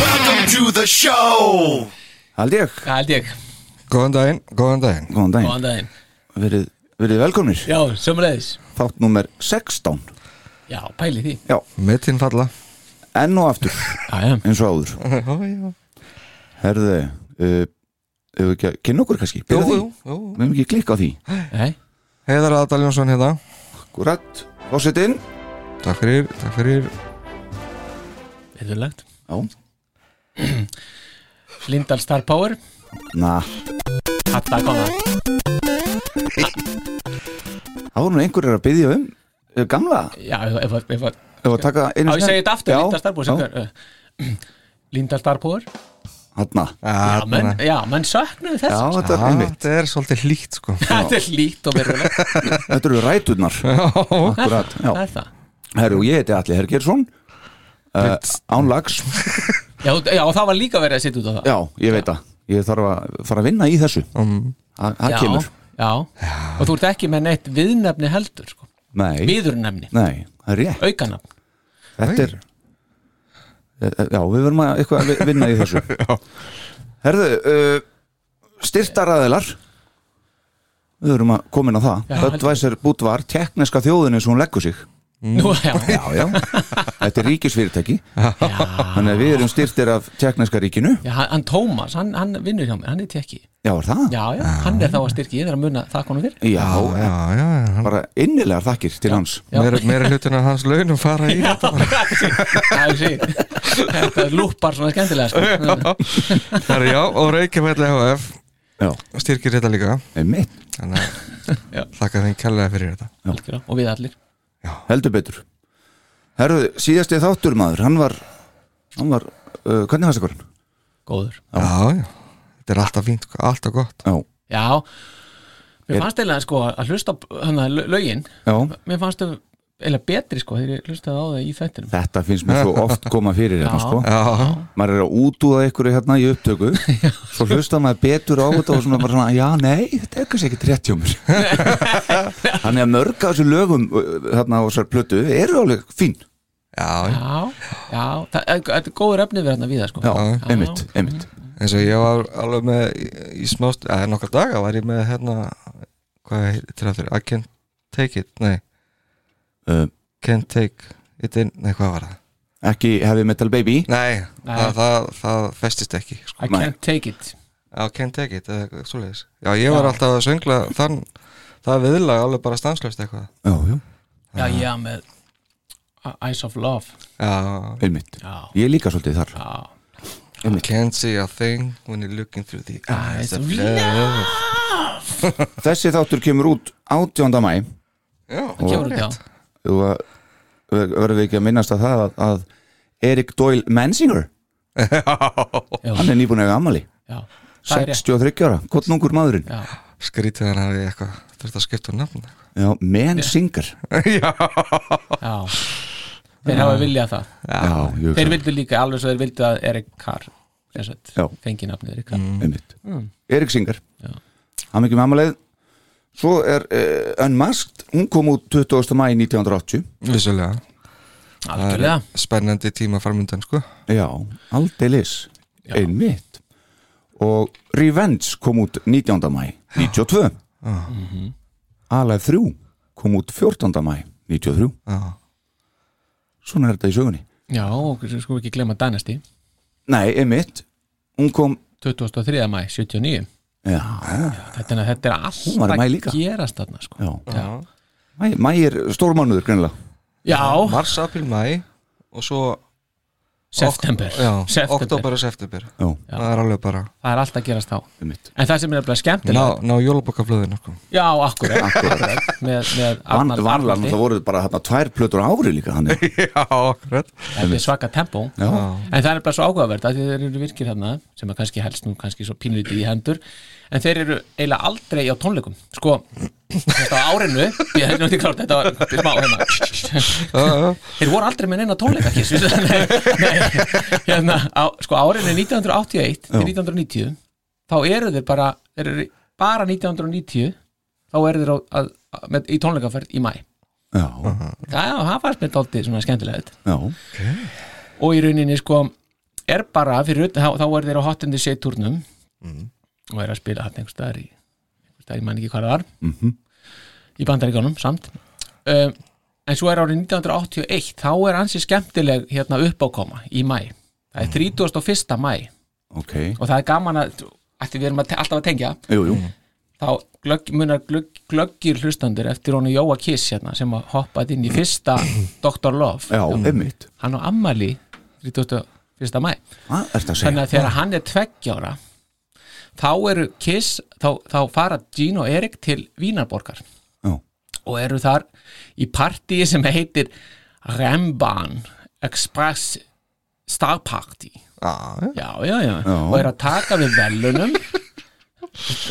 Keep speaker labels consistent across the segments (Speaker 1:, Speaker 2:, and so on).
Speaker 1: Welcome to the show!
Speaker 2: Hald ég,
Speaker 3: held ég,
Speaker 2: góðan daginn, góðan daginn
Speaker 1: góðan daginn,
Speaker 3: góðan daginn
Speaker 1: verið, verið velkomnir
Speaker 3: Já, sömulegis,
Speaker 1: Þátt númer 16
Speaker 3: já, pæli því
Speaker 1: Já,
Speaker 2: Mittinn falla
Speaker 1: enn og aftur,
Speaker 3: Já, já,
Speaker 1: eins og áður
Speaker 2: Ó, já.
Speaker 1: Herðu, uh, ef við ekki að kynna okkur kannski
Speaker 2: Jú,
Speaker 1: byrja því?
Speaker 2: jú, jú
Speaker 1: Við hefum ekki klikka á því
Speaker 3: nei,
Speaker 2: Heiðar Aðal Jónsson hérna
Speaker 1: Akkurat, fórsetin
Speaker 2: Takk fyrir, takk fyrir
Speaker 3: viðurlegt
Speaker 1: Já,
Speaker 3: Lindahl Star Power,
Speaker 1: na,
Speaker 3: hatta góða
Speaker 1: það voru nú einhverjir að byggja um uh, gamla,
Speaker 3: Já, ef að, ef að,
Speaker 1: ef að taka einu
Speaker 3: á ég
Speaker 1: sinni?
Speaker 3: segi þetta aftur,
Speaker 1: Já,
Speaker 3: Lindahl Star Power sem
Speaker 1: já,
Speaker 3: hver, uh, Lindahl Star Power Já,
Speaker 1: Þarna,
Speaker 3: menn, já, menn söknuðu
Speaker 1: já,
Speaker 3: þess
Speaker 1: þetta er einmitt
Speaker 2: Þetta er svolítið hlýtt sko
Speaker 3: Þetta er lít og verðurlegt,
Speaker 1: Þetta eru ræturnar Akkurat, já
Speaker 3: það er það
Speaker 1: Herru, ég heiti Alli Hergersson uh, Ánlags
Speaker 3: Já, þú- já, og það var líka verið að sitja út á það
Speaker 1: Já, ég veit það Ég þarf að fara að vinna í þessu
Speaker 2: Um,
Speaker 1: Þa- Það kemur
Speaker 3: já, og þú ert ekki með neitt viðnefni heldur, sko
Speaker 1: Nei,
Speaker 3: Viðurnefni,
Speaker 1: nei, það er rétt
Speaker 3: aukanafn
Speaker 1: Þetta er e, Já, við verðum að eitthvað að vi- vinna í þessu Herðu uh, Styrtaraðilar Við verðum að koma inn á það
Speaker 3: Já, heldur.
Speaker 1: Böttvæsir Bútvar, tekneska þjóðinni sem hún leggur sig
Speaker 3: Nú, já,
Speaker 1: Já, já, þetta er ríkisfyrirtæki
Speaker 3: já,
Speaker 1: Þannig að við erum styrtir af tekneska ríkinu
Speaker 3: já hann, hann Tómas, hann, hann vinnur hjá mér, hann er tekki
Speaker 1: Já, er það?
Speaker 3: Já, já, hann er þá að styrki, ég er að muna það konum fyrir
Speaker 1: Já,
Speaker 2: Já, já, já, hann
Speaker 1: bara innilegar þakkir til hans
Speaker 3: Já.
Speaker 2: Meira, meira hlutin af hans launum fara í
Speaker 3: Já, það er sín Þetta lúpar svona skemmtilega sko.
Speaker 2: Herra, já, og Reykjavík HF
Speaker 1: Já,
Speaker 2: styrkir þetta líka
Speaker 1: einmitt,
Speaker 2: Þannig
Speaker 3: Já.
Speaker 2: að þakka þeim kærlega fyrir þetta
Speaker 3: Algjörlega, Og við allir
Speaker 1: heldur betur Herðu, síðasti þáttur maður hann var, hann var uh, hvernig hans ekkur?
Speaker 3: Góður
Speaker 2: Já, já, þetta er alltaf fínt, sko, alltaf gott
Speaker 1: Já,
Speaker 3: Já, mér fannst eiginlega sko að hlusta hana, lögin
Speaker 1: já,
Speaker 3: Mér fannst þau eiginlega betri sko þegar ég hlustaði á það í þættinum
Speaker 1: þetta finnst mér svo oft koma fyrir hérna
Speaker 3: Já.
Speaker 1: sko
Speaker 2: Já,
Speaker 1: maður er að útúða einhverju hérna í upptöku svo hlusta maður betur á þetta og svona bara svona, já, nei, þetta er kannski ekkert rétt hjá mér Þannig að mörg af þessu lögum uh, þarna á þessar plötu eru alveg fín
Speaker 2: já, já.
Speaker 3: Já, já, það er- þetta er góður efni við hérna við það sko
Speaker 1: Já, einmitt, einmitt
Speaker 2: eins og ég var alveg með í, í smást, eða nokkar daga var ég með hérna hvað heitir það fyrir, I can't take it nei,
Speaker 1: uh,
Speaker 2: can't take it in, nei hvað var það
Speaker 1: Ekki Heavy Metal Baby
Speaker 2: nei,
Speaker 3: Nei.
Speaker 2: Það, það, það festist ekki sko.
Speaker 3: I can't take it
Speaker 2: I can't take it, eða svoleiðis já, ég var alltaf að söngla þann það viðlag alveg bara stanslöst eitthvað
Speaker 1: Já, já,
Speaker 3: Já, já, með Eyes of Love
Speaker 2: já,
Speaker 1: einmitt
Speaker 3: Já,
Speaker 1: Ég er líka svolítið þar
Speaker 3: já
Speaker 2: I can't see a thing when you're looking through the eyes of
Speaker 3: of
Speaker 2: love
Speaker 1: Þessi þáttur kemur út 18. mæ
Speaker 2: já,
Speaker 3: Kemur út, já
Speaker 1: og verðum við ekki að minnast að það að, að Erik Doyle Mansinger
Speaker 3: Já.
Speaker 1: hann er nýbúin að amali
Speaker 3: Já, það er rétt
Speaker 1: 63 ára, kottnungur maðurinn
Speaker 3: Já,
Speaker 2: skrítið hann hafi eitthvað þurft að skipta um nafn
Speaker 1: já, Mansinger
Speaker 2: já,
Speaker 3: já Þeir hafa viljað það
Speaker 1: já, ég
Speaker 3: Þeir
Speaker 1: hugsa
Speaker 3: vildu líka alveg svo þeir vildu að Erik Carr sem sagt,
Speaker 1: Já. Mm,
Speaker 3: fengi nafnið Erik Carr
Speaker 1: einmitt Erik Singer,
Speaker 3: Mm. Já.
Speaker 1: hann ekki með amalið svo er uh, Unmasked hún kom út 20. mæ 1980
Speaker 2: vissulega
Speaker 3: Algjörlega,
Speaker 2: spennandi tíma farmundan sko
Speaker 1: já, aldeilis einmitt og Revenge kom út 19. mæ 92 Alive 3 Mhm. kom út 14. mæ 93
Speaker 2: Já.
Speaker 1: svona er þetta í sögunni
Speaker 3: já, og svo skulum við ekki glemma Dynasty
Speaker 1: Nei, einmitt, hún kom
Speaker 3: 2003. mæ, 79
Speaker 1: Já,
Speaker 3: Þetta er, þetta er
Speaker 1: Hún var í
Speaker 3: alltaf
Speaker 1: maí líka.
Speaker 3: gerast þarna sko.
Speaker 1: já
Speaker 3: Já,
Speaker 1: Mæ, mæ er stórmánuður greinlega
Speaker 3: Já,
Speaker 2: mars, apríl, mæ og svo
Speaker 3: september,
Speaker 2: ok- já,
Speaker 3: september.
Speaker 2: oktober og september
Speaker 1: Já,
Speaker 2: það er alveg bara
Speaker 3: Það er alltaf að gerast þá
Speaker 1: um mitt
Speaker 3: En það sem er nefnilega skemmtilega
Speaker 2: ná, ná jólabokaflöðin sko.
Speaker 3: Já, akkurat, akkurat. Með, með Arnar-
Speaker 1: Vanlan,
Speaker 3: Arnaldi.
Speaker 1: það voru bara hérna tvær plötur á ári líka hann
Speaker 2: já, akkurat
Speaker 3: Þetta er svaka tempó
Speaker 1: Já,
Speaker 3: En það er bara svo áhugavert að þeir eru virkir hérna sem er kannski helst nú kannski svo pínlítið í hendur en þeir eru eiginlega aldrei á tónleikum sko, þetta á árinu ég hef náttúrulega klárt, þetta var smá hérna
Speaker 2: Já, já.
Speaker 3: þeir voru aldrei með neina tónleika kiss, nei, nei, hérna, á, sko árinu 1981 til
Speaker 1: Já.
Speaker 3: 1990 þá eru þeir bara þeir eru bara 1990 þá eru þeir á, að, að, með, í tónleikaferð í mæ
Speaker 1: já,
Speaker 3: það, það fannst mér dálítið svona skemmtilegt
Speaker 1: já
Speaker 3: og í rauninni sko er bara fyrir utan, þá, þá er þeir á hotundi set turnum
Speaker 1: Mhm.
Speaker 3: og er að spila hann einhvers staðar í einhvers staðar, ég man ekki hvað það var
Speaker 1: mhm,
Speaker 3: í bandaríkjónum samt um, en svo er árið 1981 þá er ansi skemmtileg hérna uppákoma í mæ, það
Speaker 1: Mhm.
Speaker 3: er 31. mæ
Speaker 1: Ok,
Speaker 3: og það er gaman að ætti við erum að te- alltaf að tengja
Speaker 1: jú, jú
Speaker 3: Mm. þá glögg, munar glögg, glöggir hlustandur eftir honu Jóa Kiss hérna sem að hoppaði inn í fyrsta Dr. Love
Speaker 1: Já, um mitt
Speaker 3: hann á ammali 31. mæ
Speaker 1: Hvað ert að segja?
Speaker 3: þannig að þegar hann er tveggjára þá eru Kiss þá, þá fara Gene og Erik til Vínarborgar
Speaker 1: Já,
Speaker 3: og eru þar í partíi sem heitir Remban Express Star Party
Speaker 2: Já,
Speaker 3: já, já, já, og eru að taka við velunum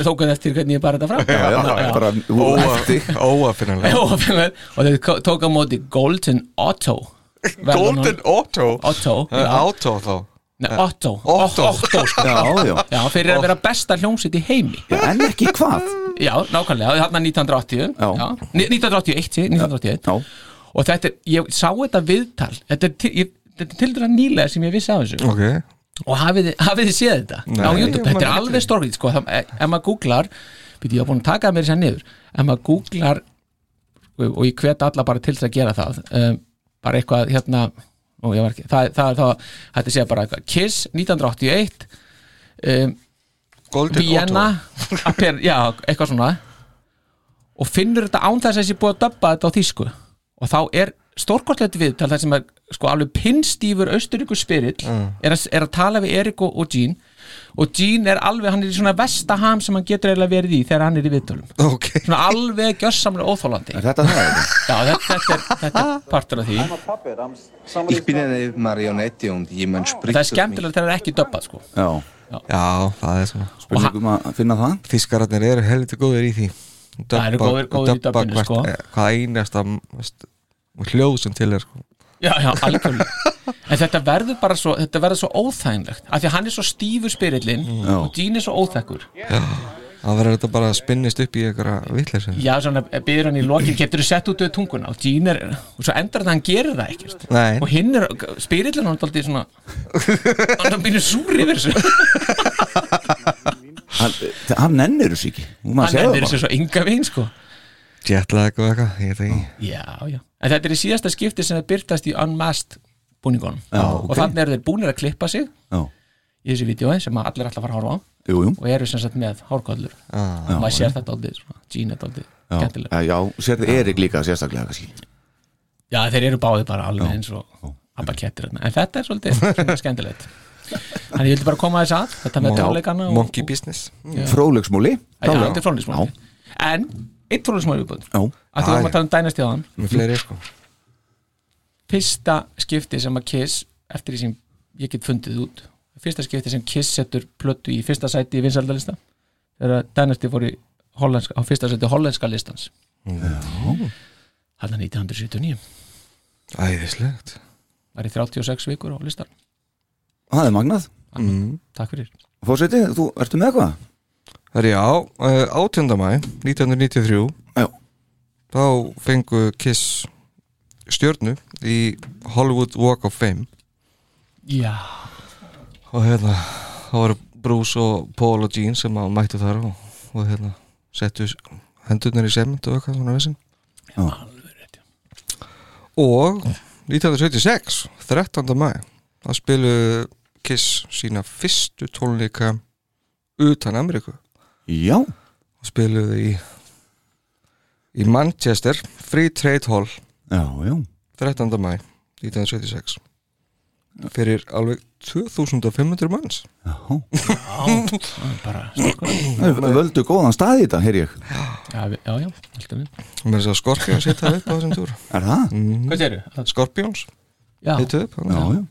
Speaker 3: tókuð eftir hvernig ég bara þetta fram
Speaker 1: já, já, bara úr eftir
Speaker 2: já. óafinnilega
Speaker 3: og þau tók á móti Golden Otto verðlaunum-
Speaker 2: Golden Otto
Speaker 3: Otto,
Speaker 2: Það er
Speaker 3: já.
Speaker 2: Otto þá
Speaker 3: Nei, Otto,
Speaker 2: Otto.
Speaker 3: Otto sko.
Speaker 1: Já, já,
Speaker 3: já, fyrir að vera besta hljómsitt í heimi
Speaker 1: já, en ekki hvað
Speaker 3: Já, nákvæmlega, þarna 1980
Speaker 1: Já.
Speaker 3: Ni- 1981, sí, 1981
Speaker 1: Já,
Speaker 3: Og þetta er, ég sá þetta viðtal Þetta er, til- ég- þetta er tildur að nýlega sem ég vissi af þessu
Speaker 2: Ok
Speaker 3: Og hafið, þið- hafið þið séð þetta
Speaker 2: Nei,
Speaker 3: á YouTube,
Speaker 2: ég man
Speaker 3: þetta er
Speaker 2: ekki.
Speaker 3: alveg stórgrít sko, það- e- Ef maður googlar, býti ég á búin að taka mér sér niður Ef maður googlar og, og ég hvet alla bara til þess að gera það um, Bara eitthvað hérna Ó, ég var ekki, það, það, það, það hætti að segja bara eitthvað Kiss 1981 um,
Speaker 2: Golden
Speaker 3: Vienna Aper, já, eitthvað svona og finnur þetta án þess að þessi búið að döbba þetta á þýsku og þá er stórkortlegt viðtal þar sem er sko alveg pinnstýfur austuríkur spyrill er, að, er að tala við Erik og, og Jean og Jean er alveg, hann er í svona vestaham sem hann getur eiginlega verið í þegar hann er í viðtölum
Speaker 2: Otto Ok
Speaker 3: svona alveg gjörsamlega óþólandi
Speaker 1: er þetta það? eða?
Speaker 3: já, þetta, þetta, er, þetta er partur af því
Speaker 4: Ich bin eine Marionette und jemand spricht.
Speaker 3: það er
Speaker 4: durch
Speaker 3: skemmtilegt þegar það er ekki döbbað sko.
Speaker 1: Já,
Speaker 2: Já, það er svona
Speaker 1: spurningum að finna það
Speaker 2: Þískararnir eru helviti góðir í því
Speaker 3: Það eru góðir- góðir í döbbinu,
Speaker 2: hvert-
Speaker 3: sko.
Speaker 2: eh, Hvað einasta veist, hljóð sem til er sko.
Speaker 3: Já, já, algjörlega En þetta verður bara svo, þetta verður svo óþæginlegt Af því að hann er svo stífur spyrillin
Speaker 1: Já.
Speaker 3: Og Dín er svo óþekkur
Speaker 2: Það verður þetta bara að spinnist upp í einhverja vitleysu
Speaker 3: Já, svona, byrður hann í lokin Getur þú sett út við tunguna Og Dín er, og svo endar þetta að hann gerir það ekkert
Speaker 2: Nei.
Speaker 3: Og hinn er, spyrillin hann er aldrei svona Hann er býnur súr yfir þessu
Speaker 1: Hann, þe- hann nennir þessu ekki Þú maður
Speaker 3: Hann
Speaker 1: segja það
Speaker 3: endur þessu
Speaker 1: bara
Speaker 3: svo ynga veginn, sko
Speaker 2: Jetlag og eitthvað, ég veit ekki
Speaker 3: Já, já En þetta er í síðasta skipti sem það byrtast í Unmasked búningunum
Speaker 1: Já,
Speaker 3: Og
Speaker 1: ok.
Speaker 3: þannig eru þeir búnir að klippa sig
Speaker 1: Já,
Speaker 3: Í þessu vídói sem að allir ætla að fara að horfa á
Speaker 1: jú, jú
Speaker 3: Og eru sem sagt með hárkollur
Speaker 2: ah,
Speaker 3: maður sér þetta aldrei, Gina er aldrei
Speaker 1: Já,
Speaker 3: skemmtileg
Speaker 1: já sérðu Erik líka sérstaklega kannski
Speaker 3: já þeir eru báði bara alveg eins og abba kettir hérna, en þetta er svolítið svona skemmtilegt þannig ég vildi bara koma þess að þetta með tónleikana og- Mm.
Speaker 2: Monkey
Speaker 3: og-
Speaker 2: business
Speaker 1: Frólegsmúli
Speaker 3: Já, þetta er frónlismóli
Speaker 1: Já.
Speaker 3: en eitt frónlismóli viðbúð
Speaker 1: Já,
Speaker 3: að þú
Speaker 2: Já,
Speaker 3: varum
Speaker 2: já.
Speaker 3: að tala um dænast í aðan
Speaker 2: Með fleiri sko
Speaker 3: fyrsta skipti sem að Kiss eftir því sem ég get fundið út fyrsta skipti sem Kiss setur plötu í fyrsta sæti í vinsaldalista þegar Dynasty fór í hollenska, á fyrsta sæti hollenska listans Þarna 1979
Speaker 2: Æðislegt
Speaker 3: var í 36 vikur á listan
Speaker 1: það er magnað
Speaker 3: Takk fyrir
Speaker 1: Fórseti, þú ertu með eitthvað?
Speaker 2: Það er já, eh, 18. mæ 1993
Speaker 1: Já.
Speaker 2: Þá fengu Kiss stjörnu í Hollywood Walk of Fame
Speaker 3: Já,
Speaker 2: og hérna það voru Bruce og Paul og Gene sem að mættu þar og, og hérna settu s- hendurnar í sement og eitthvað svona vissin og 1976 13. mæ það spilu Kiss sína fyrstu tónleika utan Ameríku
Speaker 1: Já,
Speaker 2: og spiluðu í í Manchester Free Trade Hall
Speaker 1: já, já
Speaker 2: 13. mæ 1976 fyrir alveg 2500 manns
Speaker 1: Þeir völdu góðan stað í þetta, heyr ég
Speaker 3: Já, við- já, já, alltaf við
Speaker 2: og mér er þess að Skorpjóns hitta upp á þessum túr
Speaker 1: Er það?
Speaker 3: Hvað séru?
Speaker 2: Skorpjóns
Speaker 3: Já,
Speaker 2: hitta upp
Speaker 1: Já,
Speaker 2: þannig.
Speaker 1: já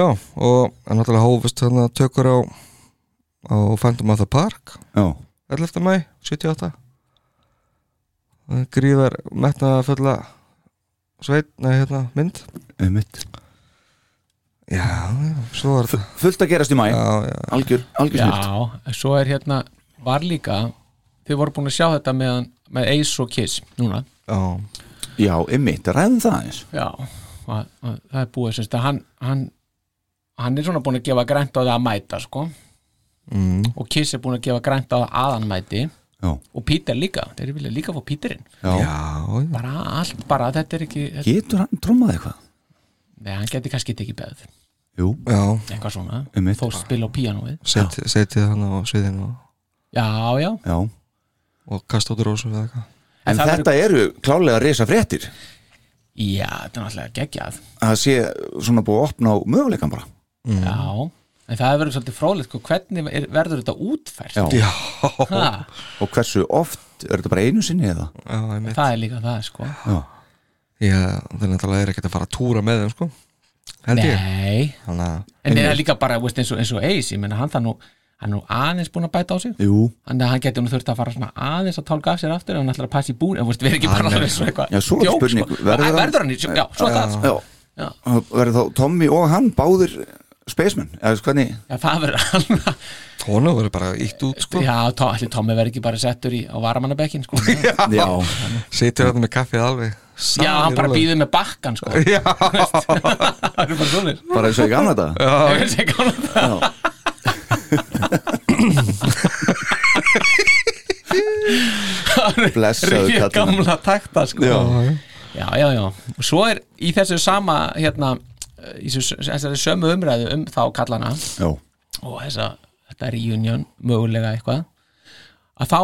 Speaker 2: já, og en náttúrulega hófust þannig að tökur á á Phantom of the Park
Speaker 1: Já,
Speaker 2: 11. mæ 78 Það er gríðar metnaða fulla sveit, nei hérna, mynd
Speaker 1: einmitt
Speaker 2: já, já, svo var það
Speaker 1: Fullt að gerast í mæ,
Speaker 2: já, já,
Speaker 1: algjör, algjör snilt
Speaker 3: já, en svo er hérna var líka, þið voru búin að sjá þetta með, með Ace og Kiss núna
Speaker 2: já,
Speaker 1: Já, einmitt, ræðum það eins
Speaker 3: Já, að, að, það er búið semst að hann, hann hann er svona búin að gefa grænt á það að mæta sko
Speaker 2: mm,
Speaker 3: og Kiss er búin að gefa grænt á það að hann mæti
Speaker 1: Já,
Speaker 3: og Peter líka, þeir vilja líka fá Peterinn
Speaker 1: já,
Speaker 2: já, já.
Speaker 3: bara allt bara, þetta er ekki þetta,
Speaker 1: Getur hann trommað eitthvað?
Speaker 3: nei, hann geti kannski tekið beð
Speaker 1: Jú,
Speaker 2: já.
Speaker 3: eitthvað svona,
Speaker 1: Einmitt.
Speaker 3: þó spila á píanóið
Speaker 2: Set, setið hann á sviðinu og,
Speaker 3: já, já,
Speaker 1: já
Speaker 2: og kasta út rósum eða eitthvað
Speaker 1: En
Speaker 3: það
Speaker 1: þetta eru klálega reysa fréttir
Speaker 3: já, þetta er náttúrulega geggjað
Speaker 1: að sé svona búið að opna á möguleikan bara
Speaker 3: já, en það verður svolítið fróðlegt sko, hvernig er, verður þetta útfært
Speaker 1: Já.
Speaker 2: já,
Speaker 3: ha,
Speaker 1: og hversu oft, er þetta bara einu sinni eða?
Speaker 2: já, einmitt
Speaker 3: það er líka það sko
Speaker 1: Já,
Speaker 2: já, það er náttúrulega er ekkert að fara að túra með þeim sko, held ég
Speaker 3: nei,
Speaker 2: þannig að,
Speaker 3: en það er líka bara veist, eins, og, eins og Ace, ég menna hann það nú hann er nú aðeins búin að bæta á sig
Speaker 1: jú,
Speaker 3: þannig að hann getur nú þurft að fara svona aðeins að tálka af sér aftur ef hann ætlar að passa í búin en veist, við erum ekki bara alveg svo eitthvað
Speaker 1: Já, svo er
Speaker 3: djók,
Speaker 1: spurning, verður
Speaker 3: sko. verður,
Speaker 1: hann-
Speaker 3: verður hann, í- já, svo það sko.
Speaker 1: já,
Speaker 3: Já.
Speaker 1: Og verður þá Tommy og hann báðir spacemen, eða veist hvernig
Speaker 3: já, það verður alveg
Speaker 2: tónu verður bara ítt út sko
Speaker 3: já, tó, allir Tommi verður ekki bara settur í á varamannabekkin sko. já,
Speaker 1: Já,
Speaker 2: setið hann með kaffið alveg
Speaker 3: hann bara
Speaker 2: Salir
Speaker 3: býður með bakkan sko.
Speaker 2: Já.
Speaker 3: það er bara svona
Speaker 1: bara eins og ekki annað það
Speaker 3: ég veist ekki hann það
Speaker 1: Blessaður
Speaker 3: Rifið
Speaker 1: kallinn.
Speaker 3: gamla takta sko.
Speaker 1: Já.
Speaker 3: já, já, já og svo er í þessu sama hérna, í þessu- þessari sömu umræðu um þá kallana
Speaker 1: Já,
Speaker 3: og þessa, þetta reunion mögulega eitthvað að þá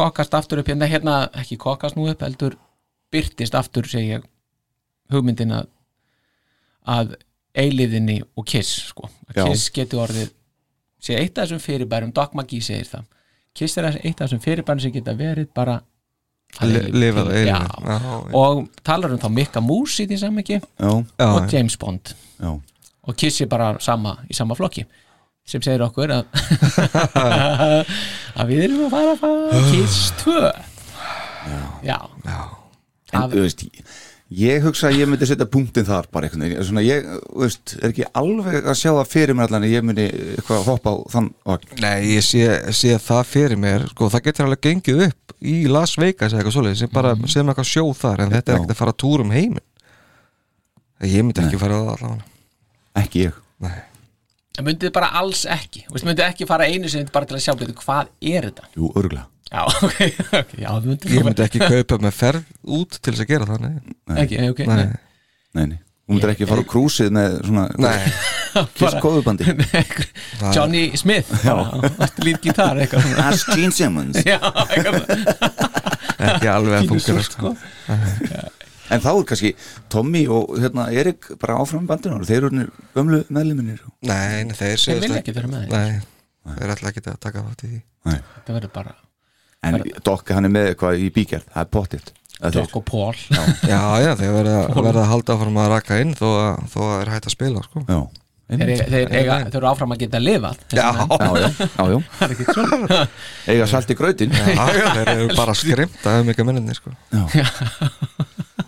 Speaker 3: kokast aftur upp hérna, hérna ekki kokast nú upp heldur byrtist aftur segi ég hugmyndin að að eiliðinni og Kiss sko.
Speaker 1: Já.
Speaker 3: að Kiss getur orðið sé eitt af þessum fyrirbærum, Doc McGee segir það Kiss er eitt af þessum fyrirbærum sem geta verið bara að
Speaker 2: Li- lifað að
Speaker 3: Já.
Speaker 2: eilífu. Já, já.
Speaker 3: og talar um þá Mikka Moose í því samanki
Speaker 1: já,
Speaker 2: Já,
Speaker 3: og James Bond
Speaker 1: já
Speaker 3: og Kiss er bara sama, í sama flokki sem segir okkur að að við erum að fara að fara Kiss 2 já,
Speaker 1: En
Speaker 3: Af-
Speaker 1: þú veist, ég- ég hugsa að ég myndi setja punktinn þar bara einhvern veginn Svona ég, þú veist, er ekki alveg að sjá það fyrir mér allan að ég myndi eitthvað hoppa á þann vagn
Speaker 2: Nei, ég sé, sé það fyrir mér sko, það getur alveg gengið upp í Las Vegas eða eitthvað svoleiðis, sem bara sem eitthvað sjó þar en þetta er
Speaker 1: Já.
Speaker 2: ekkert að fara túr um heiminn ég myndi ekki fara það allavega
Speaker 1: Ekki ég
Speaker 2: Nei.
Speaker 3: en myndið bara alls ekki Vist, myndið ekki fara einu sinni bara til að sjá betur hvað er þetta
Speaker 1: Jú, örgulega
Speaker 3: já, ok, ok, já, þú myndið
Speaker 2: ég myndi ekki kaupa með ferð út til þess að gera það nei,
Speaker 3: ekki, ok,
Speaker 2: nei.
Speaker 3: nei.
Speaker 1: Nei, nei Þú myndir ekki fara á krúsið með svona
Speaker 2: nei.
Speaker 1: kisskóðubandi
Speaker 3: Johnny Smith allt líf gítar eitthvað svona.
Speaker 1: Ask Gene Simmons
Speaker 3: já, eitthvað
Speaker 2: ekki alveg að fungera sko.
Speaker 1: En þá er kannski Tommy og hérna, Erik bara áfram í bandinu og þeir eru ömlu meðliminir
Speaker 2: nei, nei, þeir
Speaker 3: Þeir
Speaker 2: segist
Speaker 3: vilja ekki vera með þeim.
Speaker 2: nei, þeir ætla ekki að taka þátt í því
Speaker 3: þetta verður bara
Speaker 1: En Dokk hann er með eitthvað í bíkjart Það er pottitt
Speaker 3: Doc og Paul
Speaker 2: já, já, þeir verða, verða að halda áfram að raka inn þó að, þó að er hægt að spila sko.
Speaker 1: Já,
Speaker 3: þeir,
Speaker 1: einmitt.
Speaker 3: þeir, eiga, þeir eru áfram að geta lifað
Speaker 2: já,
Speaker 1: já, já, já, já.
Speaker 3: það er ekki svona
Speaker 1: Eiga salt í grautin
Speaker 2: Já, já, þeir eru bara skrimt að hafa mikið minninni sko.
Speaker 1: Já.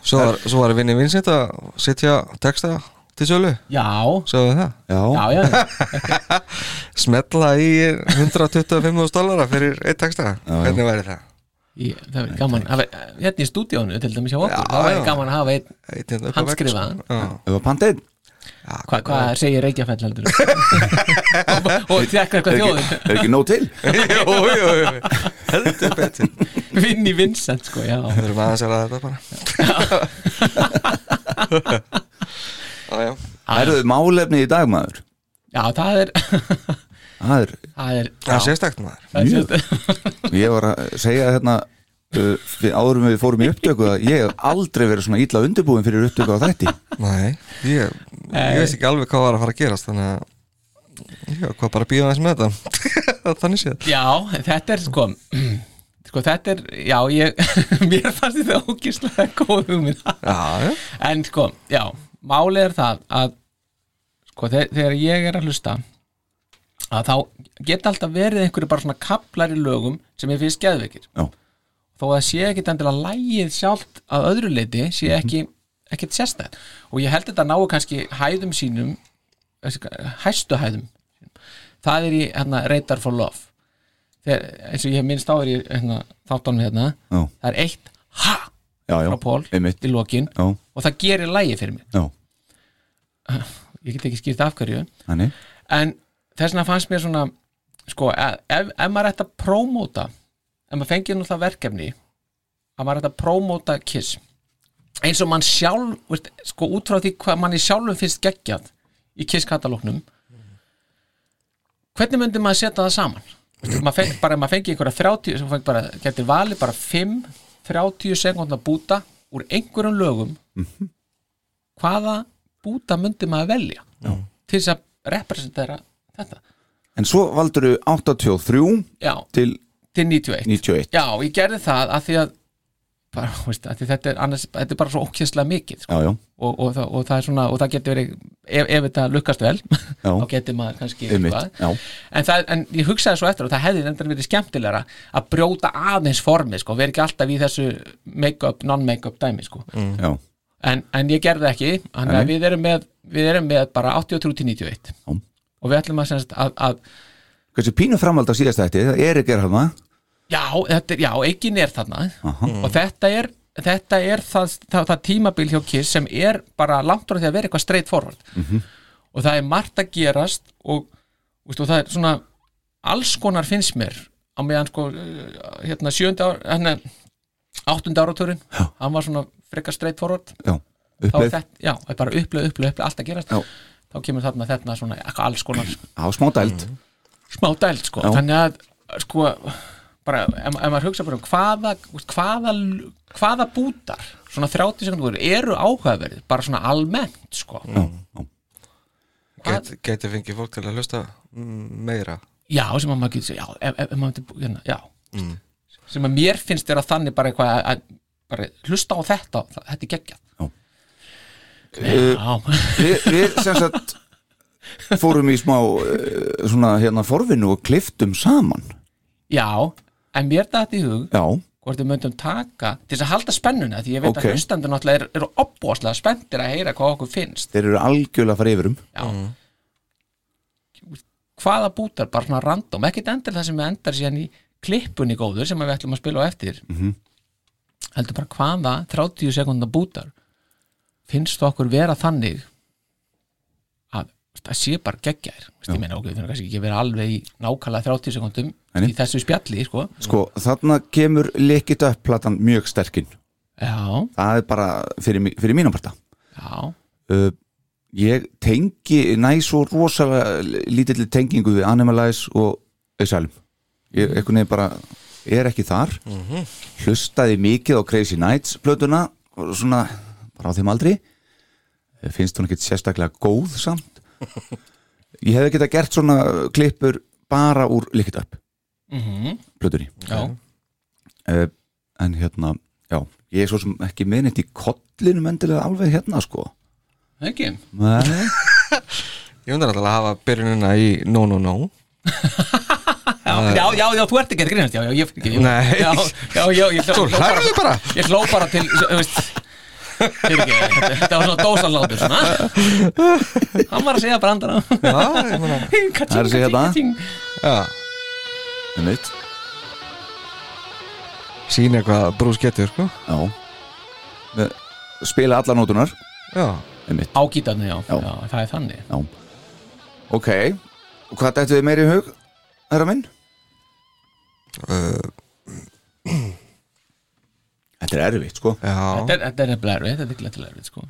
Speaker 2: svo, var, svo var vinni vinsett að setja texta til sölu
Speaker 3: já,
Speaker 2: Sáðu það?
Speaker 1: Já,
Speaker 3: já, já,
Speaker 2: Smetla í 125.000 dollara fyrir eitt texta Hvernig væri það?
Speaker 3: Ég, það verður gaman að vera, hérna í stúdíónu til dæmis hjá okkur,
Speaker 2: Já,
Speaker 3: það
Speaker 2: já.
Speaker 3: verður gaman að hafa einn
Speaker 2: Eitt hérna upp á vegg,
Speaker 3: Handskrifaðan.
Speaker 2: sko. Já.
Speaker 1: ef að panta einn
Speaker 3: hvað, hvað segir Reykjafell heldur og, og þekka eitthvað
Speaker 1: Er
Speaker 3: þjóðin
Speaker 1: ekki- Er ekki nóg til?
Speaker 2: Jú, jú, jú Heldur betur
Speaker 3: Vinni Vincent sko, já
Speaker 2: Við erum aðeins að ræða þetta bara Já, já
Speaker 1: Það eru málefni í dag maður
Speaker 3: já, það er
Speaker 1: Það er,
Speaker 3: það er,
Speaker 2: Það er
Speaker 3: já,
Speaker 2: sérstakt maður
Speaker 3: það er sérst-
Speaker 1: ég var að segja hérna uh, við- áður en við fórum í upptöku að ég hef aldrei verið svona illa undirbúin fyrir upptöku á þætti
Speaker 2: Nei, ég, ég veist ekki alveg hvað var að fara að gerast þannig að ég var hvað bara að býða aðeins með þetta þannig séð
Speaker 3: Já, þetta er sko sko þetta er, já ég mér fannst þetta ógislega góð hugmynd
Speaker 2: Já, já,
Speaker 3: en sko, já, málið er það að sko þe- þegar ég er að hlusta að þá geta alltaf verið einhverju bara svona kaplar í lögum sem ég finnst geðveikir
Speaker 1: Já.
Speaker 3: þó að sé ekkit endilega lægið sjálft að öðru leiti sé
Speaker 1: Mhm.
Speaker 3: ekki ekkit sérstæð og ég held þetta náu kannski hæðum sínum eh, hæstu hæðum það er í hérna, Radar for Love þegar, eins og ég hef minnst á er í hérna, þáttanum hérna
Speaker 1: Já.
Speaker 3: það er eitt ha
Speaker 1: Já, já,
Speaker 3: frá Pól
Speaker 1: einmitt
Speaker 3: í lokin
Speaker 1: Já,
Speaker 3: og það gerir lægi fyrir mig
Speaker 1: já,
Speaker 3: ég get ekki skýrt af hverju
Speaker 1: þannig
Speaker 3: en þess vegna fannst mér svona sko, e- ef, ef maður ætti að prómóta ef maður fengið nú það verkefni að maður ætti að prómóta kiss eins og mann sjálf veist, sko út frá því hvað manni sjálfum finnst geggjað í kiss katalóknum hvernig myndi maður setja það saman Veistu, maður fengi bara, maður fengi einhverja 30 sem fengi bara, getur valið bara 5 30 sekundna búta úr einhverjum lögum hvaða búta myndi maður velja Já. til þess að representera þetta
Speaker 1: En svo valdur 83
Speaker 3: Já,
Speaker 1: til
Speaker 3: til 91
Speaker 1: 91
Speaker 3: Já, ég gerði það að því að, bara, veist, að því þetta, er annars, þetta er bara svo ókjenslega mikið sko.
Speaker 1: Já, já,
Speaker 3: og, og, það, og það er svona og það getur verið, ef, ef þetta lukkast vel
Speaker 1: Já.
Speaker 3: þá getur maður kannski
Speaker 1: einmitt Já,
Speaker 3: en, það, en ég hugsaði svo eftir og það hefði endan verið skemmtilegra að brjóta aðeins formið sko, verið ekki alltaf í þessu make-up, non-make-up dæmi sko.
Speaker 1: já,
Speaker 3: en, en ég gerði það ekki þannig
Speaker 1: Nei.
Speaker 3: að við erum með, við erum með bara 83 til 91
Speaker 1: Já.
Speaker 3: og við ætlum að, sem sagt að, að
Speaker 1: hversu pínu framhald á síðast þætti Það er ekki er hérna, hana
Speaker 3: Já, þetta er, já, eikin er þarna
Speaker 1: Aha.
Speaker 3: og þetta er, þetta er það, það, það tímabil hjá Kiss sem er bara langt frá því að vera eitthvað straight forward
Speaker 1: Mhm.
Speaker 3: og það er margt að gerast og, veistu, og það er svona alls konar finnst mér á meðan sko eh, hérna sjöndi ár, hérna áttundi áratúrin,
Speaker 1: Já.
Speaker 3: hann var svona frekar straight forward,
Speaker 1: Já,
Speaker 3: þá er
Speaker 1: uppleið
Speaker 3: þetta, já, er bara upplega, upplega, upplega, allt að gerast
Speaker 1: Já.
Speaker 3: þá kemur þarna þarna svona alls konar
Speaker 1: Á smá dælt
Speaker 3: Mm. smá dælt sko
Speaker 1: Já.
Speaker 3: þannig að sko bara, ef, ef maður hugsa bara um hvaða hvaða, hvaða bútar svona 30 sekundur eru áhugaverðið bara svona almennt sko
Speaker 1: Já, já,
Speaker 2: Gæt, gæti fengið fólk til að hlusta mm, meira
Speaker 3: já, sem að maður getur já, ef, ef, ef maður myndi bú- hérna, já
Speaker 1: Mm.
Speaker 3: sem að mér finnst vera þannig bara eitthvað að, að bara hlusta á þetta, það- þetta er geggjað já,
Speaker 1: við, við sem sagt fórum í smá uh, svona hérna forvinu og kliftum saman
Speaker 3: já en mér dætti í hug
Speaker 1: já,
Speaker 3: hvort við myndum taka til þess að halda spennuna því ég veit
Speaker 1: Ókei.
Speaker 3: að hlustandur náttúrulega eru- eru opbóðslega spenntir að heyra hvað okkur finnst
Speaker 1: þeir eru algjörlega að fara um. yfirum
Speaker 3: já
Speaker 1: Mm.
Speaker 3: hvaða bútar, bara svona random ekkert endur það sem endar síðan í klippunni góður sem við ætlum að spila á eftir
Speaker 1: Mhm.
Speaker 3: heldur bara hvaða 30 sekundar bútar finnst þú okkur vera þannig að það sé bara geggjær ég meina okkur, við finnum kannski ekki að vera alveg í nákvæmlega 30 sekundum
Speaker 1: Nei, nei.
Speaker 3: í þessu spjalli sko.
Speaker 1: sko, þarna kemur likit upp platan mjög sterkinn,
Speaker 3: já,
Speaker 1: það er bara fyrir, mí- fyrir mínum parta
Speaker 3: já,
Speaker 1: uh, ég tengi næ svo rosalega lítilli tengingu við Animalize og Ösalum ég einhvern veginn bara er ekki þar hlustaði mikið á Crazy Nights plötuna og svona bara á þeim aldri finnst hún ekkit sérstaklega góð samt ég hefði geta gert svona klippur bara úr Licked Up plötunni
Speaker 3: já,
Speaker 1: uh, en hérna, já ég er svo sem ekki meðnitt í kollinum endilega alveg hérna sko
Speaker 3: ekki
Speaker 1: Nei.
Speaker 2: Ég undar alltaf að hafa byrjunina í no no no
Speaker 3: já, já, já, þú ert ekki að grínast já, já, ég fyrir ekki
Speaker 2: Nei.
Speaker 3: já, já, já, ég
Speaker 2: Svo hlærðu bara
Speaker 3: ég hló bara til þú veist, fyrir ekki, þetta- þetta var svona dósalátur svona hann var að segja brandara
Speaker 2: Já, ég meina
Speaker 1: Það er að segja það.
Speaker 2: Já,
Speaker 1: Einmitt.
Speaker 2: sína hvað brús getur, sko
Speaker 1: Já Með- Spila alla nótunar
Speaker 2: Já,
Speaker 1: Einmitt.
Speaker 3: ágítarni, já,
Speaker 1: Já.
Speaker 3: já, það er þannig
Speaker 1: Já Ok Og hvað dættu þið meiri í hug, herra minn? Þetta er erfitt, sko
Speaker 2: já
Speaker 3: þetta er, þetta er nefnilega erfið, þetta er glættilega erfið sko.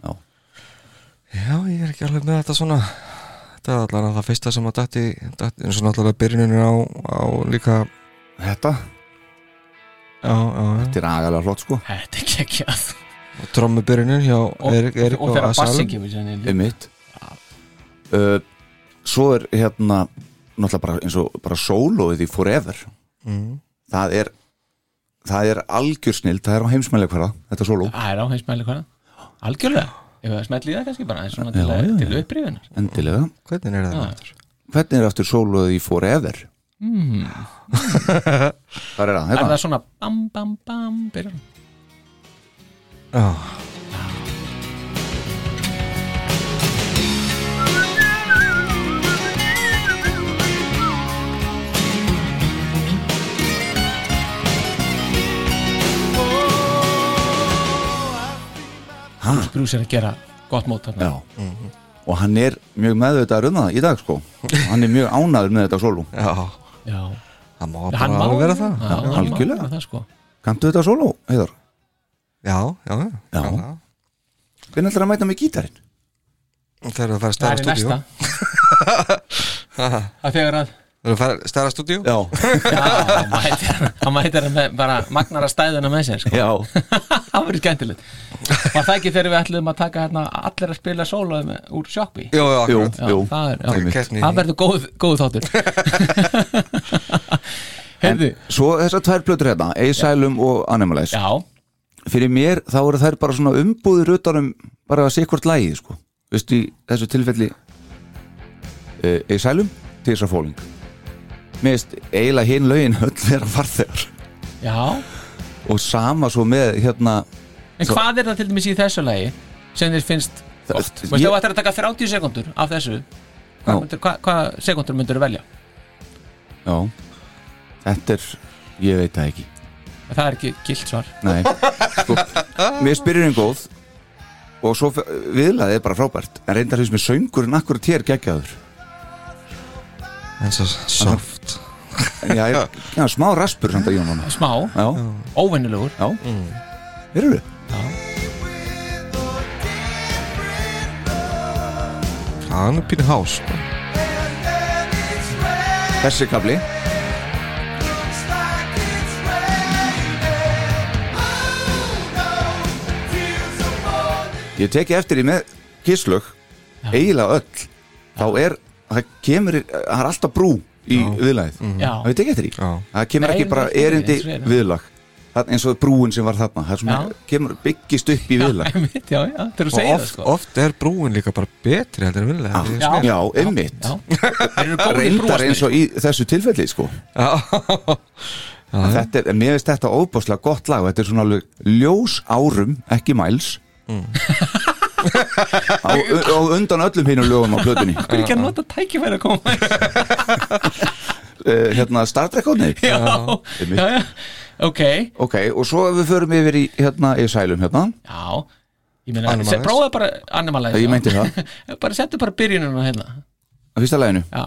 Speaker 2: Já, ég er ekki alveg með þetta svona Þetta er allan að það fyrsta sem að dætti eins og náttúrulega byrjunin á, á líka
Speaker 1: Þetta
Speaker 2: já, já, já.
Speaker 1: Þetta er agalega flott sko
Speaker 3: Þetta er geggjað
Speaker 2: Og trommubyrunin hjá
Speaker 3: Og,
Speaker 2: Erik, Erik
Speaker 3: og þegar bassin
Speaker 2: Asylum
Speaker 3: kemur sér niður.
Speaker 1: Einmitt uh, Svo er hérna Náttúrulega bara eins og bara sólóið í Forever Það er Það er algjör snild Það er á heimsmælega þetta sóló
Speaker 3: Það er á hans mæli hverða Algjörlega Ef það smelli það kannski bara En svona til,
Speaker 1: Já,
Speaker 3: að-
Speaker 1: já,
Speaker 3: til upprifunar
Speaker 1: Endilega
Speaker 2: Hvernig er það?
Speaker 3: Já.
Speaker 2: aftur?
Speaker 1: Hvernig er aftur sólóið í Forever? Mm. Hvað er það?
Speaker 3: Er
Speaker 1: Hérna.
Speaker 3: það svona bam bam bam byrjar hann.
Speaker 2: Já,
Speaker 3: Bruce er að gera gott mót þarna
Speaker 1: Já Og hann er mjög meðvitað um það í dag sko Hann er mjög ánæður með þetta sóló
Speaker 2: já
Speaker 3: Já
Speaker 2: Það má
Speaker 3: Hann
Speaker 2: bara
Speaker 3: má
Speaker 2: alveg vera það
Speaker 3: Já,
Speaker 1: Já,
Speaker 3: hann má
Speaker 1: algjörlega.
Speaker 3: vera það, sko.
Speaker 1: Kanntu þetta sóló, heiðar?
Speaker 2: Já, já,
Speaker 1: Já. Hvernig ætlar að mæta með gítarinn?
Speaker 2: Það eru að fara að
Speaker 3: Það er
Speaker 2: stæra stúdíu
Speaker 3: næsta Það þegar að
Speaker 2: Það eru að fara að stæra stúdíu
Speaker 1: Já,
Speaker 3: Já, hann mætir hann með bara magnar að stæðuna með sér sko.
Speaker 1: já
Speaker 3: Það verður skemmtilegt Var það ekki þegar við ætluðum að taka hérna allir að spila sólaði með, úr sjoppi
Speaker 2: Jú, jú,
Speaker 1: Jú,
Speaker 2: akkurat
Speaker 1: jú
Speaker 3: það er, já,
Speaker 1: Einmitt.
Speaker 2: Keppni.
Speaker 3: það verður góð, góð þáttur
Speaker 1: En
Speaker 3: Heyrðu,
Speaker 1: svo þessar tvær plötur hérna, Asylum og Animalize
Speaker 3: já,
Speaker 1: Fyrir mér þá eru þær bara svona umbúðir utanum bara að sé hvort lagið sko Veistu í þessu tilfelli uh, Asylum, Tisa Fóling Mér veist eiginlega hinn lögin öll vera farþegar
Speaker 3: já
Speaker 1: Og sama svo með hérna
Speaker 3: En
Speaker 1: Svo-
Speaker 3: hvað er það til dæmis í þessu lagi sem þér finnst
Speaker 1: Það-
Speaker 3: gott?
Speaker 1: ég-
Speaker 3: Þú veist, þú ættir að taka 30 sekundur af þessu
Speaker 1: Já.
Speaker 3: Hvað, myndir, hvað, hvað sekundur myndir þú velja?
Speaker 1: Já, þetta er, ég veit það ekki
Speaker 3: Það er ekki gilt svar
Speaker 1: Nei, sko, mér spyririnn góð og svo fe- viðlagið er bara frábært en reyndar þess með söngurinn akkur tér geggjaður
Speaker 2: En svo soft
Speaker 1: en já, ég, já, smá raspur samt að ég núna
Speaker 3: Smá,
Speaker 1: Já,
Speaker 3: óvennilegur
Speaker 1: já, verður þau?
Speaker 2: Já, hann er pínu hás sko.
Speaker 1: Þessi kafli Ég teki eftir í með kisslög eiginlega öll þá er, það kemur það er alltaf brú í viðlagið
Speaker 3: Já,
Speaker 1: það er tekið eftir í
Speaker 2: Já.
Speaker 1: það kemur
Speaker 3: Nei,
Speaker 1: ekki bara
Speaker 3: nei, nei,
Speaker 1: erindi
Speaker 3: eins og er.
Speaker 1: viðlag það er eins og brúin sem var þarna það er svona,
Speaker 3: Já.
Speaker 1: kemur byggist upp í viðlag
Speaker 3: einmitt, já, já, þegar þú
Speaker 2: Og
Speaker 3: segir það
Speaker 2: oft,
Speaker 3: sko
Speaker 2: oft er brúin líka bara betri Þetta er vinnilega
Speaker 1: Já.
Speaker 3: Já.
Speaker 1: já, einmitt
Speaker 3: Já, þeir eru góðir
Speaker 1: reyndar
Speaker 3: brúasmiðir.
Speaker 1: eins og í þessu tilfelli sko.
Speaker 2: Já,
Speaker 1: En þetta er, en mér finnst þetta óbáslega gott lag og þetta er svona alveg ljós árum ekki mæls á, á undan öllum hinu lögum á plötunni
Speaker 3: Hver er ekki að nota tækifæri að koma
Speaker 1: uh, hérna Star Trek hóðni
Speaker 3: Já,
Speaker 1: einmitt.
Speaker 3: já, já, ok
Speaker 1: ok, og svo ef við förum yfir í hérna í sælum hérna
Speaker 3: Já, ég meina,
Speaker 2: Animalize.
Speaker 3: se- prófaðu bara animalize
Speaker 1: Ég
Speaker 3: já.
Speaker 1: meinti það.
Speaker 3: Bara settu bara byrjunum hérna
Speaker 1: að fyrsta laginu
Speaker 3: Já,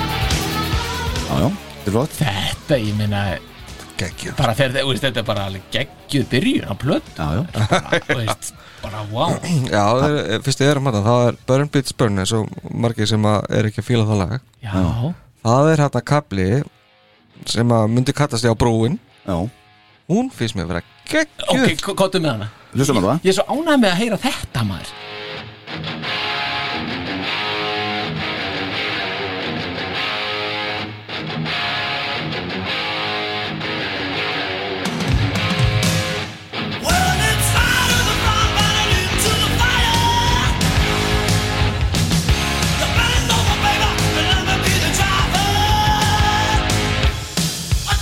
Speaker 1: já, já, þetta er flott
Speaker 3: þetta, ég meina
Speaker 2: geggjum
Speaker 3: bara þegar þau veist, þetta er bara alveg geggjuð byrjun á plötu
Speaker 1: já, já,
Speaker 3: bara, þú veist, bara wow
Speaker 2: Já, það er, fyrst ég er að matta Það er Burn Beats Burn eins og margir sem að er ekki að fíla það lag
Speaker 3: Já,
Speaker 2: Það er hérna kapli sem að myndi kallast ég á brúin
Speaker 1: já,
Speaker 2: Hún finnst mér að vera geggjur
Speaker 3: ok, ko- komdu með hana
Speaker 1: hlustum að það
Speaker 3: Ég er svo ánægð með að heyra þetta maður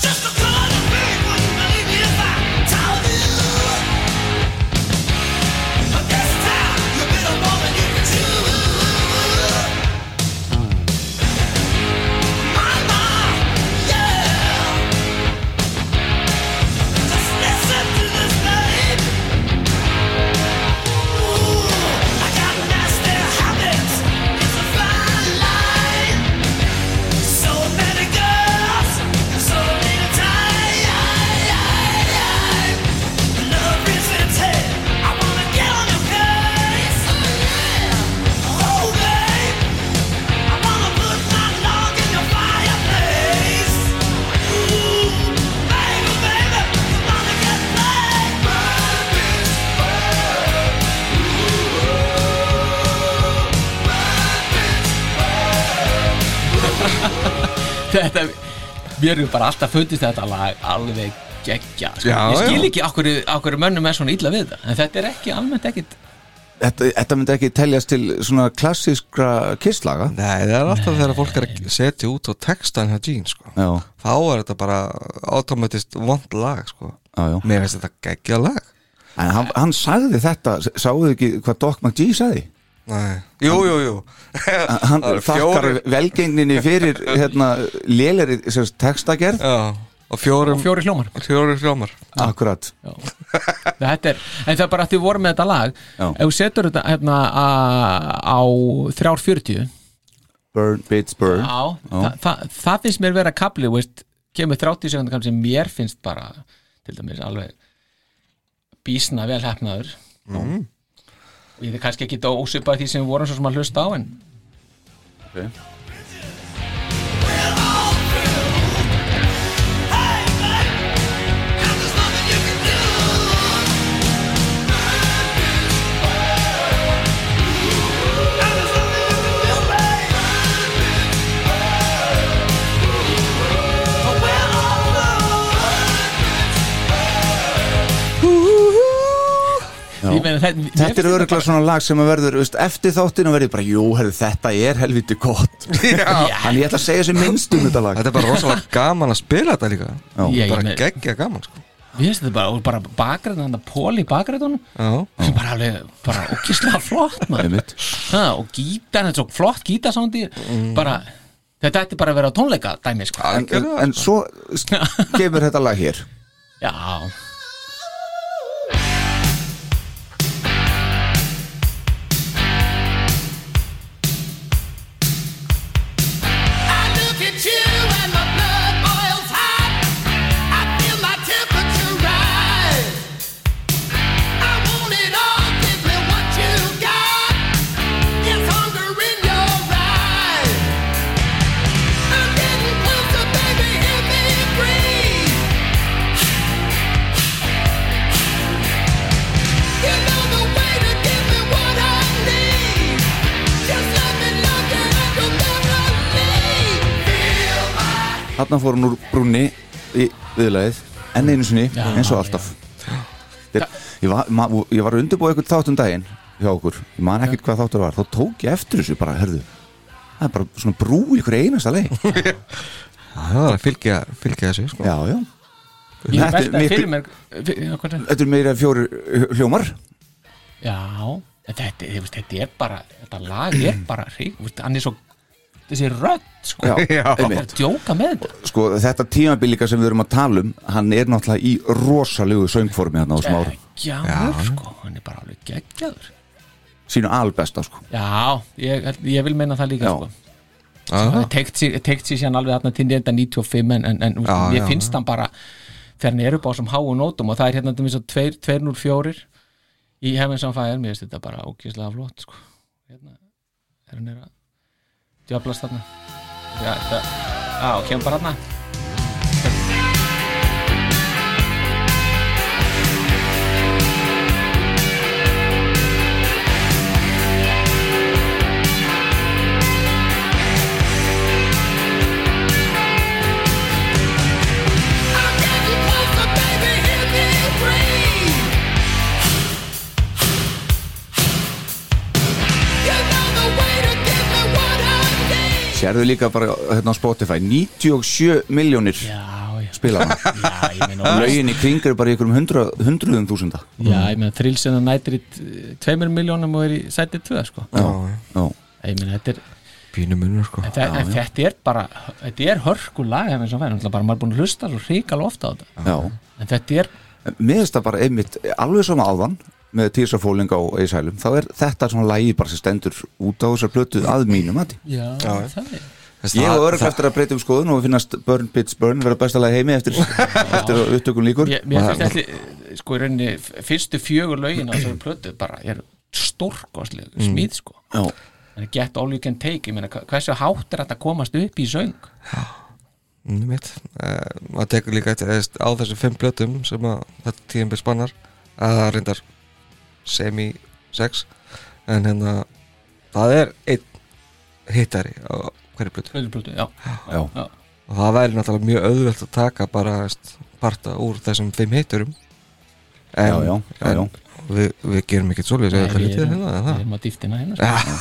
Speaker 5: This time Oh,
Speaker 3: þetta mér er bara alltaf fundist þetta lag alveg geggja sko.
Speaker 2: Já,
Speaker 3: ég skil
Speaker 2: já.
Speaker 3: ekki okkur, okkur mönnum er svona illa við þetta en þetta er ekki almennt ekkit
Speaker 1: þetta, þetta myndi ekki teljast til svona klassískra kisslaga
Speaker 2: Nei, það er alltaf þegar fólk er að setja út og texta hann hjá Jean sko.
Speaker 1: Já,
Speaker 2: þá er þetta bara automatist vond lag sko.
Speaker 1: já, já
Speaker 2: mér finnst þetta geggja lag
Speaker 1: En hann, hann sagði þetta, sáðu ekki hvað Doc McGee sagði?
Speaker 2: Nei. Jú, jú, jú
Speaker 1: Hann
Speaker 2: Það eru
Speaker 1: þakkar
Speaker 2: fjórir-
Speaker 1: velgengninni fyrir hérna, léleri textagerð,
Speaker 2: Já, og fjórum
Speaker 3: fjóri hljómar
Speaker 2: fjórum hljómar
Speaker 1: akkurat
Speaker 3: Já. þetta er, en það er bara að þið voru með þetta lag
Speaker 1: Já.
Speaker 3: ef þú setur þetta hérna a- á 3.40
Speaker 1: Burn, Bitch, Burn
Speaker 3: á, þa, þa, það finnst mér vera kapli þú veist, kemur 30 sekundar kapli sem mér finnst bara til dæmis alveg bísna vel hefnaður og ég er kannski ekki ósipað því sem við vorum svo sem að hlusta á en Ég meina, það- mér finnst
Speaker 1: Þetta er örgulega svona lag sem að verður veist, eftir þáttinu verður bara, jú, herru, þetta er helviti gott Þannig ég ætla að segja sem minnst um þetta lag
Speaker 2: Þetta er bara rosalega gaman að spila þetta líka
Speaker 1: Já.
Speaker 3: Já, ég
Speaker 2: bara
Speaker 3: meina-
Speaker 2: geggja gaman sko.
Speaker 3: Mér finnst þetta bara, og bara bakræðan, þannig að pól í bakræðunum
Speaker 2: Já,
Speaker 3: sem bara alveg, bara ógislega flott maður.
Speaker 1: Einmitt. Mm.
Speaker 3: ha, og gítar, þetta er svo flott gítarsándi bara, þetta ætti bara að vera á tónleika dæmi, sko
Speaker 1: en, en, en svo gefur þetta lag hér
Speaker 3: Já,
Speaker 5: I look at you and my blood boils hot. I feel my temperature rise. I want it all, give me what you got. There's hunger in your eyes. I'm getting closer, baby, hear me breathe. You know the way to give me what I need. Just let me look and I will never leave. Feel my
Speaker 1: Þarna fór hún úr brúnni í viðlagið, enn einu sinni,
Speaker 3: Já,
Speaker 1: eins og alltaf Þetta er, ég, var, ma, ég var að undirbúa eitthvað þátt um daginn hjá okkur, ég man ekkert hvað þáttur var þá tók ég eftir þessu bara, herðu það er bara svona brú í ykkur einasta leið
Speaker 2: það var að fylgja, fylgja þessu sko.
Speaker 1: Já, já
Speaker 3: ég
Speaker 1: Þetta er
Speaker 3: velta
Speaker 1: mitt-
Speaker 3: fyrir mér fyrir, já, hvað er það?
Speaker 1: Þetta er meira fjóri hljómar
Speaker 3: Já, en þetta, ég veist, þetta er bara þetta lag er bara, hreik- þú veist, hann er svo þessi rödd, sko
Speaker 1: Já,
Speaker 2: Já.
Speaker 3: bara
Speaker 1: einmitt
Speaker 3: að djóka með þetta
Speaker 1: Sko, þetta tímabilíka sem við erum að tala um hann er náttúrulega í rosalegu söngformi hann á þessum árum,
Speaker 3: Geggjaður, sko, hann er bara alveg geggjaður
Speaker 1: sínu albesta sko.
Speaker 3: Já, ég, ég vil meina það líka,
Speaker 1: Já.
Speaker 3: sko
Speaker 2: Já,
Speaker 3: tekt sér, tekt sér síðan alveg þarna til 1995 en, en, en
Speaker 2: Já,
Speaker 3: ég
Speaker 2: já,
Speaker 3: finnst hann bara þegar hann er upp á þessum háu nótum og það er hérna til mér svo 204 í hefðin sem fæðir, mér finnst þetta bara ókýrslega flott sko. hérna, þegar hann er að djöflast þarna já, það, á, kemur bara þarna
Speaker 5: I'm getting closer, baby, hear me breathe. You know the way to give me what I need.
Speaker 1: Sérðu líka bara hérna á Spotify 97 miljónir
Speaker 3: já, já,
Speaker 1: spilaðan
Speaker 3: já, ég meina og-
Speaker 1: Lögin í kring eru bara í einhverjum hundra, hundruðum þúsunda
Speaker 3: já, ég meina þrilsina nættir í 2 miljónum og er í sætið 2 sko.
Speaker 2: já,
Speaker 1: Já,
Speaker 3: ég meina, þetta er
Speaker 2: pínu munur sko.
Speaker 3: En, það, en þetta er bara, þetta er hörkulag ef eins og fæðin, bara maður er búin að hlusta svo ríkala ofta á þetta
Speaker 1: já
Speaker 3: en þetta er,
Speaker 1: Mér finnst það bara einmitt, alveg svona áðan með Tísa Fóling á Eishælum þá er þetta svona lægi bara sem stendur út á þessar plötu að mínum að
Speaker 3: já,
Speaker 2: já.
Speaker 3: það er
Speaker 2: Þess,
Speaker 1: Ég
Speaker 2: það-
Speaker 1: og örg eftir að breyta um skoðun og finnast Burn Bitch Burn vera besta lagi heimi eftir, eftir að upptökun líkur
Speaker 3: Mér, mér finnst þetta, sko, í rauninni f- fyrstu fjögur lögin á þessari plötu bara er stórkostlega smíð, sko
Speaker 1: Já,
Speaker 3: en get all you can take, ég meina, hva- hversu hátt er þetta að komast upp í söng
Speaker 2: það- mitt, eh, maður tekur líka eftir, eða, á þessum fimm blötum sem að þetta tíðan byrð spannar að það reyndar semi sex en hérna það er einn hittari á hverju blötu
Speaker 3: plötu, já,
Speaker 1: já,
Speaker 3: já
Speaker 2: og það væri náttúrulega mjög auðvelt að taka bara veist, parta úr þessum fimm heiturum en,
Speaker 1: Já, já, já, já.
Speaker 2: en Við, við gerum ekkert svolítið við erum lítið hérna, eða
Speaker 3: Við erum að dýftina hérna sko.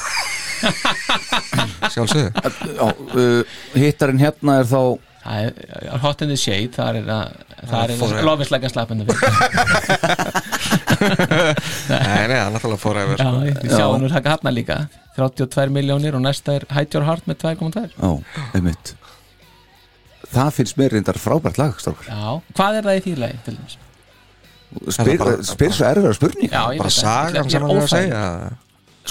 Speaker 2: það sjálfsögðu
Speaker 1: Já, uh, hittarinn hérna er þá
Speaker 3: Það er hot in the shade Það er að Það
Speaker 2: fór
Speaker 3: er
Speaker 2: ég.
Speaker 3: lofislega slappandi
Speaker 2: Nei, nei, það er náttúrulega forever
Speaker 3: Já,
Speaker 2: sko.
Speaker 3: við sjáum nú taka hafna líka 32 miljónir og næsta er Hide Your Heart með 2,2
Speaker 1: Já, einmitt Það finnst mér reyndar frábært lag strókar.
Speaker 3: Já, hvað er það í því lagi til þess?
Speaker 1: Spyr,
Speaker 2: Er það bara-
Speaker 1: spyr svo erfiðar spurning
Speaker 3: Já, ég
Speaker 2: bara
Speaker 3: veit það, ég
Speaker 2: sagan
Speaker 3: er
Speaker 2: sem hann er að
Speaker 3: ófær.
Speaker 2: segja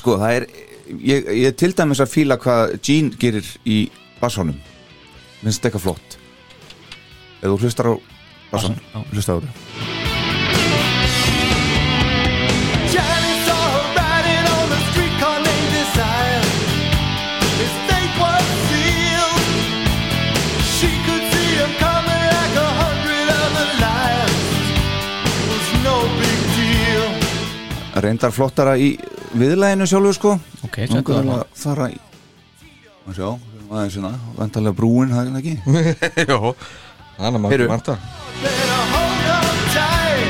Speaker 1: Sko, það er Ég, ég til dæmis að fíla hvað Gene gerir í bassanum Minnst þetta eitthvað flott Ef þú hlustar á bassan
Speaker 3: Bassann, já.
Speaker 1: Hlustar á þetta
Speaker 6: Johnny saw her riding on a streetcar named Desire. His fate was sealed. She could see him coming like a hundred other liars. It was no big deal.
Speaker 1: Reyndar flottara í viðlæginu sjálfu sko
Speaker 3: Ok,
Speaker 1: Langar
Speaker 3: settu
Speaker 1: vel
Speaker 3: það
Speaker 1: að fara í Má sjá, aðeins hérna Vendarlega brúin, það er hérna ekki
Speaker 2: það Jó, hann er
Speaker 1: Heyrðu.
Speaker 2: maður manta
Speaker 6: Better hold on tight.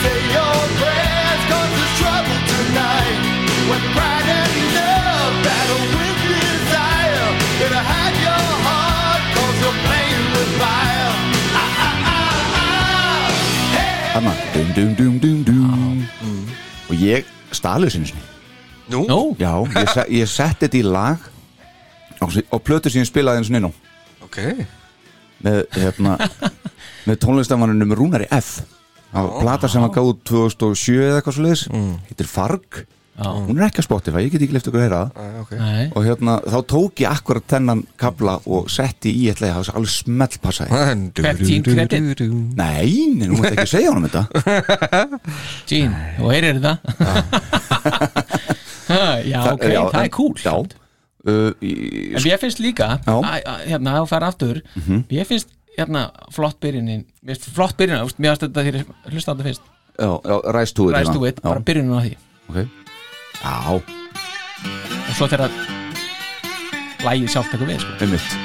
Speaker 6: Say your prayers, 'cause there's trouble tonight. When pride and love battle with desire, better hide your heart, you you're playing with fire. Ah, ah, ah, ah.
Speaker 1: Hanna dum, dum, dum, dum, dum. Og ég stalið sinni sinni
Speaker 2: Nú,
Speaker 3: Nú,
Speaker 1: Já, ég, se, ég setti þetta í lag og, og plötu sem ég spilaði eins og nynú
Speaker 2: ok
Speaker 1: með, hérna, með tónlistamanninum Rúnari F á plata sem hann gáði 2007 eða eitthvað svo leiðis
Speaker 3: Mm.
Speaker 1: hittir Farg, hún er ekki að Spotify ég get ekki leift okkur að heyra það
Speaker 2: Ah, ok.
Speaker 3: nei
Speaker 1: og hérna, þá tók ég akkurat þennan kabla og setti í eitthvað, það var alveg smellpassaði
Speaker 2: En-
Speaker 3: Hvert tín kredit?
Speaker 2: Du-du-du-du-du.
Speaker 1: Nei, nei, nú mátt ekki segja honum þetta
Speaker 3: Jean, og heyrir það Já, ok,
Speaker 1: já,
Speaker 3: það
Speaker 1: en-
Speaker 3: er cool
Speaker 1: Já, uh, í,
Speaker 3: En mér finnst líka,
Speaker 1: Já. Mhm.
Speaker 3: að- að- hérna, þá fær aftur Mér finnst, hérna, flott byrjunin Mér finnst flott byrjunin, þú veist, mér finnst þetta þegar ég Hlusta á þetta fyrst,
Speaker 1: já, já, Rise to it
Speaker 3: ræst
Speaker 1: hérna.
Speaker 3: þú eitt, bara
Speaker 1: já,
Speaker 3: byrjunin á því
Speaker 1: okay. já,
Speaker 3: Og svo þegar Lægið sjálft eitthvað við, sko
Speaker 1: einmitt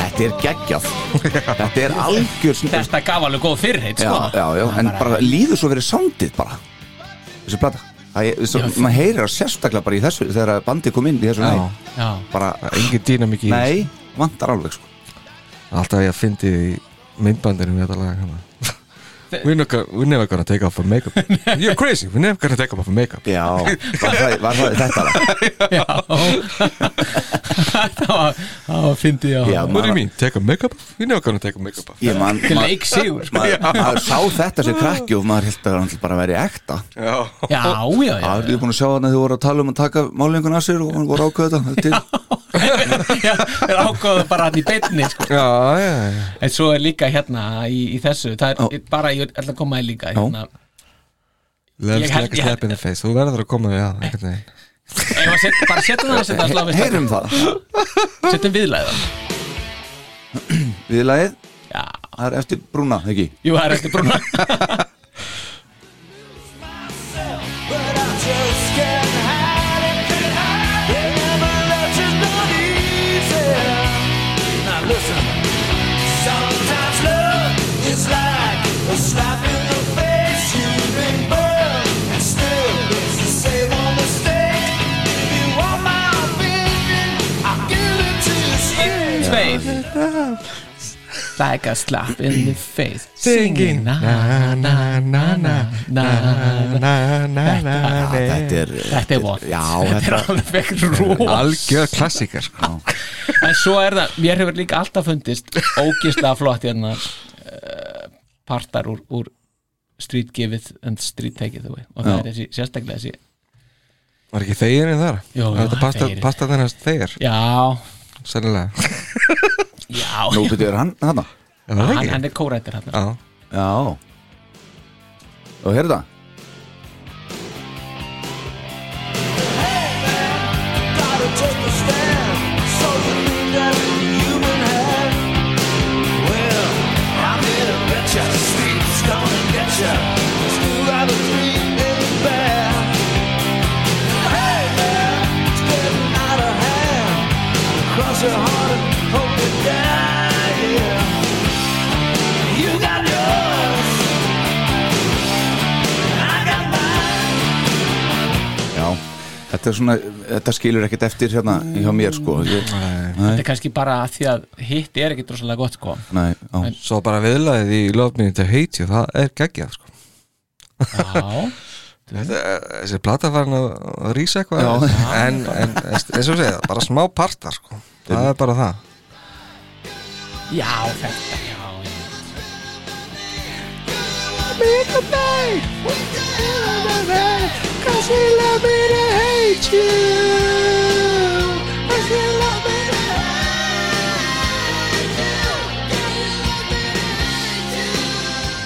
Speaker 1: Þetta er geggjaf Þetta er algjör já,
Speaker 3: Þetta gaf alveg góð fyrirheit, sko
Speaker 1: já, já, en bara líður svo verið soundið bara Þessi plata Það er, svo, maður heyrir það sérstaklega bara í þessu þegar að bandið kom inn í þessu
Speaker 2: Já,
Speaker 1: lagi.
Speaker 3: já.
Speaker 1: bara,
Speaker 2: það er engin dýna mikið
Speaker 1: nei, vantar alveg sko.
Speaker 2: Alltaf ég fyndi í myndbandinu við þetta lag hana. We're, not gonna, we're never gonna take off our makeup You're crazy, we're never gonna take off our makeup
Speaker 1: já, var það, var það þetta lag?
Speaker 3: Já Það var, það var fyndið já
Speaker 1: já,
Speaker 2: What do you mean, take our makeup off? We're never gonna take our makeup off
Speaker 1: ég man,
Speaker 3: Til
Speaker 1: maður
Speaker 3: leik sigur sko.
Speaker 1: maður- maður sá þetta sem krakki og maður held að hann bara væri ekta
Speaker 2: Já,
Speaker 3: Já, já, já
Speaker 1: það er búin að sjá hann að þið voru að tala um að taka málingun að sér og hann voru ákveða þetta til
Speaker 3: Já, Þeir ákváðu bara hann í beinni sko.
Speaker 2: já, já, já.
Speaker 3: En svo er líka hérna í, í þessu Það er
Speaker 1: Já.
Speaker 3: bara, ég ætla að koma að líka hérna,
Speaker 2: Lefst
Speaker 3: held-
Speaker 2: like a
Speaker 3: ég
Speaker 2: slap in the face Þú verður að koma við að einhvern veginn
Speaker 3: Ef að setja, bara setja það að setja að slá
Speaker 1: heyrum það
Speaker 3: Setjum viðlæða
Speaker 1: viðlagið,
Speaker 3: Já,
Speaker 1: það er eftir brúna, ekki?
Speaker 3: jú, það er eftir brúna
Speaker 6: But I just can't hide it. Never let you down easy. Now listen. Sometimes love is like a slap in the face. You've been burned, and still it's the same old mistake. If you want my opinion, I'll give it to you straight.
Speaker 3: Svein Like a slap in the face
Speaker 2: Singing
Speaker 3: Na,
Speaker 2: Na, na, na, na
Speaker 3: na, na
Speaker 2: Na, na, na,
Speaker 1: Ah, þetta
Speaker 2: na
Speaker 1: er,
Speaker 3: Þetta er vond
Speaker 1: já,
Speaker 3: Þetta er
Speaker 1: þetta,
Speaker 3: alveg rós
Speaker 2: Algjör klassíkar sko.
Speaker 3: En svo er það, mér hefur líka alltaf fundist ógislega flott hérna uh, partar úr, úr street give it and street take it away og það
Speaker 1: Já.
Speaker 3: er þessi, sérstaklega þessi
Speaker 2: Var ekki þegirinn þar?
Speaker 3: Jú, jú,
Speaker 2: Þetta pasta-
Speaker 3: þegir.
Speaker 2: pasta þennast þegir
Speaker 3: Já,
Speaker 2: sennilega
Speaker 3: Já,
Speaker 1: Nú betur hann þarna
Speaker 2: Já, það
Speaker 3: hann,
Speaker 2: ekki?
Speaker 3: hann er kórættir hann
Speaker 2: Já,
Speaker 1: Já Og heyrðu það
Speaker 7: Cross your heart and hope you die. Yeah. You got yours, I got mine.
Speaker 1: Já Þetta er svona, þetta skilur ekkert eftir hérna hjá mér sko Ég,
Speaker 3: Þetta er kannski bara að því að hitt er ekki drossalega gott sko
Speaker 1: Nei, já,
Speaker 2: svo bara viðlaðið í lofminni til heiti og það er geggjað sko.
Speaker 3: Já,
Speaker 2: Þetta er- Þessi plata farin að að rísa eitthvað en, en eins og segja, bara smá partar sko. það er bara það
Speaker 3: já þetta, já, já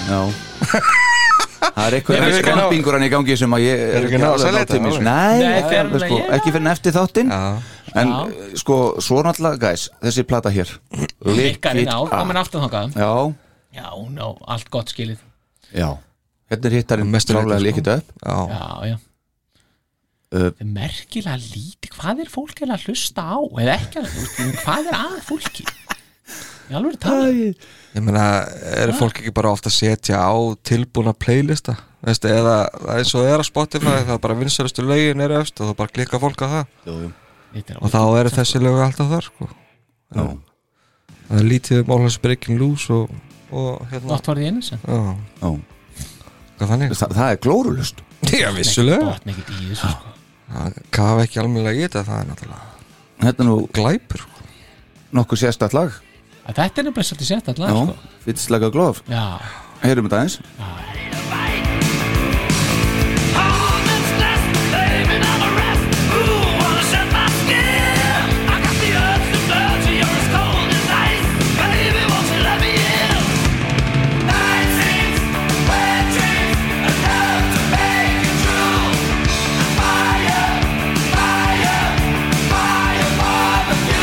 Speaker 1: já Það er eitthvað
Speaker 2: Erum við
Speaker 1: eitthvað
Speaker 2: ekki að ná-
Speaker 1: krampingur hann í gangi sem að ég
Speaker 2: Erum við ekki að ná að
Speaker 1: alveg
Speaker 2: selja
Speaker 1: að láta
Speaker 2: þetta,
Speaker 1: mig, sko.
Speaker 2: alveg?
Speaker 1: Nei,
Speaker 3: Nei,
Speaker 1: ekki
Speaker 3: fer-
Speaker 1: alveg, sko,
Speaker 3: ég-
Speaker 1: ekki fyrir eftir þáttinn
Speaker 2: Já,
Speaker 1: En
Speaker 3: Já.
Speaker 1: sko, svo náttúrulega, guys, þessi plata hér
Speaker 3: Likkar
Speaker 1: Lick
Speaker 3: inn á,
Speaker 1: it
Speaker 2: ah.
Speaker 1: up.
Speaker 3: komin aftur þangað
Speaker 1: Já,
Speaker 3: Já, no, allt gott skilið
Speaker 1: já Hérna er hittarinn
Speaker 2: Mestu leyti,
Speaker 1: klálega
Speaker 2: sko.
Speaker 1: líkitt upp
Speaker 2: já, já.
Speaker 3: Já, já
Speaker 1: Uh,
Speaker 3: Þetta er merkilega lítið, hvað er fólk eiginlega að hlusta á eða ekki að hlusta, hvað er að fólki Ég alveg er talað
Speaker 2: Ég meina, er fólk ekki bara ofta að setja á tilbúna playlista Veistu, eða það er eins og er á Spotify það er bara vinsælustu lögin er efst og þá bara klikka fólk á það
Speaker 3: Þetta
Speaker 2: og
Speaker 3: er
Speaker 2: þá eru þessi lög alltaf þar sko.
Speaker 1: Já,
Speaker 2: það er lítið um All Hans Breaking Loose og, og hérna
Speaker 3: Not for the innocent
Speaker 2: já,
Speaker 1: já
Speaker 2: hvað þannig
Speaker 1: Þa, Það er glórulust
Speaker 2: já, vissulega,
Speaker 3: Botn ekkert í þessu sko
Speaker 2: það gaf ekki almennilega í þetta það er náttúrulega
Speaker 1: Þetta er nú
Speaker 2: glæpur sko.
Speaker 1: nokkuð sérstætt lag
Speaker 3: Að Þetta er nefnilega svolítið sett allar
Speaker 1: Já,
Speaker 3: sko
Speaker 1: It's like a glove
Speaker 3: Já,
Speaker 1: Heyrum þetta aðeins
Speaker 7: All that's left, blaming on the rest. Ooh, wanna shed my skin. I got the urge to burn you. You're as cold as ice, baby. Won't you let me in? Night dreams, wet dreams, enough to make it true. Fire, fire, fire for the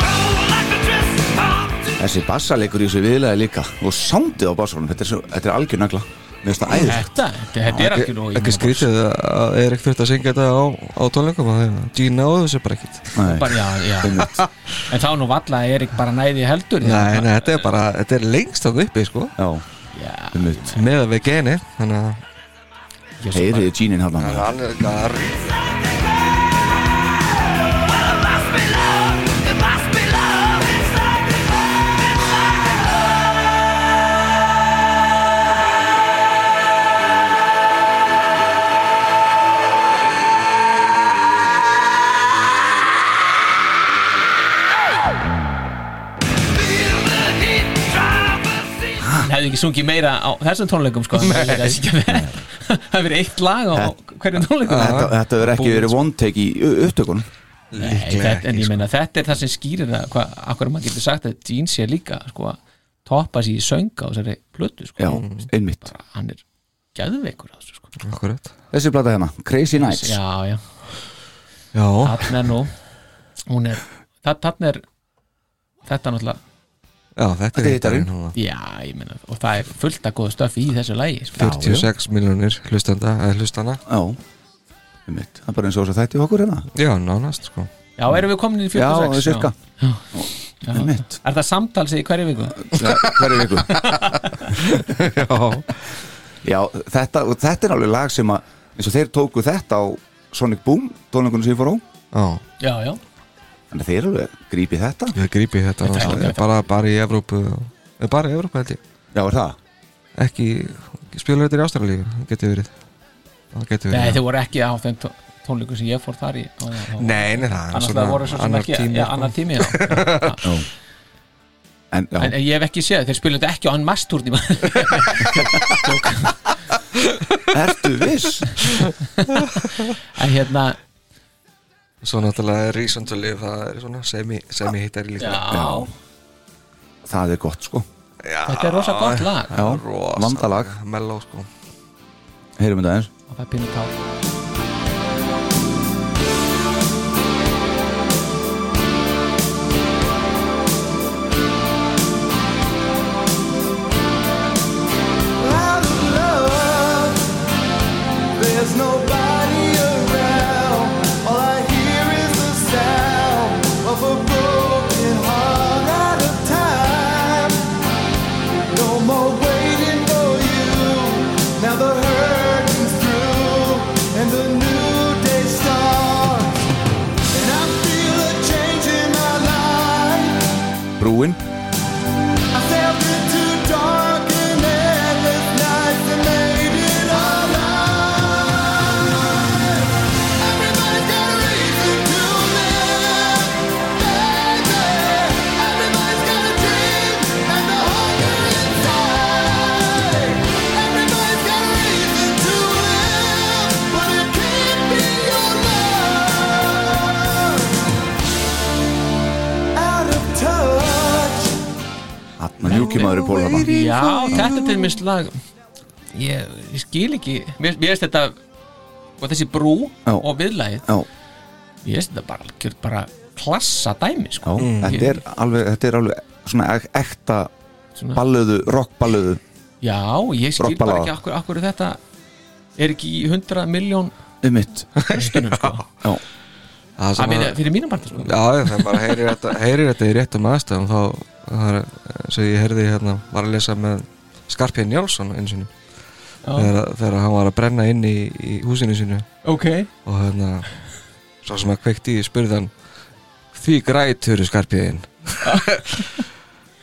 Speaker 7: Roll like the drift, come to
Speaker 1: Þessi bassalegur í þessu viðlega líka og soundið á bassalunum, þetta er, svo- þetta er algjör nagla Mér finnst það æðislegt
Speaker 3: þetta, þetta, þetta er
Speaker 2: ekki,
Speaker 3: algjör og
Speaker 2: ekki skrítið að Erik þurft að syngja þetta á, á tónleikum að þeirna, Gina náðu þessu bara ekkit
Speaker 1: Nei,
Speaker 3: bara, já,
Speaker 2: Um,
Speaker 3: já. en þá nú valla er ekki bara næði heldur
Speaker 2: nei, nei, þetta er bara, þetta er lengst af uppi sko,
Speaker 1: Já,
Speaker 3: Já,
Speaker 1: um mitt
Speaker 2: með að við geni þannig að
Speaker 3: ég svo bara-
Speaker 1: Heyriði Gínin hann
Speaker 2: hann er gar
Speaker 7: must be love, it must be love. It's like the love, it's like the love. Feel the heat, drive the seat.
Speaker 3: Hann hefði ekki sungið meira á þessum tónleikum sko, hann hefði ekki gert þetta. það hefur eitt lag á hverjum tónleikum
Speaker 1: Þetta, þetta verður ekki verið sko. one take í u- upptökunum
Speaker 3: Nei, þetta, en ég meina þetta er það sem skýrir að hvað, akkur maður getur sagt að Jean sé líka sko, að toppa sér í sönga á þessari plötu sko.
Speaker 1: Já, einmitt
Speaker 3: hann er gæðveikur á þessu sko.
Speaker 2: akkurat
Speaker 1: Þessi plata hérna, Crazy Nights
Speaker 3: já, já,
Speaker 2: já,
Speaker 3: þarna er nú hún er, þa- þarna er þetta náttúrulega
Speaker 2: já, þetta
Speaker 1: Þetta
Speaker 2: er
Speaker 1: er hitarinn.
Speaker 2: hitarinn núna.
Speaker 3: Já, ég meina, og það er fullt að góða stöfi í þessu lægi sko.
Speaker 2: 46 miljónir hlustanda, eða hlustana
Speaker 1: Já, einmitt Það er bara eins og þess að þætti okkur hérna
Speaker 2: já, nánast sko
Speaker 3: Já, erum við komin í
Speaker 1: Já,
Speaker 3: 46?
Speaker 1: cirka
Speaker 3: Já.
Speaker 1: Einmitt,
Speaker 3: Er það samtals í hverju viku?
Speaker 1: Ja, hverju viku
Speaker 2: já,
Speaker 1: Já, þetta, og þetta er alveg lag sem að eins og þeir tóku þetta á Sonic Boom tónleikunum sem ég fór á
Speaker 2: já,
Speaker 3: Já, já
Speaker 1: Þannig að þeir alveg grípi þetta
Speaker 2: ég grípi
Speaker 3: Þetta
Speaker 2: þetta
Speaker 3: er
Speaker 2: náttúrulega.
Speaker 3: alveg-
Speaker 2: bara, bara í Evrópu og- eh, bara í Evrópu held ég
Speaker 1: Já, er það?
Speaker 2: ekki, spilur þetta í Ástralíu getur verið það getur
Speaker 3: Nei,
Speaker 2: verið
Speaker 3: þau voru ekki á þeim tó- tónleikum sem ég fór þar í og- og-
Speaker 2: nei, nei, það er
Speaker 3: Annars það voru svo sem
Speaker 2: annar
Speaker 3: ekki
Speaker 2: tími,
Speaker 3: Já,
Speaker 2: sko.
Speaker 3: annar tími já. Já.
Speaker 1: En, já,
Speaker 3: En en ég hef ekki séð, þeir spilum þetta ekki á hann mastúrn í maður
Speaker 1: ertu viss?
Speaker 3: En hérna
Speaker 2: Svo náttúrulega Reason to Live það er svona semi, semi hittari líka
Speaker 3: Já,
Speaker 1: það er gott sko
Speaker 3: þetta er rosa gott lag
Speaker 1: Já,
Speaker 2: Rosa-
Speaker 1: vandalag,
Speaker 2: Mellow sko
Speaker 1: heyrum við það eins
Speaker 3: Það er pínu tár
Speaker 6: There's nobody around. All I hear is the sound of a broken heart out of time. No more waiting for you. Now the hurting's through and the new day starts. And I feel a change in my life.
Speaker 1: Brúin,
Speaker 6: I sailed into dark and endless nights and made it alive. Everybody's got a reason to live, baby. Everybody's got a dream and a hunger inside. Everybody's got a reason to live, but it can't be your love. Out of touch.
Speaker 1: hann ljúkimaður í pólana
Speaker 3: Já, þetta er til minnst lag ég, ég skil ekki Mér mér finnst þetta og þessi brú
Speaker 1: Já.
Speaker 3: og viðlagið
Speaker 1: Já,
Speaker 3: Mér finnst þetta bara, algjört bara klassa dæmi
Speaker 1: já,
Speaker 3: sko.
Speaker 1: þetta er alveg, þetta er alveg svona ek- ekta
Speaker 3: Svona-
Speaker 1: ballöðu, rockballöðu
Speaker 3: Já, ég skil
Speaker 1: Rockballada.
Speaker 3: bara ekki akkur, akkur þetta er ekki í 100 miljón
Speaker 1: um mitt
Speaker 3: hlustunum sko.
Speaker 1: Já,
Speaker 2: Það
Speaker 3: Að
Speaker 2: er svona
Speaker 3: minna- fyrir mínum barna sko.
Speaker 2: Já, já, það bara heyrir þetta, heyrir þetta í réttum aðstæðum þá, það er, sem ég heyrði hérna, var að lesa með Skarpján Njálsson einu sinni þegar, þegar hann var að brenna inn í, í húsinu sinu
Speaker 3: Ok
Speaker 2: og hérna, svo sem að kveikti í spurði hann því grætur Skarpján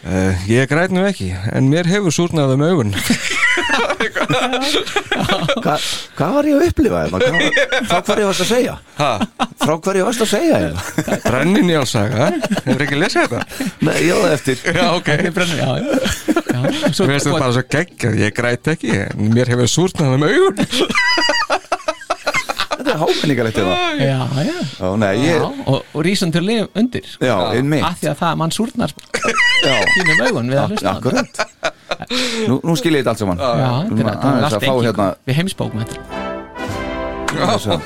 Speaker 2: uh, Ég græt nú ekki en mér hefur súrnaðum augun
Speaker 1: Hva, hvað var ég að upplifa hérna? Hvað- Frá hverju varst að segja?
Speaker 2: Ha,
Speaker 1: Frá hverju varst að segja hérna?
Speaker 2: brennin Njálsaga hefur ekki lesið þetta?
Speaker 1: Nei, ég á það eftir
Speaker 2: Já, ok
Speaker 3: Ég brenni, já, já. já. Svo,
Speaker 2: Mér finnst þetta bara svo geggjað, ég græt ekki en mér hefur súrnaðum augun
Speaker 1: Þetta er hámenningalegt eða
Speaker 3: Já, já,
Speaker 1: Já, nei,
Speaker 3: já
Speaker 1: ég,
Speaker 3: og, og rísum til lif undir sko.
Speaker 1: já, inn
Speaker 3: að því að það mann súrnar
Speaker 1: Já,
Speaker 3: pínum augun við að hlusta á þetta.
Speaker 1: akkurat Nú, nú skil ég þetta allt saman
Speaker 3: Já, þetta er- þetta er
Speaker 1: aðeins
Speaker 3: allt
Speaker 1: að fá
Speaker 3: engin-
Speaker 1: hérna
Speaker 3: Við heimsbókum þetta
Speaker 1: þessa.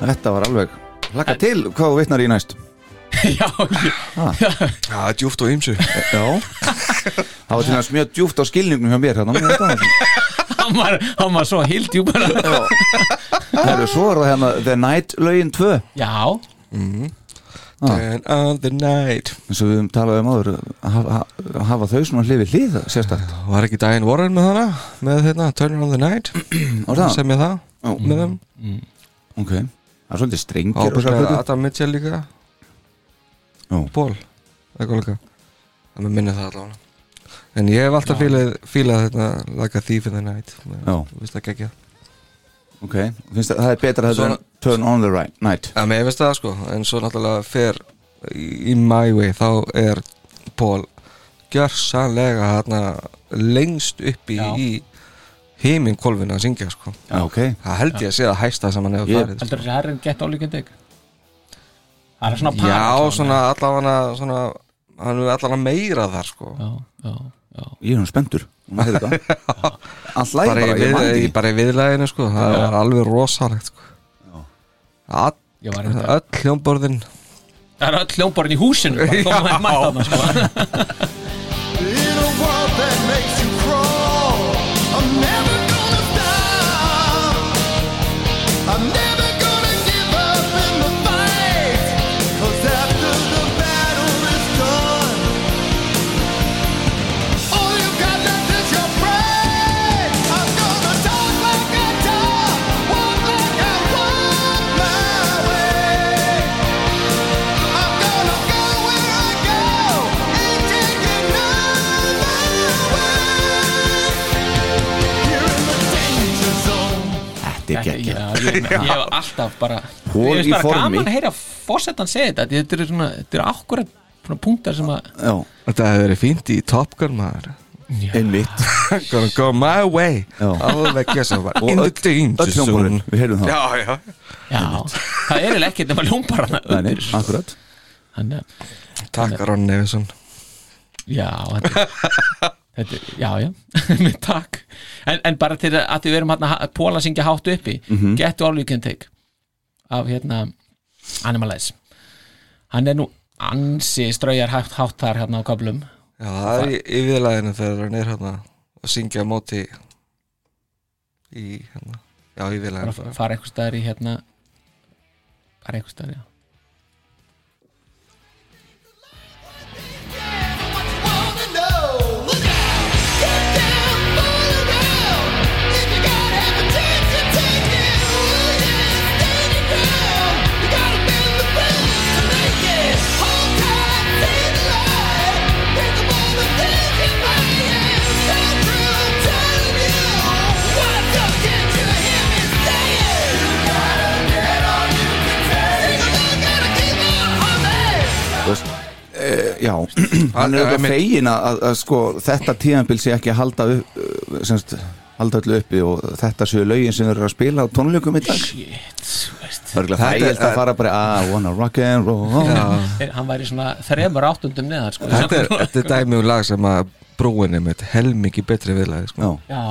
Speaker 1: Þetta var alveg Laka til hvað þú vitnar í næst
Speaker 3: Já, ég-
Speaker 2: Já, djúft og ymsu
Speaker 1: Já Það var til næst mjög djúft á skilningnum hjá mér hérna Mér finnst það.
Speaker 3: hann var, hann var svo hild djúpar
Speaker 1: Herru, svo er það hérna The Night lögin 2
Speaker 3: Já,
Speaker 1: Ah.
Speaker 2: And on the night
Speaker 1: eins og við höfum talað um áður hafa, hafa þau svona hlifi hlið sérstakt
Speaker 2: Var ekki Diane Warren með hana? Með hérna, Turn on the night
Speaker 1: og það,
Speaker 2: Mm, Sem ég það
Speaker 1: Já. Mm.
Speaker 2: með þeim
Speaker 1: ok það er svolítið strengir og
Speaker 2: Ábyggilega
Speaker 1: sérstakt
Speaker 2: Adam Mitchell líka
Speaker 1: Já.
Speaker 2: Paul Eitthvað líka Það með minni það allavega En ég hef alltaf fílað, fílað þetta Like a thief in the night
Speaker 1: Já.
Speaker 2: Vist það gekkja
Speaker 1: ok, finnst það, það er betra þetta en
Speaker 2: Svona-
Speaker 1: Turn on the right, night
Speaker 2: Já, mér finnst það sko En svo náttúrulega fer í, í my way Þá er Paul Gjörsanlega hérna Lengst uppi
Speaker 3: Já.
Speaker 2: í Heimin að syngja sko
Speaker 1: Já, ok,
Speaker 2: Það held ég að sé að hæsta sem hann hefur
Speaker 1: Ég-
Speaker 2: farið
Speaker 3: heldur þessi herrin gett álíkjum deg Það er svona par
Speaker 2: Já, svona allavega svona, hann er allavega meira þar sko
Speaker 3: Já, já, já
Speaker 1: ég er hann spendur allt læg bara,
Speaker 2: bara, í
Speaker 1: ég
Speaker 2: við,
Speaker 1: man
Speaker 2: í,
Speaker 1: ekki
Speaker 2: bara í viðlæginu sko það var alveg rosalegt sko All,
Speaker 3: Ég var einmitt að-
Speaker 2: öll hljómborðin
Speaker 3: Það er öll hljómborinn í húsinu bara, þó maður mætt þarna, sko.
Speaker 6: In a world that makes you crawl, I'm never gonna stop. I'm never gonna give up in the fight. 'Cause after the battle is done, all you got left is your pride. I'm gonna talk like I talk, walk like I walk my way. I'm gonna go where I go and take another Here in the danger zone.
Speaker 1: þetta er
Speaker 3: Já,
Speaker 1: ekki
Speaker 3: ég, ég hef alltaf bara
Speaker 1: Hol
Speaker 3: Ég
Speaker 1: í
Speaker 3: finnst bara
Speaker 1: formi.
Speaker 3: gaman að heyra fósettan segja þetta Þetta eru svona, þetta eru akkurat svona punktar sem að
Speaker 1: já,
Speaker 2: Þetta hefur verið fínt í Top Gun maður
Speaker 1: einmitt
Speaker 2: Gonna go my way
Speaker 1: Já.
Speaker 2: Alveg gæsa bara
Speaker 1: og
Speaker 2: In
Speaker 1: öll
Speaker 2: the danger
Speaker 1: hljómborinn,
Speaker 2: zone
Speaker 1: við heyrðum það
Speaker 2: Já, já
Speaker 3: Já, það er eiginlega ekkert nema ljómbar hana
Speaker 1: Nei,
Speaker 3: undir
Speaker 1: nei, akkurat
Speaker 3: hann er,
Speaker 2: Takk Ron Nevison
Speaker 3: já þetta, þetta, já, já, með takk en, en bara til að því við erum hérna Póla syngja hátt uppi, mm
Speaker 1: Mhm.
Speaker 3: -hmm. Get All You Can Take af hérna Animalize hann er nú ansi straujar hátt, hátt þar hérna á kaplum
Speaker 2: Já, það er í, í viðlæðinu þegar hann er hérna að syngja á móti í hérna Já, í
Speaker 3: bara
Speaker 2: viðlæðinu
Speaker 3: að fara einhvers staðar í hérna bara einhvers staðar, já
Speaker 1: Eh, Já, hann er
Speaker 2: Já,
Speaker 1: auðvitað
Speaker 2: einmitt.
Speaker 1: fegin að, að, að sko, þetta tíðanbíl sé ekki að halda upp uh, semst, halda öllu uppi og þetta séu lögin sem þeir eru að spila á tónleikum í dag
Speaker 3: shit, þú veist
Speaker 1: Það er
Speaker 2: Þetta er-
Speaker 1: þægilt að fara bara I wanna rock and roll
Speaker 3: Er- hann væri svona þremur áttundum neðar sko.
Speaker 2: Þetta er, þetta er dæmi um lag sem að brúin er með helmingi betri viðlæði sko.
Speaker 1: Já,
Speaker 3: já,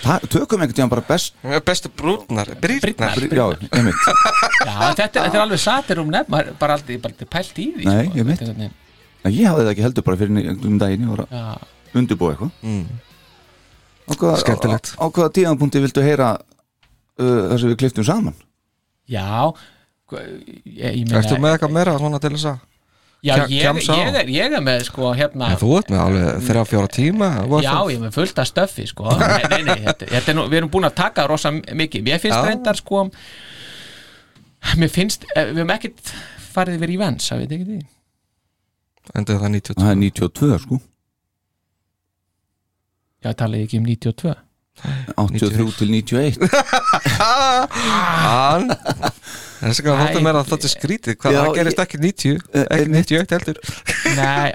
Speaker 1: það, tökum einhvern tíðan bara best
Speaker 2: Bestu brúnar, brýrnar
Speaker 1: Já, einmitt
Speaker 3: já þetta, er- þetta er alveg satir um nefn maður er bara aldrei, bara aldrei pælt í því
Speaker 1: Nei,
Speaker 3: sko.
Speaker 1: ég veit.
Speaker 3: Þetta er hvernig-
Speaker 1: Nei, Ég hafði það ekki heldur bara fyrir um daginn ég var að
Speaker 3: já.
Speaker 1: undirbúa eitthvað Á hvaða-
Speaker 2: Skemmtilegt.
Speaker 1: Á á hvaða tíðanpunkti viltu heyra uh, það sem við kliftum saman?
Speaker 3: já hva- ég, ég meina-
Speaker 2: Ertu með eitthvað meira svona til þess að
Speaker 3: já,
Speaker 2: kja-
Speaker 3: ég,
Speaker 2: kjamsa á?
Speaker 3: ég, er, ég er með sko hérna
Speaker 2: En þú ert með alveg þrjá fjóra tíma
Speaker 3: Já, ég er með fullt af stöffi sko. nei, nei, nei, þetta, þetta er nú, við erum búin að taka rosa mikið, mér finnst
Speaker 2: Já.
Speaker 3: reyndar sko mér finnst, eh, við höfum ekkert farið yfir í vans, það veit ekki því
Speaker 2: Endur það 92
Speaker 1: Það er 92 sko
Speaker 3: Já, talaði ég ekki um 92
Speaker 1: 83 til 91
Speaker 2: Hann Þessi hvað hóttum er að þetta er skrítið Hvað
Speaker 1: Já,
Speaker 2: það gerist ekki 90
Speaker 3: Eh,
Speaker 2: Ekki 91 heldur
Speaker 3: Nei,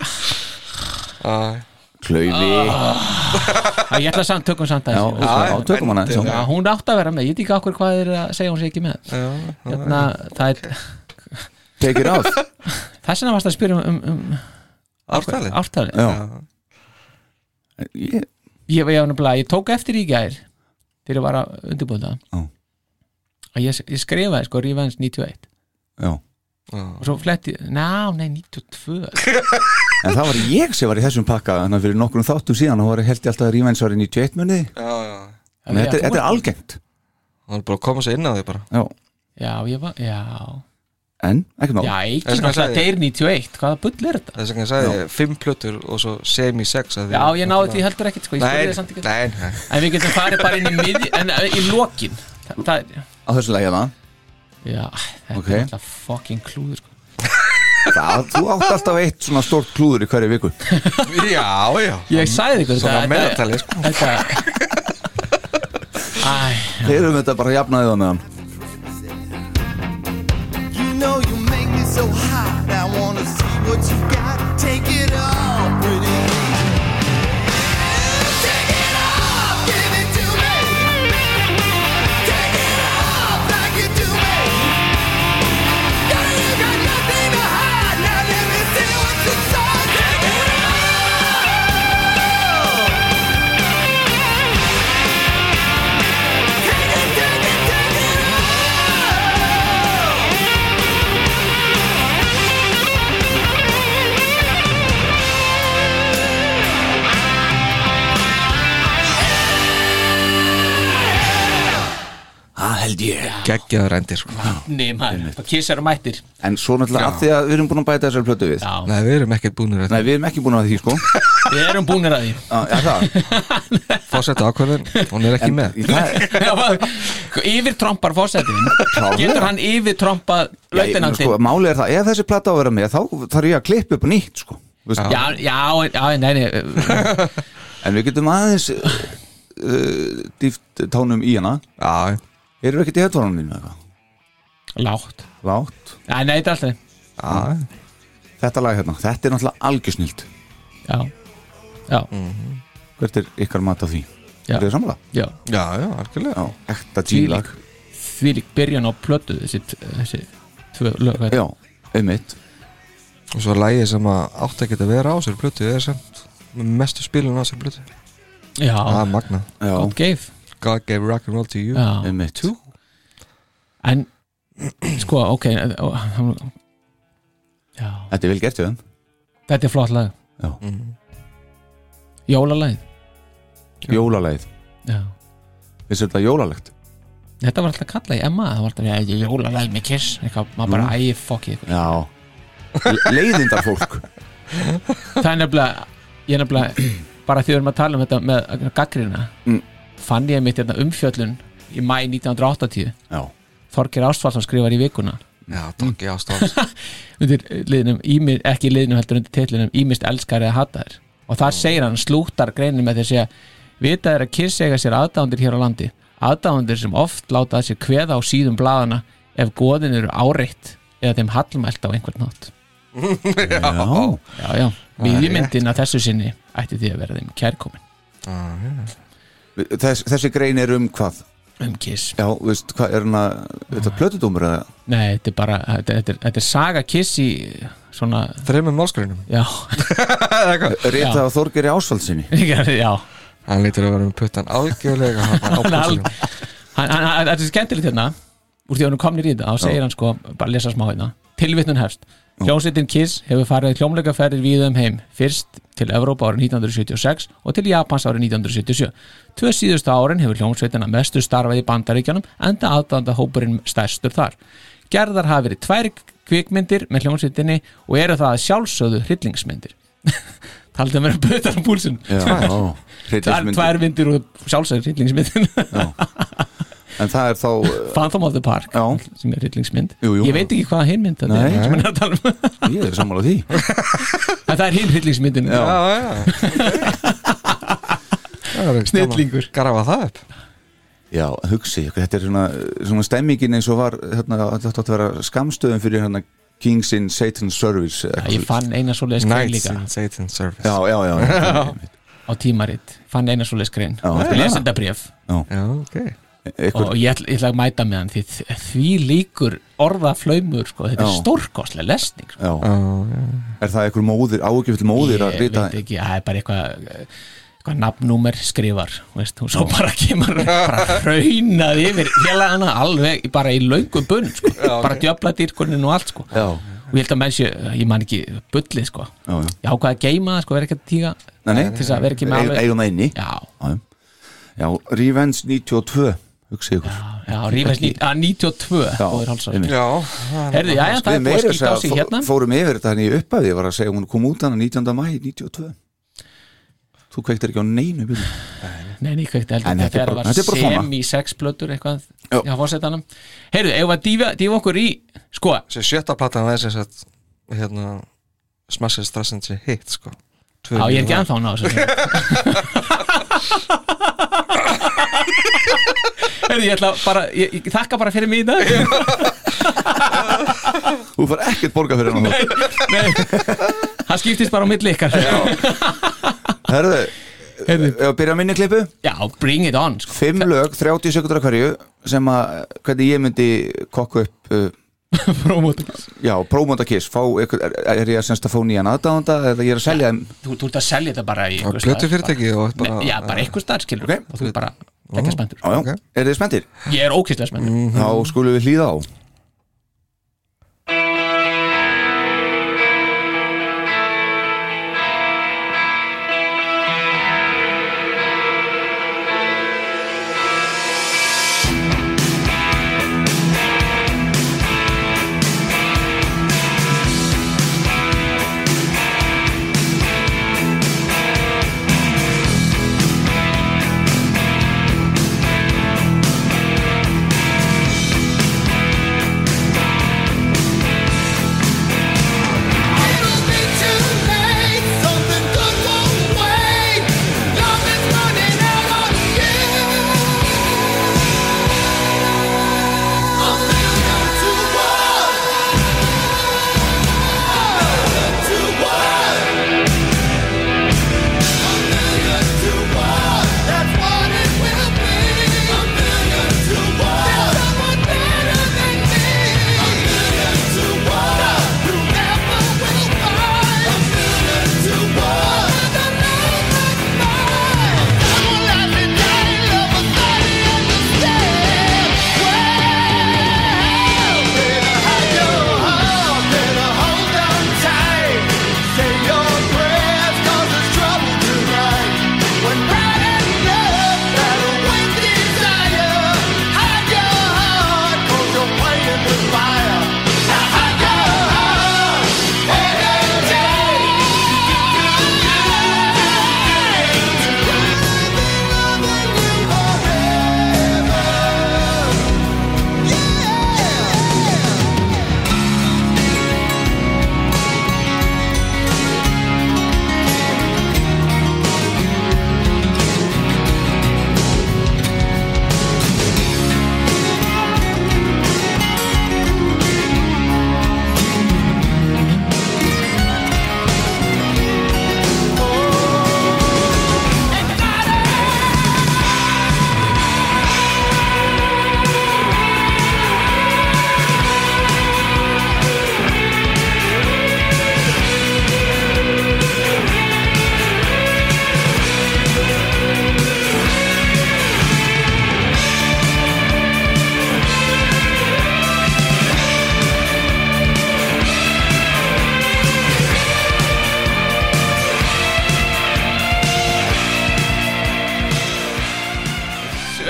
Speaker 1: Klaufi
Speaker 3: á, ég ætla samt, tökum samt
Speaker 1: Já,
Speaker 3: að þessu
Speaker 1: á tökum hana já.
Speaker 3: Já, hún átti að vera með, ég veit ekki okkur hvað er að segja hún sé ekki með hérna, það er,
Speaker 1: Take it off
Speaker 3: þess vegna varst að spyrja um, um, um
Speaker 2: Ártalið
Speaker 3: ártalið
Speaker 1: Já Ég-
Speaker 3: ég, ég, nefnilega, ég tók eftir í gær þegar ég var að undirbúða
Speaker 1: Já.
Speaker 3: að ég, ég skrifaði sko Rífans 91
Speaker 1: Já
Speaker 3: og svo fletti, ná, nei, 92
Speaker 1: En það var ég sem var í þessum pakka Þannig að fyrir nokkrum þáttum síðan og var held ég alltaf að Rímæns var í 91 munni Þetta
Speaker 3: Já,
Speaker 1: er-
Speaker 3: þú-
Speaker 1: þetta er algengt
Speaker 2: Hann er bara að koma sér inn á því bara
Speaker 1: Já
Speaker 3: já, ég var, já
Speaker 1: En, ekkert mál
Speaker 3: já, ekki
Speaker 2: Þess vegna
Speaker 3: náttúrulega
Speaker 2: sagði ég.
Speaker 3: deyr 91 hvaða bull er þetta?
Speaker 2: Þess vegna ég sagði Fimm plötur og svo semi-sex
Speaker 3: Já, ég náði því heldur ekkert sko, ég spurði það samt
Speaker 2: Nei,
Speaker 3: ekki
Speaker 2: nei, nei
Speaker 3: en við getum farið bara inn í miði en eh, í lokin Þa, það, er-
Speaker 1: Á þessu hérna. lægja það
Speaker 3: já, þetta
Speaker 1: Ok.
Speaker 3: er alltaf fucking klúður sko.
Speaker 1: Það, þú átt alltaf eitt svona stórt klúður í hverju viku
Speaker 2: Já, já
Speaker 3: ég sagði ykkur
Speaker 2: Svona
Speaker 3: þetta-
Speaker 2: meðaltalið sko
Speaker 3: þetta æ,
Speaker 1: Þeir eru þetta bara jafnaðið á meðan
Speaker 5: You know you make me so hot. I wanna see what you got. Take it off, pretty. Take it off, give it to me. Take it off like you do me. Girl, you got nothing to hide. Now let me see what's inside. Take it off. Take it, take it, take it off.
Speaker 1: Það held ég
Speaker 2: Geggjaður endir sko
Speaker 3: Nei maður, og kissar og mættir
Speaker 1: En svo náttúrulega af því að við erum búin að bæta þessar plötu við
Speaker 3: Já,
Speaker 2: Nei, við erum ekkert búinir
Speaker 1: Nei, við erum ekki búin að því sko
Speaker 3: við erum búinir að því
Speaker 1: Já, já, það
Speaker 2: Fórsetta ákvörðin Hún er ekki með
Speaker 1: Það er-
Speaker 3: Já, Yfir trompar fórsetin
Speaker 1: Klárlega.
Speaker 3: Getur hann yfir trompað
Speaker 1: Já, ég meina,
Speaker 3: lautinandi
Speaker 1: sko, Málið er það, ef þessi plata á að vera með þá þarf ég að klippa upp á nýtt sko Vist,
Speaker 3: Já, já, já, nei, nei
Speaker 1: En við getum aðeins uh, dýft tánum í hana
Speaker 2: Já,
Speaker 1: Erum við ekkert í höfðvaraðanum mínu eitthvað?
Speaker 3: Látt
Speaker 1: Látt
Speaker 3: Já, nei, þetta er alltaf
Speaker 2: já
Speaker 1: Þetta lag hérna, þetta er náttúrulega algjörsnild
Speaker 3: Já, já,
Speaker 1: Hvert er ykkar mat á því? Mm.
Speaker 3: Já.
Speaker 1: Er þið samla?
Speaker 3: já
Speaker 2: Já, já, algjörlega
Speaker 1: Já, ekta G-lag
Speaker 3: því lík byrjan á plötu þessi, t- þessi tvö lög þetta.
Speaker 1: Já, um einmitt
Speaker 2: og svo lægið sem að átt að geta vera á sér plötu er samt mestu spilun á sér plötu
Speaker 3: Já,
Speaker 2: það er magnað
Speaker 1: Já,
Speaker 3: gott geif
Speaker 2: God gave rock and roll to you
Speaker 3: Já.
Speaker 1: einmitt
Speaker 3: En sko, ok ó, hann- Já,
Speaker 1: Þetta er vel gert við þeim Mm.
Speaker 3: þetta er flott lag
Speaker 1: Já.
Speaker 2: Mhm.
Speaker 3: Jólalagið
Speaker 1: Jólalæð,
Speaker 3: Já
Speaker 1: við séum þetta jólalegt
Speaker 3: Þetta var alltaf kallað í Emma Það var alltaf, já, ég jólalæð með kiss Eitthvað, maður bara, æ, fuck it
Speaker 1: Já Leiðindar fólk
Speaker 3: Það er nefnilega, ég er nefnilega Bara því við erum að tala um þetta með gaggrina
Speaker 1: Mm.
Speaker 3: Fann ég mitt hérna umfjöllun Í mæ 1980
Speaker 1: Já,
Speaker 3: Þorgir Ástvaldsson skrifar í vikuna
Speaker 2: já takk ég ástofn
Speaker 3: Undir liðnum, ími, ekki liðnum heldur undir titlinum Ímist elskar eða hataðir Og þar segir hann, slúttar greinin með þessi að Vitað er að kiss eiga sér aðdándir hér á landi Aðdándir sem oft láta að sér kveða á síðum blaðana Ef goðin eru áreitt Eða þeim hallmælt á einhvern nátt
Speaker 1: já,
Speaker 3: Já, já, miðjumyndin að þessu sinni ætti því að vera þeim kærkomin
Speaker 1: Þess, Þessi grein er um hvað?
Speaker 3: um Kiss
Speaker 1: Já, veist, hvað er hann að Þetta er plötudómur eða?
Speaker 3: Nei, þetta er bara, þetta, þetta, er, þetta er saga Kiss í svona,
Speaker 2: þreymum málskrænum
Speaker 3: já Eh,
Speaker 1: Rita og Þorgeri Ásvaldsinni
Speaker 3: já,
Speaker 2: hann lítur að vera með puttan algjörlega á
Speaker 3: hann al-
Speaker 2: púlsinum
Speaker 3: hann- hann- hann- þetta er skemmtilegt hérna úr því að hann komnir í þetta, þá segir hann sko bara lesa smá hérna, tilvittnun hefst Hljómsveitin Kiss hefur farið hljómleikaferðir víða um heim, fyrst til Evrópa árið 1976 og til Japans árið 1977. Tvö síðustu árin hefur hljómsveitin að mestu starfað í bandaríkjanum enda aðdanda hópurinn stærstur þar. Gerðar hafa verið tvær kvikmyndir með hljómsveitinni og eru það að sjálfsögðu hryllingsmyndir. Taldi að vera bötar á púlsinn.
Speaker 1: Já,
Speaker 3: Tvær,
Speaker 1: hryllingsmynd.
Speaker 3: tvær myndir og sjálfsögðu hryllingsmyndin.
Speaker 1: En það er þá uh,
Speaker 3: Phantom of the Park
Speaker 1: Já.
Speaker 3: sem er hryllingsmynd
Speaker 1: Jú, jú.
Speaker 3: ég veit ekki hvað hinn mynd þetta
Speaker 1: Nei.
Speaker 3: er sem hann er að tala um.
Speaker 1: Ég er sammála því
Speaker 3: En það er hinn hryllingsmyndin
Speaker 1: Já.
Speaker 2: já já Það er gaman-
Speaker 3: Snillingur.
Speaker 2: grafa það upp
Speaker 1: Já, hugsi, þetta er svona, svona stemmingin eins og var hérna, þetta átti að vera skamstöðum fyrir hérna Kings in Satan's Service eða
Speaker 3: Já,
Speaker 1: eitthvað
Speaker 3: ég fann eina svoleiðis grein
Speaker 2: Nights
Speaker 3: líka
Speaker 2: in Satan's Service
Speaker 1: Já, já, já, já.
Speaker 3: á tímaritt, fann eina svoleiðis grein
Speaker 1: Já, þetta er
Speaker 3: lesendabrjöf
Speaker 2: já ok
Speaker 1: Einhver,
Speaker 3: og ég ætla, ég ætla að mæta með hann því, því líkur orðaflaumur sko, þetta er
Speaker 1: Já.
Speaker 3: stórkostlega lesning sko.
Speaker 1: já. Er það einhver móðir, ágjöfell móðir að
Speaker 3: ég
Speaker 1: rita
Speaker 3: veit ekki, það er bara eitthvað eitthvað nafnúmer skrifar veist, og svo bara kemur bara raunað yfir félagana alveg bara í löngum bunn sko. bara djöfla dýrkunin og allt sko.
Speaker 1: Já,
Speaker 3: og ég held að menn sé, ég man ekki bullið sko,
Speaker 1: já, já
Speaker 3: ég ákvaði að geima það sko, vera ekki að tíga,
Speaker 1: Nei, nei,
Speaker 3: til þess að vera ekki
Speaker 1: Eig-
Speaker 3: með alveg
Speaker 1: eigum það inni
Speaker 3: já,
Speaker 1: Já, já, Revenge 92 hugsi ykkur
Speaker 3: já, rífæs ní- að 92
Speaker 1: Já,
Speaker 3: góður hálsar,
Speaker 1: einmitt.
Speaker 2: já
Speaker 3: herði, já, já,
Speaker 1: Við
Speaker 3: það er búið
Speaker 1: meira
Speaker 3: að skýta á sig
Speaker 1: fó-
Speaker 3: hérna
Speaker 1: fórum yfir þetta henni í upphafi, ég var að segja hún kom út hann 19. mæ 92 Þú kveiktir ekki á neinu bíl
Speaker 3: nei, nei, kveikt heldur,
Speaker 1: En þetta
Speaker 3: þetta
Speaker 1: er
Speaker 3: er
Speaker 1: bara-
Speaker 3: bara
Speaker 1: þetta er bara svona.
Speaker 3: semi-sexplötur eitthvað,
Speaker 1: Já.
Speaker 3: já, fórsetanum herði, ef að dýfa, dýfa okkur í sko,
Speaker 2: þessi sjötta platan það er sem sagt hérna Smashes Strassens hitt sko Tvö
Speaker 3: Já, ég er
Speaker 2: nýju
Speaker 3: ekki
Speaker 2: lag.
Speaker 3: ennþá ná þessu Herðu, ég ætla bara ég, ég þakka bara fyrir mig í dag
Speaker 1: Þú fær ekkert borga fyrir hann
Speaker 3: Nei, það skiptist bara á milli ykkar
Speaker 1: Herðu,
Speaker 3: Herðu.
Speaker 1: ef að byrja á minni klippu
Speaker 3: Já, bring it on sko.
Speaker 1: Fimm lög, 30 sekundur að hverju sem að, hvernig ég myndi kokku upp, uh,
Speaker 3: Promoting.
Speaker 1: já, prófmönda kiss fá, ykkur, er, er ég að semst að fá nýjan aðdánda eða ég er að selja þeim
Speaker 3: þú, þú ert að selja þetta bara í
Speaker 2: og
Speaker 3: einhvers
Speaker 2: plötu
Speaker 3: staðar,
Speaker 2: fyrirtæki og
Speaker 3: bara-
Speaker 2: bara
Speaker 3: Nei, Já, bara einhver stað skilur
Speaker 1: Ok.
Speaker 3: og þú er bara ekki spenntur
Speaker 1: Já, Mm. já,
Speaker 2: Ok.
Speaker 1: er þið spenntir?
Speaker 3: Ég er ókýrslega spenntur
Speaker 1: Þá skulum við hlýða á
Speaker 7: Thank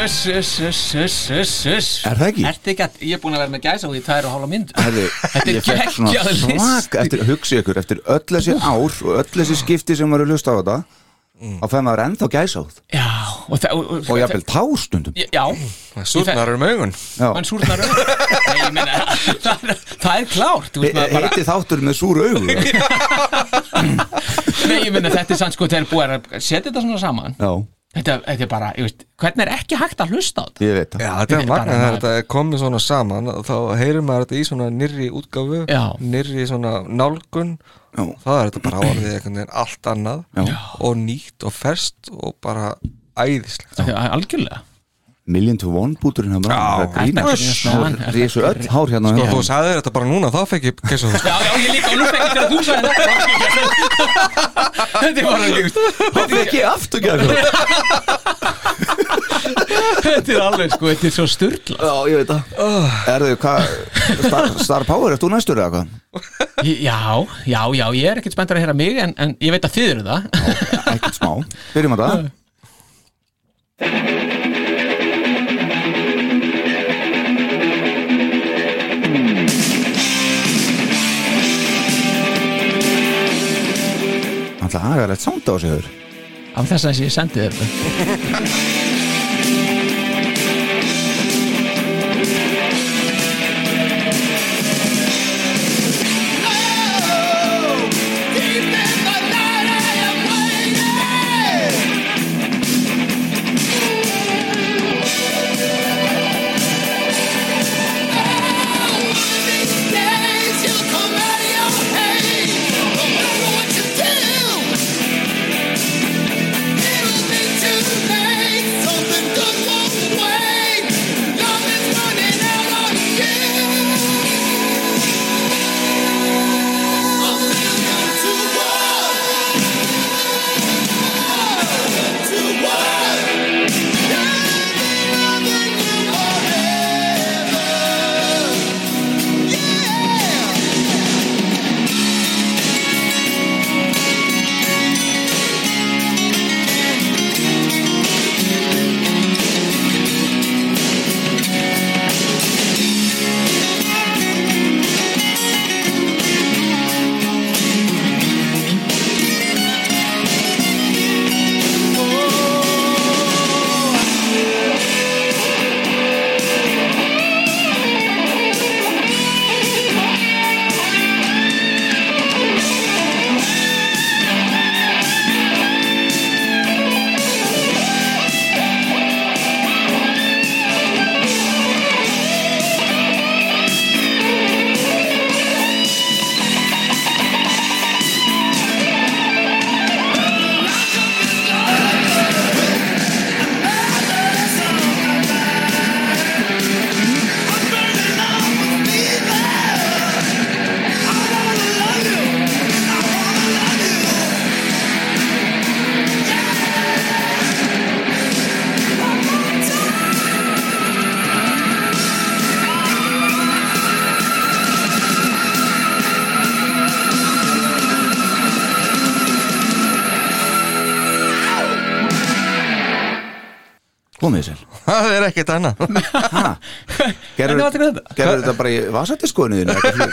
Speaker 3: Uss, uss, uss, uss, uss, uss
Speaker 1: Er það ekki?
Speaker 3: Ertu ekki að, ég er búin að vera með gæsa og ég tæri og hálfa mynd
Speaker 1: Herri,
Speaker 3: Þetta er
Speaker 1: ég fekk svona
Speaker 3: geggjaður listi.
Speaker 1: svak eftir, hugsi ykkur, eftir öll þessi ár og öll þessi skipti sem maður er hlust á þetta og fæði maður ennþá gæsáð
Speaker 3: Já, og það Og,
Speaker 1: og jafnvel társtundum
Speaker 3: Já,
Speaker 2: Súrnar eru með augun
Speaker 1: Já.
Speaker 3: mann súrnar augun. Nei, ég meina, það, er- það er klárt þú
Speaker 1: He-
Speaker 3: veist, maður bara,
Speaker 1: heiti þáttur með súru augu já,
Speaker 3: Nei, ég meina, þetta er sann sko, þeir búið að setja þetta svona saman
Speaker 1: ég
Speaker 3: Þetta, þetta er bara, ég veist, hvernig er ekki hægt að hlusta á þetta?
Speaker 1: veit það
Speaker 2: Já, þetta er
Speaker 3: Þetta er
Speaker 2: magna
Speaker 3: bara
Speaker 2: þegar
Speaker 3: maður-
Speaker 2: þetta er komið svona saman og þá heyrir maður þetta í svona nýrri útgáfu
Speaker 3: Já.
Speaker 2: nýrri svona nálgun
Speaker 1: Já.
Speaker 2: það er þetta bara orðið einhvern veginn allt annað
Speaker 1: Já.
Speaker 2: og nýtt og ferst og bara æðislegt
Speaker 3: Þetta er Algjörlega
Speaker 1: Million to one búturinn hann
Speaker 2: Já.
Speaker 3: Þetta er-
Speaker 1: Rísu öll hár hérna
Speaker 2: Sko,
Speaker 1: Já.
Speaker 2: þú sagðir þetta bara núna, þá fekk ég kæsa þú
Speaker 3: Já, já, ég líka, og nú fekk ég þegar þú sagði þetta Þetta er bara, þú veist,
Speaker 1: Það fekk ég aftur gæsáð
Speaker 3: þetta er alveg, sko, þetta er svo styrla
Speaker 1: Já, ég veit það Erðu, hvað, star, star Power, ert þú næstur eða hvað?
Speaker 3: Já, já, já, ég er ekkert spenntur að heyra mig en, en ég veit að þið eru það
Speaker 1: Ekkert smá, byrjum að það Alltaf agarlegt sound á sig þur
Speaker 3: Af þess að ég sendi þér þetta
Speaker 1: Komið sér
Speaker 2: Það er ekkert annað
Speaker 1: Gerður
Speaker 3: Hvernig var þetta?
Speaker 1: þetta bara í vasatískoðinu þínu eða eitthvað?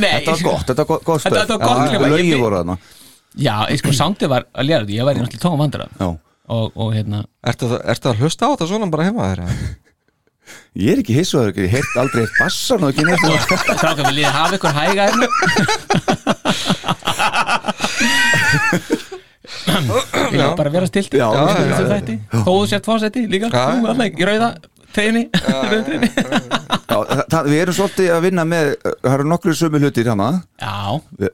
Speaker 3: Nei,
Speaker 1: Þetta
Speaker 3: sko,
Speaker 1: var gott, þetta var gott- gott stöð
Speaker 3: Þetta var gott klifa, ég
Speaker 1: Lögin
Speaker 3: vi-
Speaker 1: voru þarna
Speaker 3: Já, ég sko, soundið var að léra þetta Ég væri náttúrulega tóma vandra
Speaker 1: Já.
Speaker 3: og, og hérna,
Speaker 2: Ertu, að- ertu að hlusta á þetta svona bara heima þér? eða?
Speaker 1: Ég er ekki hiss og það er ekki heyrt aldrei eitt bassan og ekki neitt
Speaker 3: stráka, vil ég hafa ykkur hæga hérna? Ég er bara að vera stilt
Speaker 1: Já, já,
Speaker 3: Í
Speaker 1: já,
Speaker 3: þessu
Speaker 1: já.
Speaker 3: þætti. Þó þú sért fósetti líka
Speaker 2: Já,
Speaker 3: Þú,
Speaker 2: já.
Speaker 3: alveg, í rauða treyni Rauða treyni
Speaker 1: Já, það, það- við erum svolítið að vinna með eh, það eru nokkru sömu hlutir hérna. hana
Speaker 3: Já,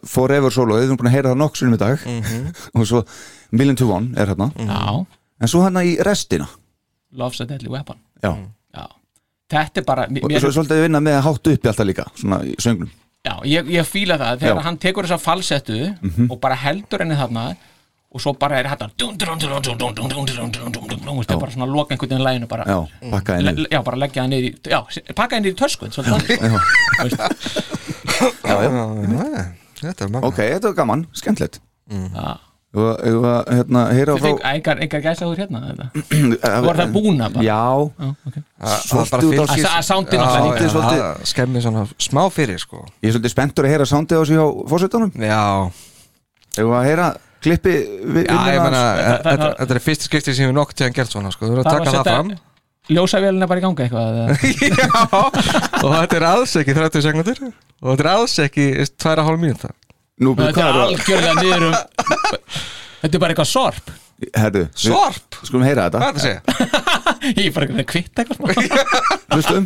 Speaker 1: Forever Solo, við erum búin að heyra það nokksunum í dag
Speaker 3: Mhm.
Speaker 1: og svo Million to One er hérna
Speaker 3: já,
Speaker 1: en svo hérna í restina
Speaker 3: Love's a Deadly Weapon
Speaker 1: Já.
Speaker 3: Já, þetta er bara
Speaker 1: og
Speaker 3: mér,
Speaker 1: svo er svolítið að vinna með að hátta upp í alltaf líka svona í söngnum
Speaker 3: Já, ég, ég fíla það þegar
Speaker 1: Já.
Speaker 3: hann tekur þessa falsettu og bara heldur henni þarna og svo bara er þetta þetta er bara svona að loka einhvern veginn læginu bara
Speaker 1: Já, pakka
Speaker 3: Mhm. Le,
Speaker 1: henni
Speaker 3: já, bara leggja það niður í, já, s- pakka henni í töskun svolítið þannig, sko. Veist,
Speaker 1: já, já.
Speaker 2: Já, já, Þetta er magna
Speaker 1: Ok, þetta var gaman, skemmtilegt
Speaker 3: já.
Speaker 1: og eigum við að, hérna, heyra
Speaker 3: Þú
Speaker 1: frá
Speaker 3: fekk engar, engar gæsa úr hérna þetta.
Speaker 1: Var
Speaker 3: Var það búna bara?
Speaker 1: Já,
Speaker 3: Já, ok.
Speaker 1: Svolítið út á
Speaker 3: sér. Að soundið náttúrulega
Speaker 1: líka.
Speaker 2: svolítið Skemmið svona smá fyrir sko
Speaker 1: ég er svolítið spenntur að heyra soundið á sig hjá fósveitunum
Speaker 2: Já,
Speaker 1: Eigum við að heyra klippi við-
Speaker 2: já ég
Speaker 1: vinnuna hans?
Speaker 2: meina
Speaker 3: það- það-
Speaker 2: Þetta þetta er fyrsta skipti sem við nokk tíðan gert svona sko Þú verður
Speaker 3: Það
Speaker 2: að
Speaker 3: var að
Speaker 2: taka það
Speaker 3: setja-
Speaker 2: fram
Speaker 3: Ljósavélina bara í ganga eitthvað eða?
Speaker 2: Já, og þetta er alls ekki 30 sekundir og þetta er alls ekki eh, 2,5 mínúta
Speaker 1: Nú,
Speaker 3: Þetta
Speaker 1: hvað
Speaker 3: er
Speaker 1: er það?
Speaker 3: algjörlega niður um Þetta er bara eitthvað sorp
Speaker 1: Herðu, við-
Speaker 2: Sorp!
Speaker 1: skulum heyra þetta
Speaker 2: Hvað er það að segja?
Speaker 3: Ég er bara eitthvað kvitt eitthvað smá
Speaker 1: Hlustum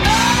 Speaker 7: Kick you when you're down
Speaker 6: Oh,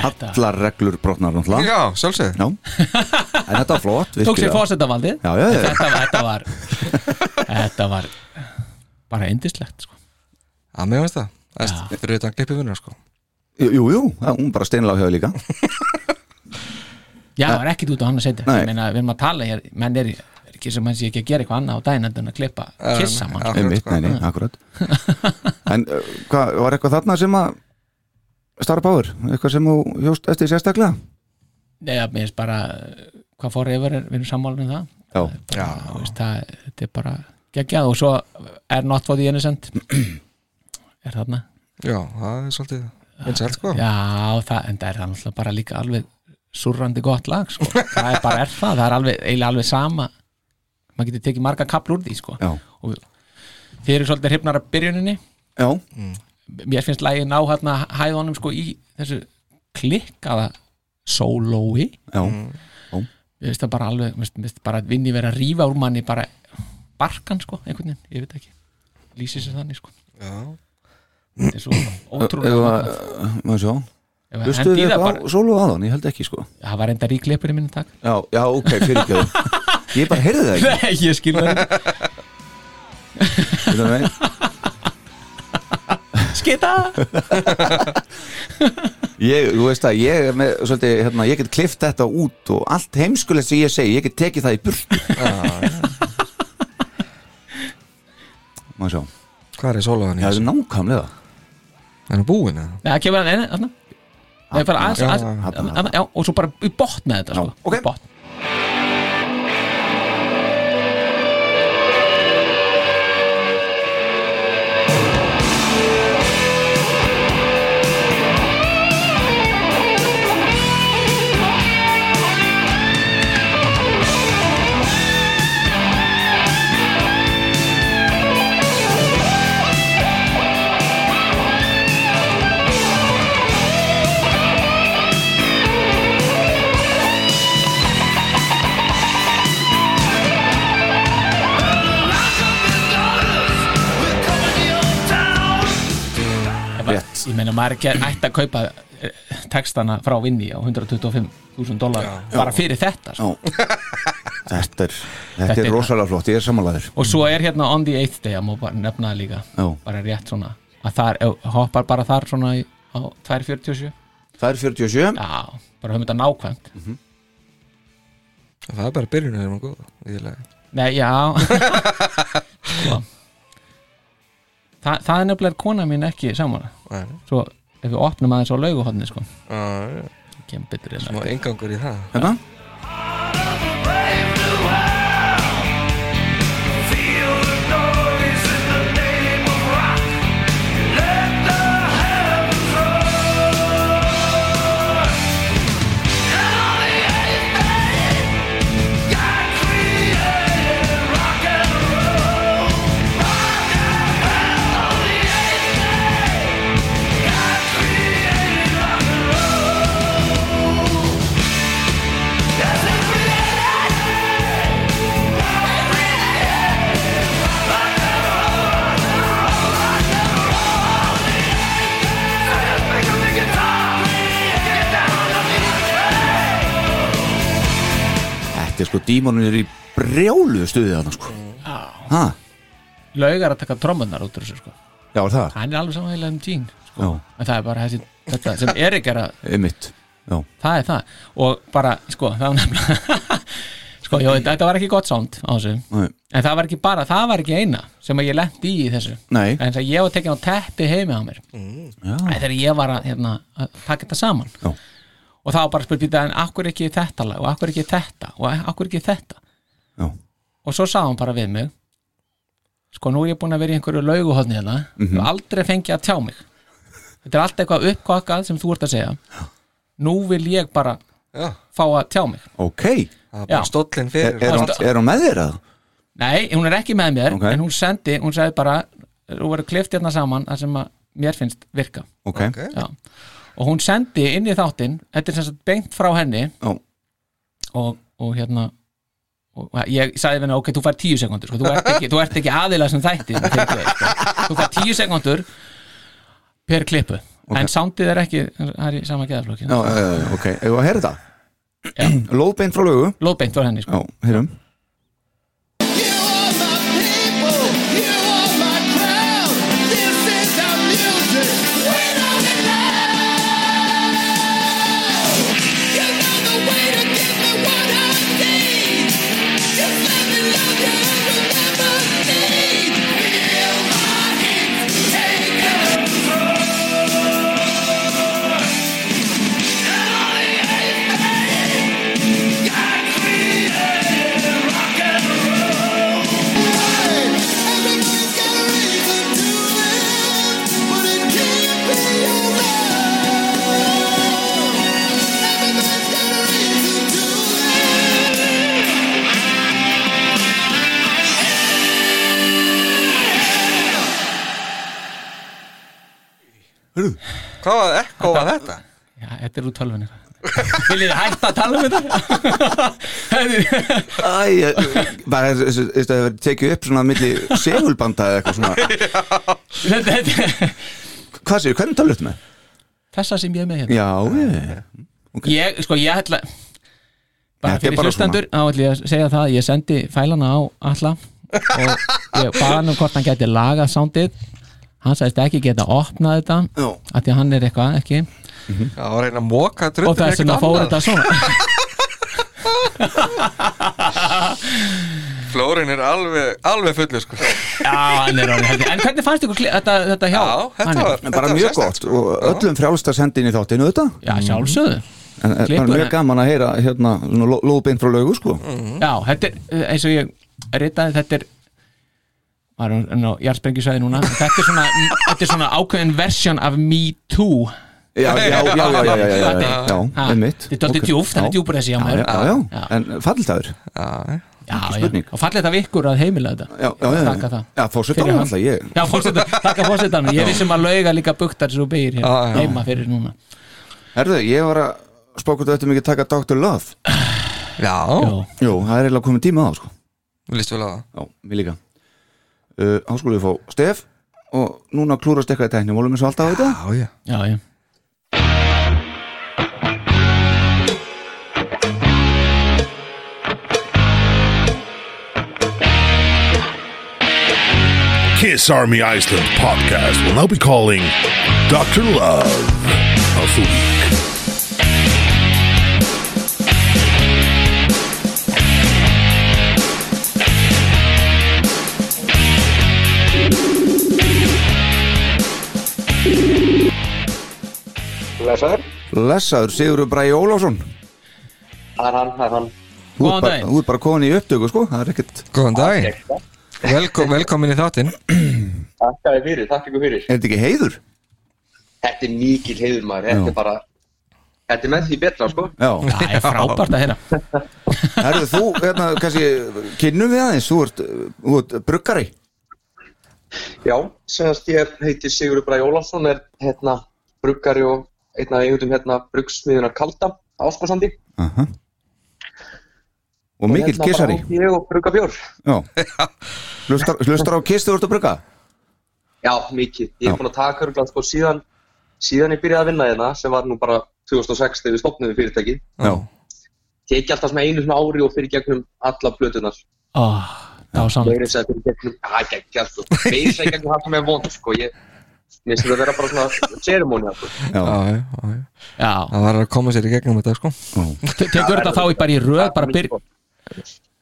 Speaker 1: allar reglur brotnar náttúrulega
Speaker 2: Já, sjálfsögð
Speaker 1: Já. en þetta var flott
Speaker 3: tók sér
Speaker 1: virkilega.
Speaker 3: fósettavaldið
Speaker 1: Já, já, já.
Speaker 3: þetta, þetta var þetta var bara indislegt sko.
Speaker 2: Já, mér finnst það Æst, Fyrir utan klippi vinnur sko
Speaker 1: Jú, jú, já, hún bara steinlega höfðu líka
Speaker 3: já, það var ekkit út á hann að setja
Speaker 1: Nei.
Speaker 3: ég meina, við erum að tala hér, menn er, er ekki sem mann sé ekki að gera eitthvað annað á daginn heldur en að klippa kissa mann
Speaker 2: Já.
Speaker 3: sko.
Speaker 1: Einmitt,
Speaker 2: sko.
Speaker 1: nei, nei, akkurat En uh, hvað, var eitthvað þarna sem að starra báður, eitthvað sem þú hjóst eftir sérstaklega?
Speaker 3: Nei, já, mér finnst bara uh, hvað fór yfir, er, við erum sammála um það
Speaker 1: Já,
Speaker 2: Já,
Speaker 3: Þú veist, það, þetta er bara geggjað og svo er Not for the Innocent er þarna
Speaker 2: já, það er svolítið vinsælt sko
Speaker 3: já, það, en það er það náttúrulega bara líka alveg surrandi gott lag sko. það er bara er það, það er alveg, eiginlega alveg sama maður getur tekið marga kapl úr því sko.
Speaker 1: já,
Speaker 3: þeir eru svolítið hrifnar af byrjuninni
Speaker 1: já,
Speaker 3: mér finnst lagið ná hérna hæðunum sko í þessu klikkaða sólói
Speaker 1: já,
Speaker 3: mér finnst það bara alveg, mér finnst- mér finnst bara að vinni vera að rífa úr manni bara barkan sko, einhvern veginn, ég veit ekki lýsir sér þannig sko
Speaker 2: Já,
Speaker 3: þetta er svo
Speaker 1: Ef
Speaker 3: ótrúlega
Speaker 1: að- maður Eh, sjá
Speaker 3: Ef að
Speaker 1: Hlustuðu
Speaker 3: hendi í
Speaker 1: þið
Speaker 3: það
Speaker 1: eitthvað
Speaker 3: bara-
Speaker 1: á sólu aðan, ég held ekki sko
Speaker 3: það var enda ríkleipurinn minn takk
Speaker 1: Já, já, ok, fyrirgjöðu Ég bara heyrði það ekki
Speaker 3: Nei, ég skil það ekki.
Speaker 1: veitum við.
Speaker 3: Skita
Speaker 1: Ég, þú veist að ég er með, svolítið, hérna, ég get klift þetta út og allt heimskulegt sem ég segi, ég get tekið það í burt Maður sjá,
Speaker 2: hvað er í
Speaker 1: já,
Speaker 2: sólaðan í
Speaker 1: það
Speaker 2: þessu?
Speaker 1: er nákvæmlega
Speaker 2: Er hann búinn eða?
Speaker 3: Nei, það kemur hann einu þarna. Nei, bara aðeins-
Speaker 2: já,
Speaker 3: aðeins-
Speaker 1: þarna,
Speaker 3: þarna,
Speaker 1: þarna.
Speaker 3: já, og svo bara í botn með þetta
Speaker 1: Já,
Speaker 3: sko,
Speaker 1: ok.
Speaker 3: í botn. Ég bara- ég meina maður er ekki ætti að kaupa eh, textana frá Vinni á 125.000 dólar bara fyrir þetta sko.
Speaker 1: Já. Þetta er, þetta
Speaker 3: Þetta
Speaker 1: er
Speaker 3: er-
Speaker 1: rosalega flott, ég er samanlæður
Speaker 3: og svo er hérna on the eighth day að má bara nefna það líka
Speaker 1: Já.
Speaker 3: bara rétt svona að þar, ef- hoppar bara þar svona í- á 247 já,
Speaker 1: Það er 47
Speaker 3: bara höfum þetta nákvæmt
Speaker 2: Það er bara byrjunum er hann góð Ég lega
Speaker 3: nei, já Sko. Þa, það er nefnilega kona mín ekki saman
Speaker 2: Nei, nei.
Speaker 3: svo ef við opnum aðeins á lauguhotni sko,
Speaker 2: Já, já.
Speaker 3: kemur betur hérna. inn
Speaker 2: Má engangur í það
Speaker 1: Hérna? Þetta er sko, dímonun er í brjálu stuðið hann sko. Ha?
Speaker 3: laugar að taka trommunar út úr þessu sko.
Speaker 1: Já, er það
Speaker 3: hann er alveg samanlega um tín sko.
Speaker 1: Já,
Speaker 3: en það er bara þessi, þetta sem Erik er að
Speaker 1: einmitt Já,
Speaker 3: það er það og bara, sko, það var nefnilega sko, jó, þetta var ekki gott sound á þessu
Speaker 1: nei,
Speaker 3: en það var ekki bara, það var ekki eina sem að ég lendi í í þessu
Speaker 1: Nei.
Speaker 3: en það ég var tekin á teppi heimi á mér
Speaker 1: já,
Speaker 3: Æ, þegar ég var að, hérna, að taka þetta saman
Speaker 1: Já.
Speaker 3: og það var bara spurt býta en akkur ekki þetta lag og akkur ekki þetta og akkur ekki þetta
Speaker 1: já.
Speaker 3: og svo sagði hann bara við mig sko nú er ég búin að vera í einhverju lauguhotni hérna
Speaker 1: Mhm.
Speaker 3: og aldrei fengi að tjá mig þetta er allt eitthvað uppkvakkað sem þú ert að segja nú vil ég bara
Speaker 2: Já,
Speaker 3: fá að tjá mig
Speaker 1: Ok,
Speaker 2: það er
Speaker 3: Já.
Speaker 2: bara stóllinn
Speaker 1: er,
Speaker 2: fyrir
Speaker 1: er, hún, er hún með þér að?
Speaker 3: nei, hún er ekki með mér
Speaker 1: Ok.
Speaker 3: en hún sendi, hún sagði bara þú verður klift hérna saman að sem að mér finnst virka
Speaker 1: Ok,
Speaker 2: Ok.
Speaker 3: Já. og hún sendi inn í þáttinn þetta er sem sagt beint frá henni
Speaker 1: Já.
Speaker 3: og, og hérna og ég sagði við henni, ok, þú fær tíu sekundur sko. þú, ert ekki, þú ert ekki aðila sem þætti sko. þú fær tíu sekundur per klippu en soundið er ekki það er í sama geðaflokki
Speaker 1: Já, já, já, já, ok, hefur að heyra þetta
Speaker 3: Já.
Speaker 1: Lóðbeint frá lögu
Speaker 3: lóðbeint var henni sko.
Speaker 1: Já, heyrum
Speaker 2: Hvað var ekko var þetta?
Speaker 3: já, þetta er úr tölvunni vil ég hætta að tala um þetta Herðu,
Speaker 1: Æ, ég- bara þessi- þessi- þetta hefur tekið upp svona milli segulbanda eða eitthvað svona
Speaker 3: þetta þetta-
Speaker 1: Hvað séu, hvernig talur þetta með?
Speaker 3: þessa sem ég er með hérna
Speaker 1: Já, ég
Speaker 3: ég, sko, ég ætla
Speaker 1: Þetta
Speaker 3: bara
Speaker 1: er
Speaker 3: fyrir
Speaker 1: bara
Speaker 3: hlustandur, þá ætla ég að segja það að ég sendi fælana á alla og ég baða hann um hvort hann gæti lagað soundið hann sagðist ekki geta opnað þetta
Speaker 1: Já.
Speaker 3: af því að hann er eitthvað ekki
Speaker 2: Já, að reyna að móka
Speaker 3: og það er sem að fóra þetta svona
Speaker 2: Flórin er alveg, alveg fullu sko
Speaker 3: já, hann er orðin heldur en hvernig fannst ykkur kli- þetta, þetta hjá?
Speaker 2: Já, þetta
Speaker 3: Hann
Speaker 2: var
Speaker 3: er-
Speaker 1: En bara
Speaker 2: þetta var
Speaker 1: mjög
Speaker 2: sérstakt, sko.
Speaker 1: gott og öllum frjálst að senda inn í þáttinu þetta
Speaker 3: já,
Speaker 1: en
Speaker 3: sjálfsögðu
Speaker 1: en bara
Speaker 3: Klippur,
Speaker 1: mjög
Speaker 3: en-
Speaker 1: gaman að heyra hérna svona ló- lóðbeint frá lögu sko
Speaker 2: Mm.
Speaker 3: já, þetta er eh, eins og ég ritaði þetta er var hann á jarðsprengisvæði núna þetta er svona, þetta er svona ákveðin versjón af Me Too
Speaker 1: Já, já, já, já, já, já, já, já,
Speaker 3: Þetta
Speaker 1: já,
Speaker 3: er-
Speaker 1: já,
Speaker 3: Ha,
Speaker 1: einmitt.
Speaker 3: þetta er dálítið
Speaker 1: Ok.
Speaker 3: djúpt, það er
Speaker 1: Já.
Speaker 3: djúpur þessi hjá
Speaker 1: Já,
Speaker 3: mér.
Speaker 1: já, já,
Speaker 3: Já.
Speaker 1: en falldagur
Speaker 2: Já, já.
Speaker 3: já, já.
Speaker 1: spurning.
Speaker 3: og fallið það ykkur að heimila þetta
Speaker 1: Já, já, já,
Speaker 3: Þakka það.
Speaker 1: já, fórsetan
Speaker 3: Fyrir hann.
Speaker 1: alltaf, ég
Speaker 3: já, fórseta, þakka fórsetanum, ég vissum að lauga líka buktar svo beir hér
Speaker 2: Já, já.
Speaker 3: hérna heima fyrir núna
Speaker 1: Herðu, ég var að spá hvort þú ættum ekki að taka Dr. Love
Speaker 2: já.
Speaker 3: Jó.
Speaker 1: Jú, það er eiginlega komið tíma á það, sko
Speaker 2: Lýst vel á það
Speaker 1: Já, mér líka uh, Þá skulum við fá Stef og núna klúrast eitthvað í tæknum Volum við svo alltaf á þetta?
Speaker 2: Já, já
Speaker 3: já, já,
Speaker 8: Kiss Army Iceland podcast will now be calling Dr. Love of the Week.
Speaker 6: Lesaður?
Speaker 1: Lessaður Sigurður Bræði Ólásson
Speaker 6: Það er hann, það er hann.
Speaker 1: Þú
Speaker 3: Góðan
Speaker 1: ert bara-
Speaker 3: daginn.
Speaker 1: þú ert bara komin í upptöku, sko Það er ekkert
Speaker 2: Góðan dag Velko, Velkomin í þáttinn
Speaker 6: Takk að þið fyrir, takk ykkur fyrir.
Speaker 1: Er þetta ekki heiður?
Speaker 6: Þetta er mikil heiður maður, þetta
Speaker 1: Já.
Speaker 6: er bara, þetta er með því betra sko.
Speaker 1: Já,
Speaker 3: það er frábært að heyra
Speaker 1: herðu þú, hérna, kannski kynnum við aðeins Þú ert, uh, þú ert bruggari
Speaker 6: Já, segjast ég heiti Sigurður Bræ Ólafsson, er hérna bruggari og einn af eigundum hérna bruggsmiðuna Kalda, Áskosandi.
Speaker 1: uh Og mikill
Speaker 6: hérna
Speaker 1: kissari
Speaker 6: bara hóf Ég og brugga bjór.
Speaker 1: Já Hlustar, hlustar á kiss þú ert að brugga?
Speaker 6: Já, mikið. Ég
Speaker 1: Já.
Speaker 6: er búin að taka örgulega sko síðan, síðan ég byrjaði að vinna hérna, sem var nú bara 2006 þegar við stopnum við fyrirtækið.
Speaker 1: Já
Speaker 6: Tekið alltaf svona einu svona ári og fyrir gegnum alla plötunar.
Speaker 3: Ó, dásamlegt
Speaker 6: meira þess að fyrir gegnum að gegja sko, meira þess að gegnum það sem er vond sko, ég mér finnst þetta að vera bara svona ceremóni sko.
Speaker 2: Já,
Speaker 1: Já,
Speaker 2: já, já
Speaker 3: já,
Speaker 2: Það var að koma sér í gegnum þetta sko
Speaker 3: Te- tekur þetta þá í bara í röð bara byr,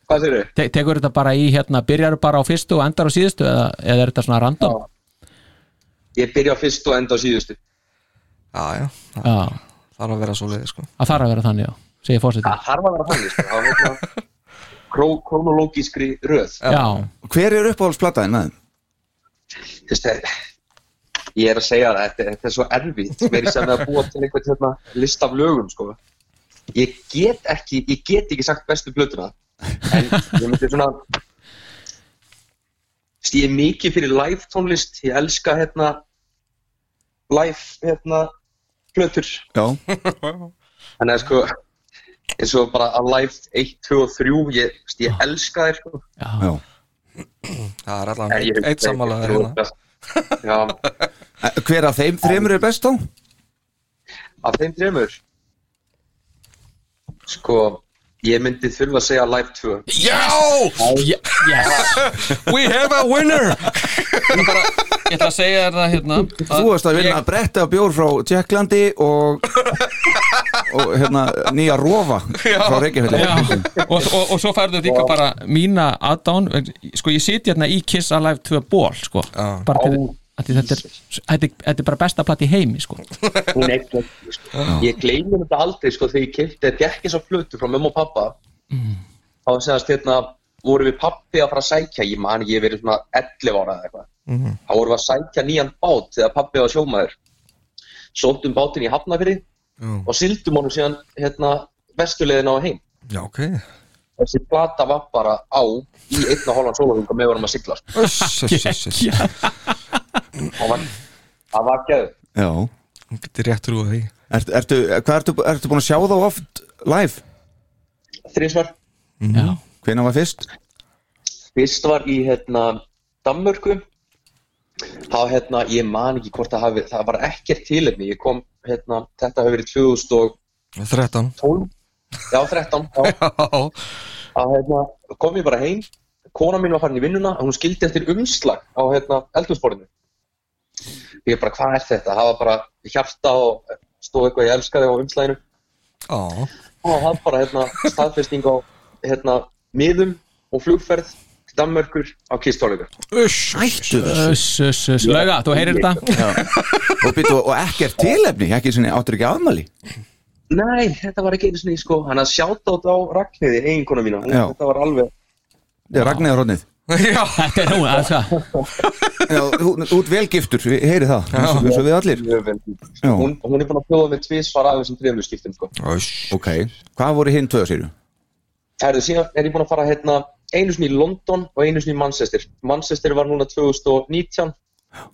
Speaker 6: hvað þeir eru?
Speaker 3: te tekur þetta bara í hérna, byrjar bara á fyrstu og endar á síðustu eða, eða er þetta svona random
Speaker 6: ég byrja á fyrst og enda á síðustu
Speaker 2: Já, já Það
Speaker 3: já,
Speaker 2: þarf að vera svo leiði sko
Speaker 3: það þarf að vera þannig já, segir fórseti
Speaker 6: það þarf að vera þannig sko, það var svona kró- kronológískri röð
Speaker 3: já,
Speaker 1: Hver er uppáhaldsplataðin með þeim?
Speaker 6: Þess, ég er að segja það, þetta, þetta er svo erfitt meira sem að búa til einhvern hérna, list af lögum sko. ég get ekki ég get ekki sagt bestu plötuna en ég myndi svona Þess, ég er mikið fyrir live tónlist ég elska hérna live hérna plötur
Speaker 1: Já,
Speaker 6: þannig að sko eins og bara að live 1, 2 og 3 ég, þess, ég elska þér sko
Speaker 1: já
Speaker 2: Það er
Speaker 6: En ég
Speaker 2: allavega eitt sammálaður hérna
Speaker 6: Ég Já,
Speaker 1: Eh, Hver af þeim þreymur er best á?
Speaker 6: af þeim dremur Sko, ég myndi þurfa að segja Live 2
Speaker 2: Já,
Speaker 3: Já, yes.
Speaker 2: we have a winner
Speaker 3: Ég ætla að segja þér það hérna
Speaker 1: Þú varst að vinna
Speaker 3: ég-
Speaker 1: að bretta bjór frá Tjekklandi og, og hérna, nýja rofa frá
Speaker 3: Já,
Speaker 1: Reykjavík
Speaker 3: og, og, og svo færðu líka bara mína aðdán sko ég siti hérna í Kiss Alive 2 ból sko,
Speaker 2: Já.
Speaker 3: bara til af því þetta er, þetta er- þetta er bara besta platt í heimi sko.
Speaker 6: Hún eitt ekki, sko. Ég gleymi þetta aldrei, sko, þegar ég kefti þetta ekki svo flötu frá mömmu og pappa þá segast hérna vorum við pappi að fara að sækja, ég man ég hef verið svona 11 ára eða eitthvað þá vorum við að sækja nýjan bát þegar pappi var sjómaður sóttum bátinn í Hafnafyrði
Speaker 2: Já.
Speaker 6: og sildum honum síðan hérna, vesturleiðin á heim
Speaker 2: Já, ok
Speaker 6: þessi plata var bara á í einna hólan sólarhunga með vorum að sigla sko.
Speaker 2: Uss, uss, uss, uss.
Speaker 6: það var, það var geður
Speaker 1: Já
Speaker 2: Hún getur rétt rúið því
Speaker 1: Er, ertu, hvað ertu, ertu búin að sjá þá oft live?
Speaker 6: þrísvar,
Speaker 3: Já.
Speaker 1: Hvenær var fyrst?
Speaker 6: fyrst var í hérna, Danmörku þá hérna, ég man ekki hvort það hafi það var ekkert tilefni, ég kom hérna, þetta hafi verið 2012
Speaker 2: 13
Speaker 6: já 13 já,
Speaker 2: Já,
Speaker 6: að hérna, kom ég bara heim kona mín var farin í vinnuna og hún skildi eftir umslag á hérna, eldhúsborðinu ég bara hvað er þetta það var bara hjarta og stóð eitthvað ég elskaði á umslaginu
Speaker 2: já
Speaker 6: og það bara hérna, staðfesting á hérna, miðum og flugferð til Danmörkur á kistóleika
Speaker 2: Uss,
Speaker 1: Ættu þessu
Speaker 3: Uss, uss, uss, lauga, þú heyrir þetta
Speaker 1: og, býttu, og ekkert tilefni, ekki sinni, áttur ekki afmæli
Speaker 6: nei þetta var ekki einu sinni sko hann að sjáta á Ragnhiði eiginkona mína hún,
Speaker 1: Já.
Speaker 6: þetta var alveg
Speaker 1: Þetta er Ragnar Rónið
Speaker 2: já
Speaker 3: Þetta er nú, það er það
Speaker 1: Já, þú þú ert velgiftur, við heyri það eins og- eins og við allir
Speaker 6: mjög vel
Speaker 1: Já.
Speaker 6: hún, hún er búin að fjóða með tvísvar af þessum drefnum skiptum sko
Speaker 2: Uss
Speaker 1: Ok, hvað voru hinn tvö, segir
Speaker 6: Herðu, síðan er ég búinn að fara hérna einu sinni í London og einu sinni í Manchester. Manchester var núna 2019.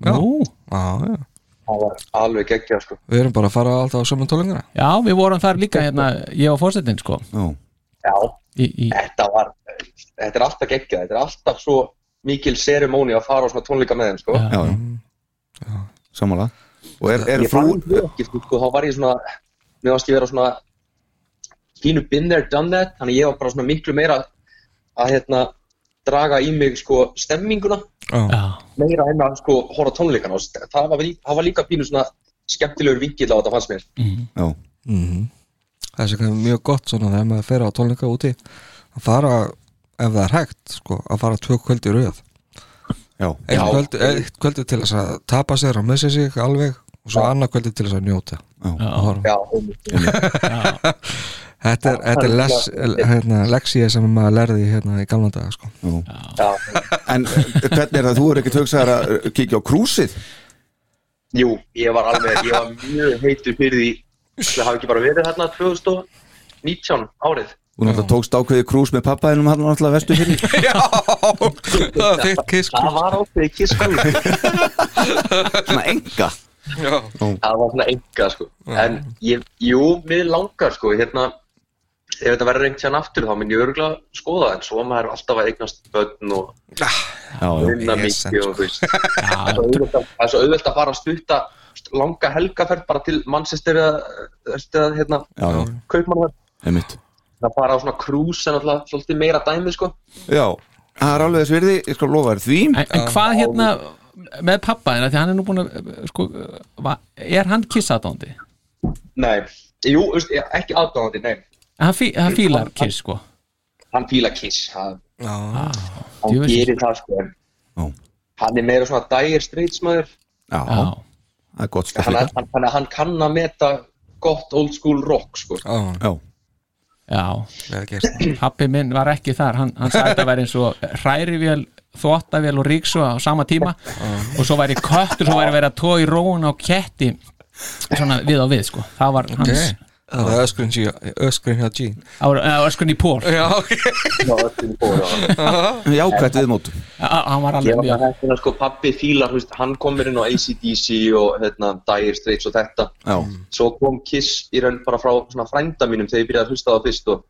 Speaker 3: Nú.
Speaker 2: Já, já
Speaker 6: Það var alveg geggjað, sko.
Speaker 2: Við erum bara að fara alltaf á sömum tólinguna
Speaker 3: Já, við vorum þar líka hérna, ég og fórsetin sko
Speaker 1: Já,
Speaker 6: Já,
Speaker 3: í, í,
Speaker 6: þetta var, þetta er alltaf geggjað. Þetta er alltaf svo mikil seremóni að fara á svona tónleika með þeim, sko.
Speaker 3: Já.
Speaker 1: já, já. sammála Og er, er
Speaker 6: Ég
Speaker 1: frú,
Speaker 6: fann það ekki, sko, þá var ég svona, mér varst ég vera svona, fínu been there, done that, þannig ég var bara svona miklu meira að, hérna, draga í mig, sko, stemminguna.
Speaker 2: Já,
Speaker 3: Já,
Speaker 6: meira en að sko horfa á tónleikana og st- það var, lí- það var líka pínu svona skemmtilegur vingill á þetta fannst mér
Speaker 1: já,
Speaker 2: Mhm. það er sér mjög gott svona þegar maður fer á tólinga úti að fara, ef það er hægt sko, að fara tvö kvöldi rauð
Speaker 1: já,
Speaker 2: eitt
Speaker 6: Já.
Speaker 2: kvöldi, eitt kvöldi til þess að tapa sér og missa sig alveg og svo annað kvöldi til þess að njóta
Speaker 1: já,
Speaker 2: og horfa.
Speaker 6: Já, einmitt.
Speaker 2: þetta er, þetta er les, hérna, leksíja sem maður lærði hérna í gamla daga sko.
Speaker 1: já.
Speaker 6: Já,
Speaker 1: En eh, hvernig er það, þú er ekkert hugsaðar að eh, kíkja á krúsið
Speaker 6: jú, ég var alveg, ég var mjög heitur fyrir því Það hafi ekki bara verið hérna 2019 árið
Speaker 1: Þú náttúrulega tókst ákveði krús með pappaðinum hann náttúrulega vestu fyrir
Speaker 2: já, það er þitt sko. kisk
Speaker 6: Það var ákveðið kisskóli
Speaker 1: Svona enga
Speaker 2: já,
Speaker 6: Það var svona enga sko En ég, jú, mér langar sko hérna Ef þetta verður einhvern tíðan aftur þá minn ég örgulega skoða en svo maður er alltaf að eignast börn og
Speaker 1: Já, já,
Speaker 6: vinna
Speaker 2: Ég sem,
Speaker 6: mikið og þú veist Það er svo auðvelt að- það er svo auðvelt að fara að stutta langa helgaferð bara til Manchester eða, eða hérna,
Speaker 1: já, já,
Speaker 6: kaupmannverð
Speaker 1: einmitt
Speaker 6: það bara á svona krús en alltaf svolítið meira dæmi sko
Speaker 1: Já, það er alveg þess virði, ég skal lofa þér því
Speaker 3: en, en hvað hérna með pappa þeirna, því hann er nú búin að sko, va, er hann kissaðdóndi?
Speaker 6: Nei, jú, veist, ég- ekki aðdáðandi, nei
Speaker 3: Hann, fí, hann fílar kiss sko
Speaker 6: hann fíla kiss, hann,
Speaker 2: já,
Speaker 6: hann
Speaker 3: Djöfull.
Speaker 6: gerir það sko en
Speaker 1: Já.
Speaker 6: hann er meira svona dægir streitsmaður
Speaker 1: Já,
Speaker 3: Já,
Speaker 1: það er gott stöf
Speaker 6: hann,
Speaker 1: líka
Speaker 6: hann, hann, þannig að hann kann að meta gott old school rock sko
Speaker 2: já,
Speaker 1: Já,
Speaker 3: já
Speaker 2: vel gert
Speaker 3: Pappi minn var ekki þar, hann, hann sagði þetta væri eins og hrærivél, þvottavél og ríksu á sama tíma og svo væri köttur, svo væri verið að tóa í róun á ketti svona við á við sko, það var hans
Speaker 2: okay. það var öskrin, G- öskrin hjá Jean
Speaker 3: það var- eða öskun í pól,
Speaker 2: já, ok
Speaker 6: Já, öllum fóru á hann.
Speaker 1: jákvætt viðmót
Speaker 3: Að- hann var
Speaker 6: Ég
Speaker 3: alveg
Speaker 6: var
Speaker 3: mjög
Speaker 6: bara hægt að sko pabbi fílar, þú veist, hann kom mér inn á ACDC og hérna, Dire Straits og þetta.
Speaker 1: Já,
Speaker 6: Svo kom Kiss í raun bara frá svona frænda mínum þegar ég byrjaði að hlusta á það fyrst og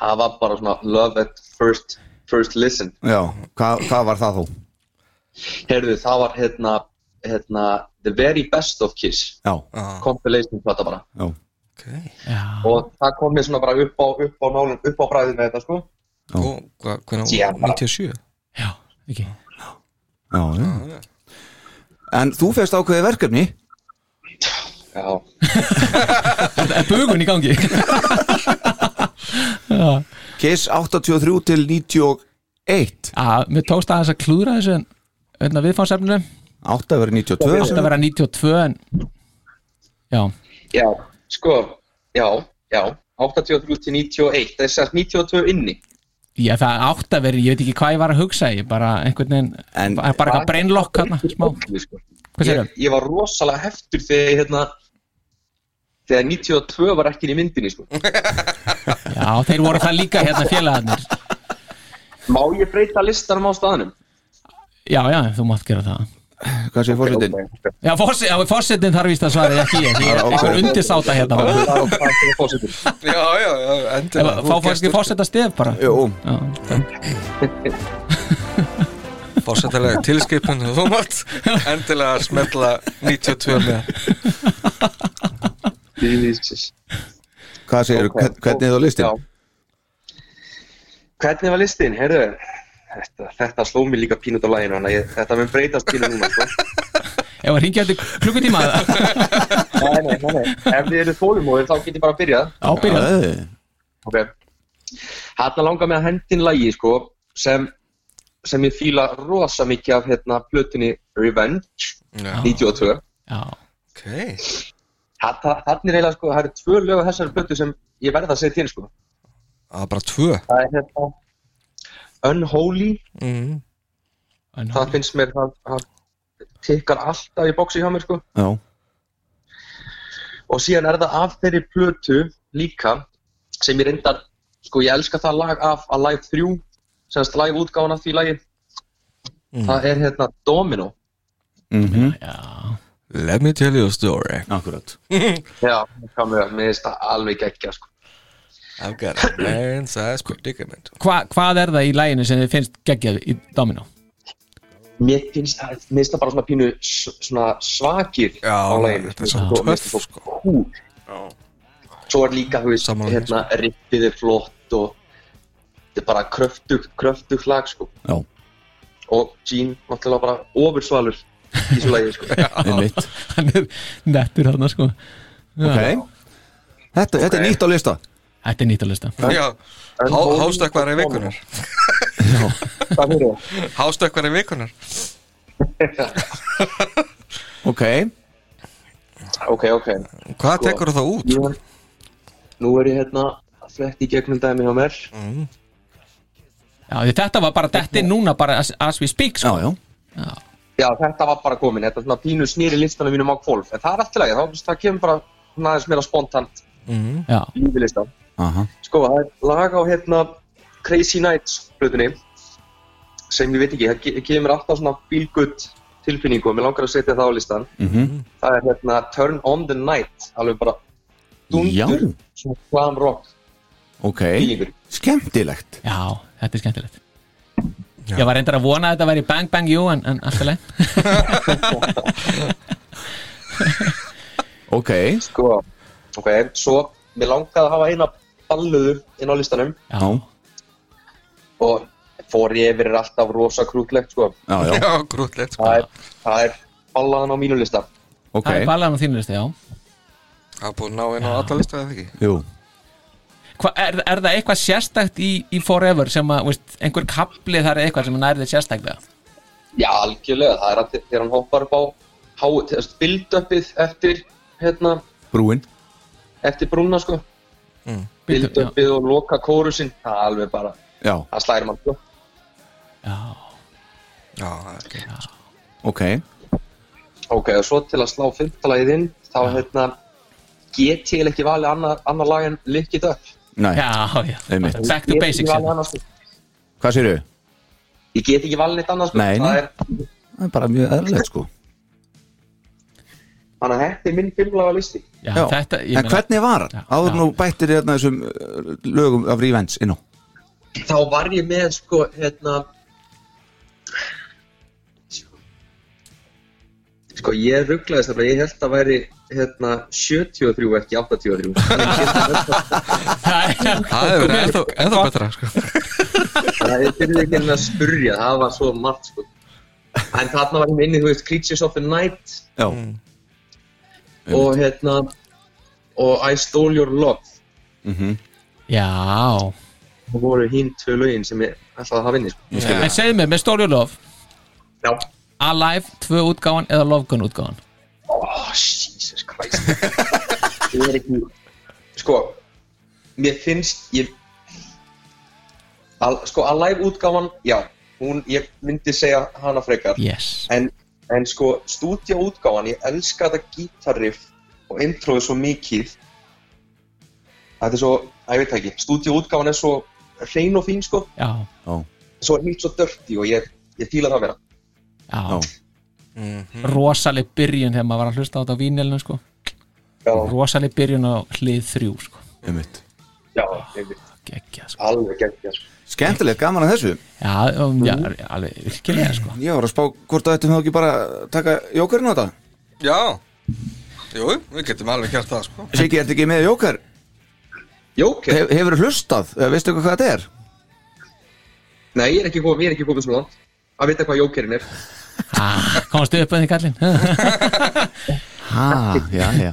Speaker 6: það var bara svona love at first, first listen.
Speaker 1: já, Hva, hvað var það þó?
Speaker 6: Heyrðu, það var hérna, hérna The Very Best of Kiss
Speaker 1: já,
Speaker 6: compilation plata bara
Speaker 1: já,
Speaker 2: okay.
Speaker 6: og það kom mér svona bara upp á, upp á nálum, upp á bræðið með þetta sko
Speaker 2: og hvað, hvernig,
Speaker 6: Já, bara-
Speaker 2: 97
Speaker 3: Já, ekki
Speaker 1: já, já. En þú fegst ákveðið verkefni
Speaker 6: Já,
Speaker 3: Það er bugun í gangi Já,
Speaker 1: Kiss 83 til 91
Speaker 3: Að, Mér tókst aðeins að klúðra þessu en hérna viðfánsefninu
Speaker 1: átt að vera 92
Speaker 3: átt að vera 92 en já,
Speaker 6: já, sko, já, já 83 til 91, það er sérst 92 inni
Speaker 3: já það átt að vera ég veit ekki hvað ég var að hugsa ég bara einhvern veginn,
Speaker 1: En-
Speaker 3: bara eitthvað brainlock hana, smá,
Speaker 6: Öllu, sko.
Speaker 3: hvað
Speaker 6: ég,
Speaker 3: segir
Speaker 6: ég var rosalega heftur þegar ég, hérna þegar 92 var ekki í myndinni sko
Speaker 3: Já, þeir voru það líka hérna félagarnir
Speaker 6: Má ég breyta listanum á staðnum?
Speaker 3: Já, já, þú mátt gera það
Speaker 1: Hvað segir fórsetin?
Speaker 3: Já, fórsetin þarf víst að svara ekki ég, ég er einhver undirsáta hérna bara.
Speaker 6: Þetta
Speaker 2: já, já, já, endilega
Speaker 3: Ef- Fá fórsetin fórseta stef bara
Speaker 1: Jú,
Speaker 3: Já,
Speaker 2: fórsetalega tilskipun og þú mátt endilega smetla 92 með
Speaker 1: hvað segir, okay. hvernig er það listin?
Speaker 6: Hvernig var listin? Heyrðu, þetta, þetta sló mér líka pínut á læginu hana. Ég, þetta mun breytast pínu núna sko.
Speaker 3: ef að ringja eftir klukkutíma
Speaker 6: nei, nei, nei, nei. Ef þið eru þólumóðir þá get ég bara að byrja
Speaker 3: Já,
Speaker 1: Já,
Speaker 3: byrja
Speaker 6: Ok Þarna langar mig að hendin lægi sko, sem, sem ég fíla rosa mikið af hérna, plötunni Revenge
Speaker 2: Já.
Speaker 6: 92
Speaker 3: Já,
Speaker 2: ok,
Speaker 6: Þarna þarna er eiginlega sko, það eru tvö lög af þessari plötu sem ég verða að segja til sko.
Speaker 2: að bara tvö
Speaker 6: Það er hérna Unholy
Speaker 2: mm.
Speaker 3: en-
Speaker 6: það finnst mér það, það tikkar alltaf í bóksi hjá mér sko
Speaker 1: já,
Speaker 6: og síðan er það af þeirri plötu líka sem ég reyndar sko ég elska það lag af Alive 3 semst live útgáðan af því lagi það er hérna Domino
Speaker 1: mhm,
Speaker 2: let me tell you a story
Speaker 1: akkurat
Speaker 6: já, hvað með, mér finnst það alveg geggja sko
Speaker 2: I've got a man size predicament
Speaker 3: Hva, Hvað er það í læginu sem þið finnst geggjað í Domino?
Speaker 6: mér finnst það, mér finnst það bara svona pínu s- svona svakir
Speaker 2: Já,
Speaker 6: á laginu
Speaker 2: þetta er
Speaker 6: sko.
Speaker 2: svo
Speaker 6: Og mér finnst
Speaker 2: töff,
Speaker 6: það svo cool. svo er líka þú veist,
Speaker 2: Sammála sko. því,
Speaker 6: hérna rippið er flott og þetta er bara kröftugt, kröftugt lag sko
Speaker 1: Já,
Speaker 6: og Gene náttúrulega bara ofursvalur í þessu lagi sko.
Speaker 1: einmitt
Speaker 3: Hann er nettur þarna sko
Speaker 1: Ok, þetta, þetta er nýtt á lista
Speaker 3: Þetta er nýtt að lista
Speaker 2: já, há- hástökkvari vikunar
Speaker 6: Það fyrir það.
Speaker 2: hástökkvari vikunar
Speaker 1: Ok,
Speaker 6: ok, ok
Speaker 2: hvað
Speaker 6: Sko.
Speaker 2: tekur það út?
Speaker 6: Nú er- nú er ég hérna að fletta í gegnum dæmi hjá mér
Speaker 3: Já, því þetta var bara, þetta er núna bara as, as we speak
Speaker 1: já,
Speaker 3: sko.
Speaker 1: já
Speaker 6: já þetta var bara komin, þetta er svona pínu snýri listanum mínum á kvolf, en það er alltaf lagi þá það kemur bara svona aðeins meira spontant
Speaker 1: Mhm.
Speaker 3: Já,
Speaker 6: lífið listan
Speaker 1: Aha.
Speaker 6: sko, það er lag á hérna Crazy Nights hlutinni sem ég veit ekki, það ge- gefur mér alltaf svona bílgutt tilfinningu og mér langar að setja það á listan
Speaker 1: Mhm.
Speaker 6: það er hérna Turn on the Night alveg bara
Speaker 1: Já.
Speaker 6: dundur svona glam rock
Speaker 1: Ok,
Speaker 6: bílingur
Speaker 1: skemmtilegt
Speaker 3: já, þetta er skemmtilegt Ég var reyndar að vona að þetta væri bang bang you en, en alltaf leið
Speaker 1: Ok,
Speaker 6: sko, ok, svo mér langaði að hafa eina balluður inn á listanum
Speaker 3: Já,
Speaker 1: já,
Speaker 6: og fór ég yfir er alltaf rosa krútlegt sko,
Speaker 1: já, já,
Speaker 2: já, grútlegt sko.
Speaker 6: það er, það er ballaðan á mínu lista
Speaker 1: ok
Speaker 3: það er ballaðan á þínu listi, já
Speaker 2: það er búin að ná inn á alla listu eða ekki
Speaker 1: Jú,
Speaker 3: Hva, er, er það eitthvað sérstakt í, í Forever sem að, veist, einhver kapli þar er eitthvað sem nærðið sérstaklega
Speaker 6: já, algjörlega, það er að þegar hann hoppar upp á háu, þess build-upið eftir hérna,
Speaker 1: brúin
Speaker 6: eftir brúna sko
Speaker 3: Mm, já,
Speaker 6: build-upið og loka kórusinn það er alveg bara,
Speaker 1: Já,
Speaker 6: það slæðir mann sko.
Speaker 3: já,
Speaker 2: já, það er ekki
Speaker 1: ok,
Speaker 6: ok, og svo til að slá fimmtalagið inn þá hérna get ég ekki valið annar, annar lag en lick it up
Speaker 1: næ,
Speaker 3: já, já.
Speaker 1: Einmitt.
Speaker 3: Back to
Speaker 6: Get ekki
Speaker 3: basics
Speaker 6: valið
Speaker 3: hérna.
Speaker 6: annað, sko.
Speaker 1: hvað sérðu?
Speaker 6: ég get ekki valið neitt annars sko.
Speaker 1: Nei,
Speaker 6: það
Speaker 1: nei.
Speaker 6: er,
Speaker 1: Það er bara mjög eðlilegt sko
Speaker 6: þannig að þetta er minn fimmlaga listi
Speaker 3: já,
Speaker 1: Já.
Speaker 3: þetta, ég
Speaker 1: En
Speaker 3: meina-
Speaker 1: hvernig var
Speaker 3: Já,
Speaker 1: hann? Áður
Speaker 3: já.
Speaker 1: nú bættir hérna þessum uh, lögum af Revenge inn á
Speaker 6: þá var ég með sko hérna Sko, ég rugglaðist að ég held að væri hérna, 73 ekki 83 Ég get
Speaker 2: Það er verið ennþá- ennþá betra sko.
Speaker 6: það er fyrir ekki að spurja, það var svo margt sko. en þarna var ég inni, þú veist, Creatures of the Night
Speaker 1: Já,
Speaker 6: og hérna og I Stole Your Love
Speaker 3: Já
Speaker 6: það voru hín tvö lögin sem ég ætlaði að hafa inni sko.
Speaker 3: En segðu mér, með Story of Love
Speaker 6: Já,
Speaker 3: Alive, tvö útgáfan eða Love Gun útgáfan
Speaker 6: oh, Jesus Christ Ég er ekki sko, mér finnst ég al, sko, Alive útgáfan, já hún, ég myndi segja hana frekar
Speaker 3: Yes
Speaker 6: en, en sko, stúdíu útgáfan ég elska þetta gítarriff og introið svo mikið þetta er svo, að ég veit það ekki stúdíu útgáfan er svo hrein og fín sko,
Speaker 3: Já,
Speaker 6: svo nýtt svo dörti og ég, ég fíla það vera
Speaker 3: já, Rosaleg byrjun þegar maður var að hlusta á þetta á vínelinu sko
Speaker 6: já,
Speaker 3: Rosaleg byrjun á hlið þrjú sko
Speaker 1: einmitt
Speaker 6: já, einmitt,
Speaker 3: Gekkja sko
Speaker 6: alveg geggjast
Speaker 1: Skemmtilegt, gaman að þessu
Speaker 3: Já, um, já alveg virkilega sko
Speaker 1: Ég var að spá hvort að þetta með ekki bara taka jókarinn á þetta
Speaker 2: Já Jú, við getum alveg gert það sko.
Speaker 1: Siggi, ertu ekki með jókar?
Speaker 6: Jóker?
Speaker 1: Hef, hefur hlustað, eða veistu eitthvað hvað þetta er?
Speaker 6: Nei, ég er ekki komið, ég er ekki komið svona langt að vita hvað jókerinn er
Speaker 3: ah, Komstu upp að því kallinn
Speaker 1: Ha, já, já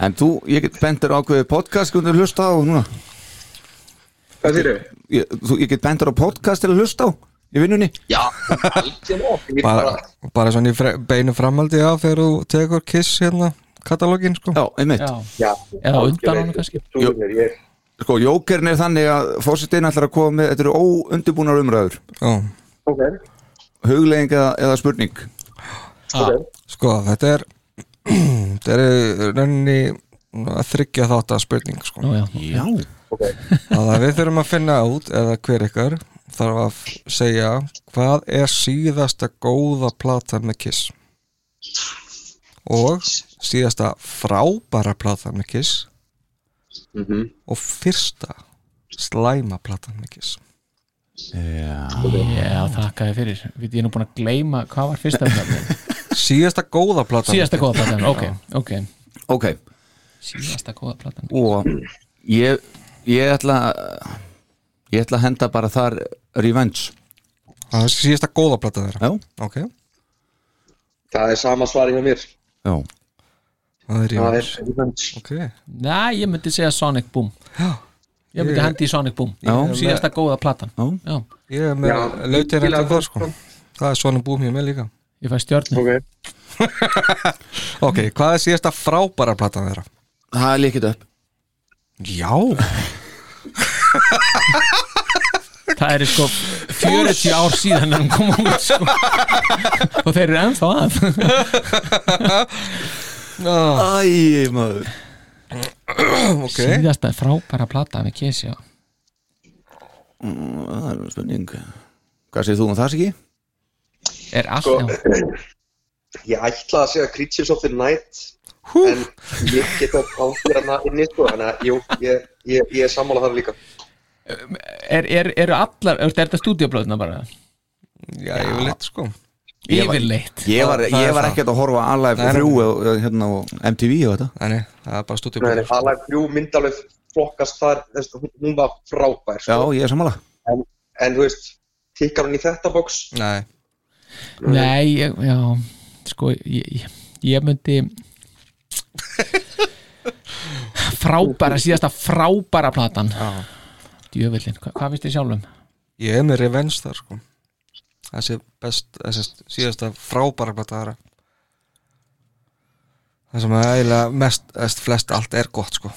Speaker 1: En þú, ég get bentur ákveðið podcast hvernig þú hlusta á núna
Speaker 6: Hvað þeir eru?
Speaker 1: Ég, þú, ég get bentur á podcast til að hlusta á í vinnunni
Speaker 6: Já, algjörlega Ég
Speaker 2: bara,
Speaker 6: bara,
Speaker 2: bara svona í fre, beinu framhaldi af þegar þú tekur kiss hérna katalógin sko.
Speaker 1: Já, einmitt
Speaker 3: Já,
Speaker 6: já
Speaker 3: Eða á undan
Speaker 6: algjörlega,
Speaker 3: honum kannski.
Speaker 6: trúir mér, ég-
Speaker 1: Sko, jókarinn er þannig að fórsetin ætlar að koma með Þetta eru óundibúnar umræður
Speaker 2: Já.
Speaker 6: Ok,
Speaker 1: Huglegging eða, eða spurning
Speaker 6: ok
Speaker 2: Sko, þetta er þetta er í rauninni að þryggja þátt að spurning sko.
Speaker 3: nú já
Speaker 1: Já
Speaker 2: að við þurfum að finna út eða hver ykkar þarf að f- segja hvað er síðasta góða plata með kiss og síðasta frábæra plata með kiss
Speaker 6: Mhm.
Speaker 2: og fyrsta slæma plata með kiss
Speaker 3: Já, þakka þér fyrir Við ég er nú búin að gleyma hvað var fyrsta platan
Speaker 2: síðasta góða plata
Speaker 3: Síðasta góða platan, ok, ok
Speaker 1: Ok,
Speaker 3: Síðasta góða platan
Speaker 1: og ég, ég ætla ég ætla að henda bara þar revenge
Speaker 2: Það er Ah, síðasta góða plata þeirra
Speaker 1: já,
Speaker 2: Ok,
Speaker 6: Það er sama svari hjá mér
Speaker 1: já,
Speaker 2: það er
Speaker 6: Það
Speaker 2: ég
Speaker 6: er Revenge.
Speaker 2: Ok,
Speaker 3: Næ, ég myndi segja Sonic Boom Ég myndi
Speaker 2: Ég-
Speaker 3: hendi í Sonic Boom
Speaker 1: Já.
Speaker 3: Síðasta góða platan
Speaker 1: já.
Speaker 3: Já,
Speaker 2: ég er með
Speaker 6: Já,
Speaker 2: lautir
Speaker 6: ég fíla
Speaker 2: eftir það
Speaker 6: það,
Speaker 2: sko Það er svona búið mér með líka
Speaker 3: ég fæ stjörnu
Speaker 6: Ok,
Speaker 2: Ok, hvað er síðasta frábæra plata þeirra?
Speaker 1: það er líkit upp
Speaker 2: Já
Speaker 3: Það er sko 40 ár síðan en hún kom út sko. og þeir eru ennþá að
Speaker 1: æj, maður
Speaker 2: Ok,
Speaker 3: Síðasta frábæra plata með Kiss, já
Speaker 1: það er spurning hvað segir þú um það, Siki?
Speaker 3: Er allt,
Speaker 6: sko
Speaker 3: já
Speaker 6: Ég ætlaði að segja Creatures of the Night En ég get að áfyrir hana inni sko Þannig að, jú, ég, ég, ég er sammála það líka
Speaker 3: er, er, Eru allar, er þetta stúdíoblöðna bara?
Speaker 2: já, ég vil eitt sko
Speaker 1: Ég var-
Speaker 3: Yfirleitt
Speaker 1: ég var,
Speaker 2: Það- það
Speaker 1: ég
Speaker 2: er
Speaker 1: var
Speaker 2: það.
Speaker 1: ekkert að horfa á Alive
Speaker 2: Það er
Speaker 1: 3 og, og, hérna, og MTV og þetta
Speaker 2: Þannig, það er bara stúdíu
Speaker 6: Þannig að Alive 3 myndalöf flokkast þar þess, hún- Hún var frábær
Speaker 1: já,
Speaker 6: sko.
Speaker 1: ég er sammála
Speaker 6: En þú veist, tikkar hún í þetta box
Speaker 2: Nei,
Speaker 3: Nei, ég, já sko, ég, ég- ég myndi frábæra, síðasta frábæra platan
Speaker 2: Já.
Speaker 3: djöfullin, Hva, hvað finnst þið sjálfum?
Speaker 2: ég er með revenge þar sko Það sé best, þessi síðasta frábæra plata þeirra Það sem er eiginlega mest, mest flest allt er gott sko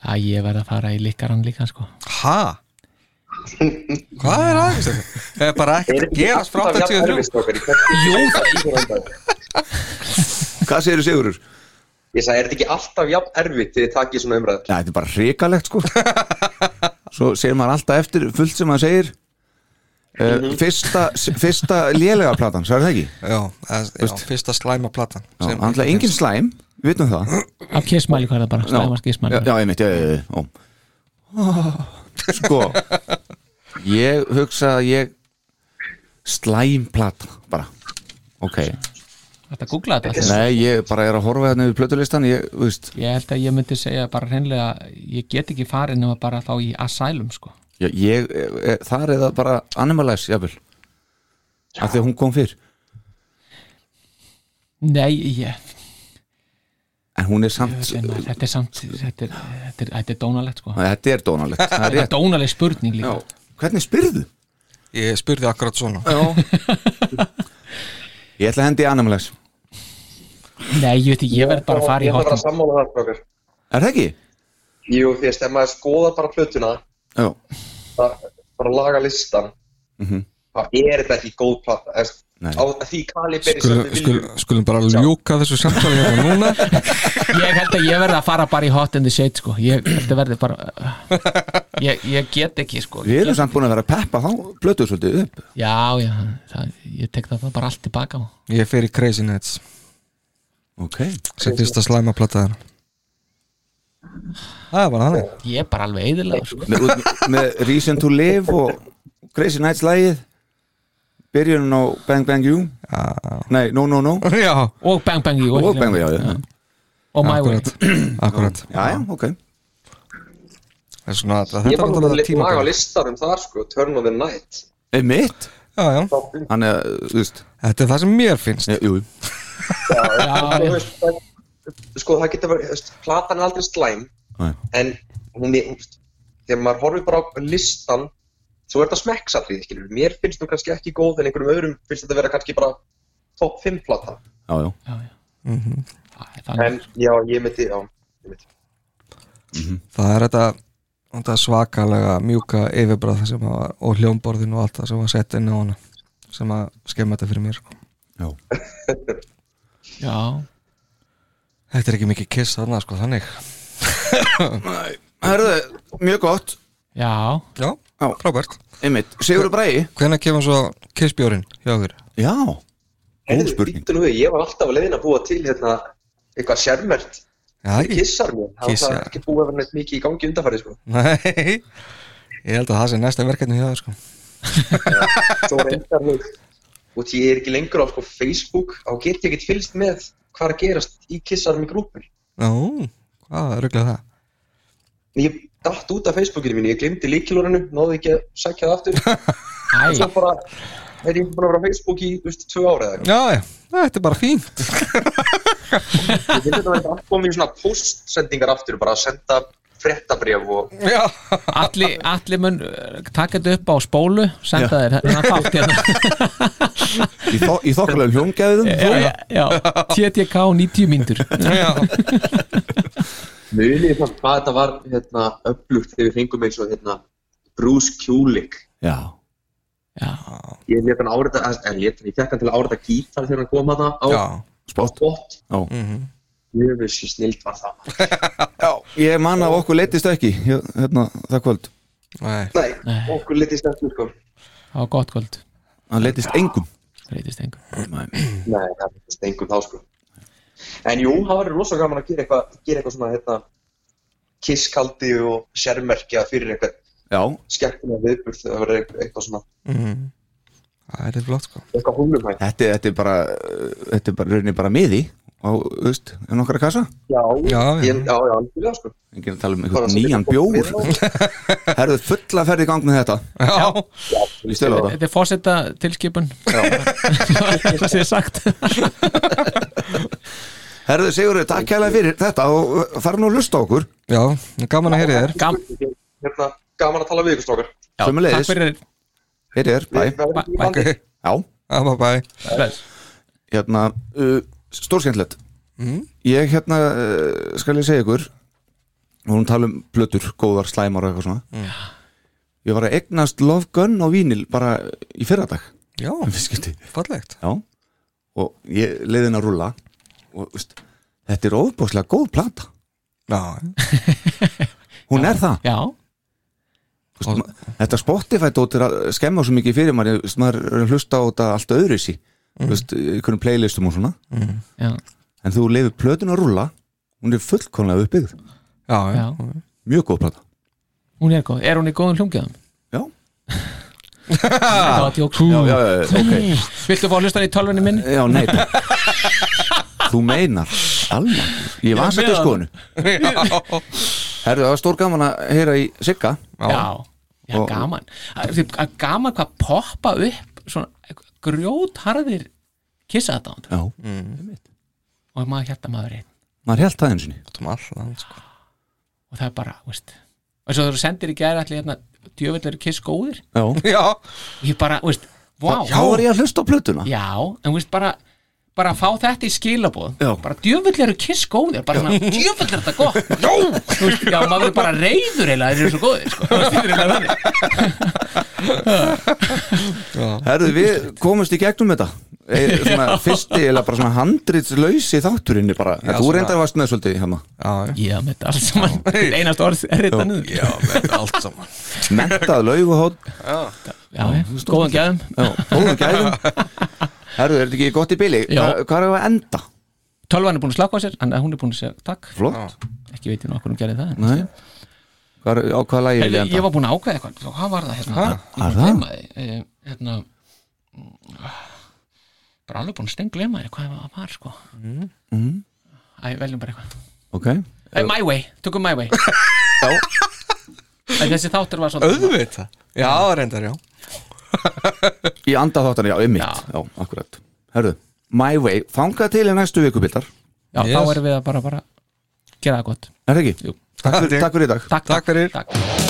Speaker 3: Æ, ég verð að fara í likaran líka sko.
Speaker 2: Hæ? Hvað er aðeins þetta? Það er bara ekkert að gerast frá 83
Speaker 6: Jú, það
Speaker 1: hvað segir Sigurur?
Speaker 6: Ég sagði, er þetta ekki alltaf jafn erfitt þegar þið takið svona umræður?
Speaker 1: Já, þetta er bara hrikalegt sko svo segir maður alltaf eftir fullt sem maður segir Uh, fyrsta, fyrsta lélega platan, sagði það ekki?
Speaker 2: Já, það- já, fyrsta slæma platan
Speaker 1: Já, Þannig að engin slæm, við vitum það
Speaker 3: af kissmæli hvað er það bara,
Speaker 1: já,
Speaker 3: slæmast kissmæli
Speaker 1: já, einmitt, já, já, já, já. Ó. Sko Ég hugsa að ég Slæm plata bara Ok
Speaker 3: Þetta googla þetta
Speaker 1: Nei, ég bara er að horfa hérna yfir plötulistan Ég, þú veist,
Speaker 3: Ég held að ég myndi segja bara hreinlega ég get ekki farið nema bara þá í asylum sko.
Speaker 1: ég, ég e, þar er það bara animalize, jafnvel Af því að hún kom fyrr
Speaker 3: Nei, ég,
Speaker 1: En hún er samt,
Speaker 3: en maður, þetta er samt þetta er, þetta er, þetta er dónalegt sko.
Speaker 1: þetta er dónalegt Það er
Speaker 3: Þetta er
Speaker 1: rétt
Speaker 3: dónaleg spurning líka
Speaker 1: Já. Hvernig spyrðu?
Speaker 2: Ég spurði akkurat svona
Speaker 1: Ég ætla að hendi í animalize
Speaker 3: Nei, ég veit ekki, ég verð bara að fara í
Speaker 6: Ég ætla að vera
Speaker 3: hotum
Speaker 6: að sammála þar, Brókar.
Speaker 1: Er það ekki?
Speaker 6: Jú, því að ef maður skoðar bara plötuna,
Speaker 1: Já,
Speaker 6: það, bara laga listan,
Speaker 1: Mhm.
Speaker 6: þá er þetta ekki góð plata. þú veist,
Speaker 1: Nei.
Speaker 6: Á því kaliberi
Speaker 2: Skulum, skulum, skulum bara ljúka þessu samtali hérna núna
Speaker 3: Ég held að ég verð að fara bara í hot in the shade sko. Ég held að verði bara uh, ég, ég get ekki sko.
Speaker 1: við erum samt búin að vera að peppa þá plötu svolítið upp
Speaker 3: Já, já, það, ég tek það bara allt tilbaka
Speaker 2: Ég fer í Crazy Nights
Speaker 1: Ok
Speaker 2: sem fyrsta slæma plataðar Það var þannig
Speaker 3: Ég er bara alveg eðilega sko.
Speaker 1: með, út- með Reason to Live og Crazy Nights lagið byrjunum á Bang Bang You nei, No No No
Speaker 2: Já,
Speaker 3: Og bang bang you
Speaker 1: og Bang Bang You já, já.
Speaker 3: Og my way
Speaker 2: akkurat, akkurat.
Speaker 1: já, já, ok
Speaker 2: Það er svona, þetta
Speaker 6: Ég
Speaker 2: er
Speaker 6: var
Speaker 2: alltaf
Speaker 6: með
Speaker 2: tíma
Speaker 6: laga listarum þar, sko, Turn of the Night.
Speaker 1: er mitt,
Speaker 2: já, já.
Speaker 1: hann er, þú veist
Speaker 2: Þetta er það sem mér finnst
Speaker 1: jú, jú.
Speaker 3: Já,
Speaker 6: Þú
Speaker 3: já.
Speaker 6: veist, það- Sko, það getur verið, þú veist, platan er aldrei slæm,
Speaker 1: Nei.
Speaker 6: en hún er, þú veist, þegar maður horfir bara á listan, svo er þetta smekksatrið, skilur. Mér finnst þú kannski ekki góð, en einhverjum öðrum finnst þetta vera kannski bara top 5 plata.
Speaker 1: já, já,
Speaker 3: já, já. Það er
Speaker 6: En,
Speaker 3: þannig.
Speaker 6: já, ég myndi, já, ég myndi.
Speaker 2: Það er þetta þetta svakalega mjúka yfirbræð sem að, og hljómborðin og allt það sem var sett inn á hana sem að skemma þetta fyrir mér sko.
Speaker 1: já.
Speaker 3: Já,
Speaker 2: Þetta er ekki mikið kiss þarna sko, þannig
Speaker 1: Herðu, mjög gott
Speaker 3: já
Speaker 2: Já, frábært
Speaker 1: einmitt, Sigur Bræði
Speaker 2: Hvenær kemur svo kissbjórin hjá okkur?
Speaker 1: já, góð
Speaker 6: Heyrðu,
Speaker 1: spurning
Speaker 6: bíddu nú við, ég var alltaf að leiðin að búa til hérna eitthvað sérmert
Speaker 2: Já, ekki
Speaker 6: kissar mér, það var
Speaker 2: Kissar.
Speaker 6: það ekki búið að vera neitt mikið í gangi undanfæri sko.
Speaker 2: Nei Ég held að það sé næsta verkefni hjá þér sko.
Speaker 6: Svo reyndar mig og því ég er ekki lengur á sko, Facebook þá get ég ekkert fylgst með hvað er að gerast í kissarum í grúpur.
Speaker 2: Nú, hvað er rugglega það?
Speaker 6: Ég datt út af Facebookinu mínu, ég glemdi líkilorinu, náði ekki að sækja það aftur og svo
Speaker 3: Æ,
Speaker 6: bara er ég búin að vera á Facebook í, þú veist, tvö ára eða eitthvað.
Speaker 2: Já, já, þetta er bara fínt
Speaker 6: Ég finnst þetta að þetta komið í svona postsendingar aftur, bara að senda fréttabref og
Speaker 2: Já,
Speaker 3: allir alli mun uh, taka þetta upp á spólu senda þér þennan þátt hérna
Speaker 1: í, þó, í þokkulega hljóngæðum
Speaker 3: Já, já, já, TTK 90 mínútur
Speaker 2: já
Speaker 6: Munið það hvað þetta var hérna, upplugt þegar við fengum eins og hérna, Bruce Kulick.
Speaker 1: já,
Speaker 3: Já,
Speaker 6: Ég leta hann árita, en ég, ég fekk hann til að árita gítar þegar hann kom að það á
Speaker 2: Já,
Speaker 1: spott
Speaker 6: bótt.
Speaker 1: Já.
Speaker 6: Ég veist ég snilt var það.
Speaker 1: já, ég man að okkur leittist ekki hér- hérna, það kvöld,
Speaker 2: nei
Speaker 6: Nei, okkur litið stendur sko.
Speaker 3: það var gott kvöld
Speaker 1: hann leittist engum
Speaker 3: reytist engum
Speaker 1: Nei.
Speaker 6: Nei, það er stengum þá sko. En jú, það var rosalega gaman að gera eitthvað, gera eitthvað svona hérna, kisskaldi og sérmerkja fyrir eitthvað
Speaker 1: já,
Speaker 6: skemmtilega viðburð það verður eitthvað, eitthvað svona,
Speaker 2: Það er flott sko
Speaker 6: eitthvað húnumhægt.
Speaker 1: þetta, þetta er bara uh, þetta er bara rauninni bara miði á, þú veist, en okkar kassa
Speaker 6: Já,
Speaker 2: Já, já.
Speaker 6: ég, já, já, alveg sko.
Speaker 1: Enginn að tala um
Speaker 6: Bara
Speaker 1: einhvern
Speaker 6: setja
Speaker 1: nýjan
Speaker 6: fólk
Speaker 1: bjór
Speaker 6: við á.
Speaker 1: Herðu fulla ferð í gang með þetta
Speaker 2: Já,
Speaker 1: Ég stel á það
Speaker 3: Þetta er fósetta tilskipun Það sé sagt
Speaker 1: Herðu Sigurður, takk kælega fyrir þetta og uh, fara nú að hlusta á okkur
Speaker 2: já, gaman að heyri þér
Speaker 3: Gam,
Speaker 6: hérna, gaman að tala við ykkur strókar
Speaker 1: Sömu
Speaker 3: Takk
Speaker 1: leiðis,
Speaker 3: fyrir
Speaker 1: hér er, bæ
Speaker 6: Við verðum í
Speaker 3: Bye.
Speaker 6: bandi.
Speaker 1: Já,
Speaker 2: Já, bye bye
Speaker 3: Bless.
Speaker 1: hérna, uh, stórskendlet Ég hérna, uh, skal ég segja ykkur Við vorum að tala um plötur, góðar, slæmar og eitthvað svona Ég var að eignast Love Gun og vínil bara í fyrradag
Speaker 2: Já,
Speaker 1: Viskipti
Speaker 2: fallegt
Speaker 1: Já, og ég leiðin að rúlla og veist, þetta er óbúslega góð plata
Speaker 2: Já,
Speaker 1: Hún er það
Speaker 3: Já,
Speaker 1: Þú veist, ma- Þetta Spotify dót er að skemma svo mikið fyrir maður, þú veist, maður er að hlusta á þetta allt öðru sí, mm. veist, í einhvern playlistum og svona,
Speaker 3: já,
Speaker 1: en þú lefur plötun að rúlla, hún er fullkomlega uppbyggð,
Speaker 2: já,
Speaker 3: já
Speaker 2: já.
Speaker 1: mjög góð plata
Speaker 3: Hún er góð, er hún í góðum hlungjaðum?
Speaker 1: Já,
Speaker 3: Það var djóks
Speaker 1: Já, já, já, ok
Speaker 3: Viltu fá að hlusta hann í tölvunni minni?
Speaker 1: Já, nei takk. Þú meinar Alveg, ég var satt í
Speaker 3: með
Speaker 1: skoðinu Herðu, það var stór gaman að heyra í Sigga
Speaker 3: Já, já
Speaker 1: Og-
Speaker 3: gaman Það er því- að Gaman hvað poppa upp svona grjótharðir kissa þetta
Speaker 1: Já,
Speaker 3: og maður hjarta maður einn
Speaker 1: maður held það einu sinni
Speaker 2: Út um allt land, sko.
Speaker 3: og það er bara, veist og svo þú sendir í gæri allir hérna djöfellir kiss góðir
Speaker 1: Já,
Speaker 2: Já,
Speaker 3: og ég bara, veist, wow
Speaker 1: þá var ég að hlusta á plötuna
Speaker 3: Já, en veist bara bara að fá þetta í skilabóð
Speaker 1: Já.
Speaker 3: bara djöfull eru kiss góðir bara svona djöfull er þetta gott já. Veist, já, maður er bara reyður eða þeir eru svo góðir sko. Þú veist, þetta er bara þannig.
Speaker 1: Herðu, við komumst í gegnum þetta Eh, svona, Fyrsti, eða bara svona handritslausi þátturinni bara En Þú
Speaker 2: svona-
Speaker 1: reyndar að vastnaði svolítið hérna
Speaker 2: já,
Speaker 3: Já, með þetta allt saman einast orð er þetta niður
Speaker 2: já, með allt saman.
Speaker 1: Mentað lauguhótt
Speaker 3: Já, já, góðan gæðum
Speaker 1: Góðum gæðum Herðu, er þetta ekki gott í bili?
Speaker 3: Já.
Speaker 1: Hva- Hvað er að enda?
Speaker 3: Tölvan er búin að slaka á sér, en hún er búin að segja takk
Speaker 1: Flott
Speaker 3: ekki veit ég nú okkur hún gerði það en-
Speaker 1: Nei Hvað er, á hvaða lagi vil ég
Speaker 3: Heyrðu, Ég
Speaker 1: enda?
Speaker 3: var búin að ákveða eitthvað, svo hvað var það hérna? Ég
Speaker 1: Var
Speaker 3: var
Speaker 1: það?
Speaker 3: búin að gleyma því, eh, hérna mm, bara alveg búin að steng gleyma því hvað það var sko Æ, veljum bara eitthvað
Speaker 1: Ok
Speaker 3: Æ, Eh, My Way, tökum My Way Æ, Þessi þáttur var svona
Speaker 2: Auðvitað. Já, reyndar, já.
Speaker 1: Í anda þáttan, já, einmitt
Speaker 3: Já.
Speaker 1: Já, akkurat Herðu, My Way, þangað til í næstu vikubildar
Speaker 3: Já,
Speaker 2: Yes.
Speaker 3: þá erum við að bara, bara gera það gott
Speaker 1: Er það ekki?
Speaker 3: Jú.
Speaker 1: Takk fyrir, takk fyrir í dag
Speaker 3: Takk,
Speaker 2: Takk fyrir.
Speaker 3: takk.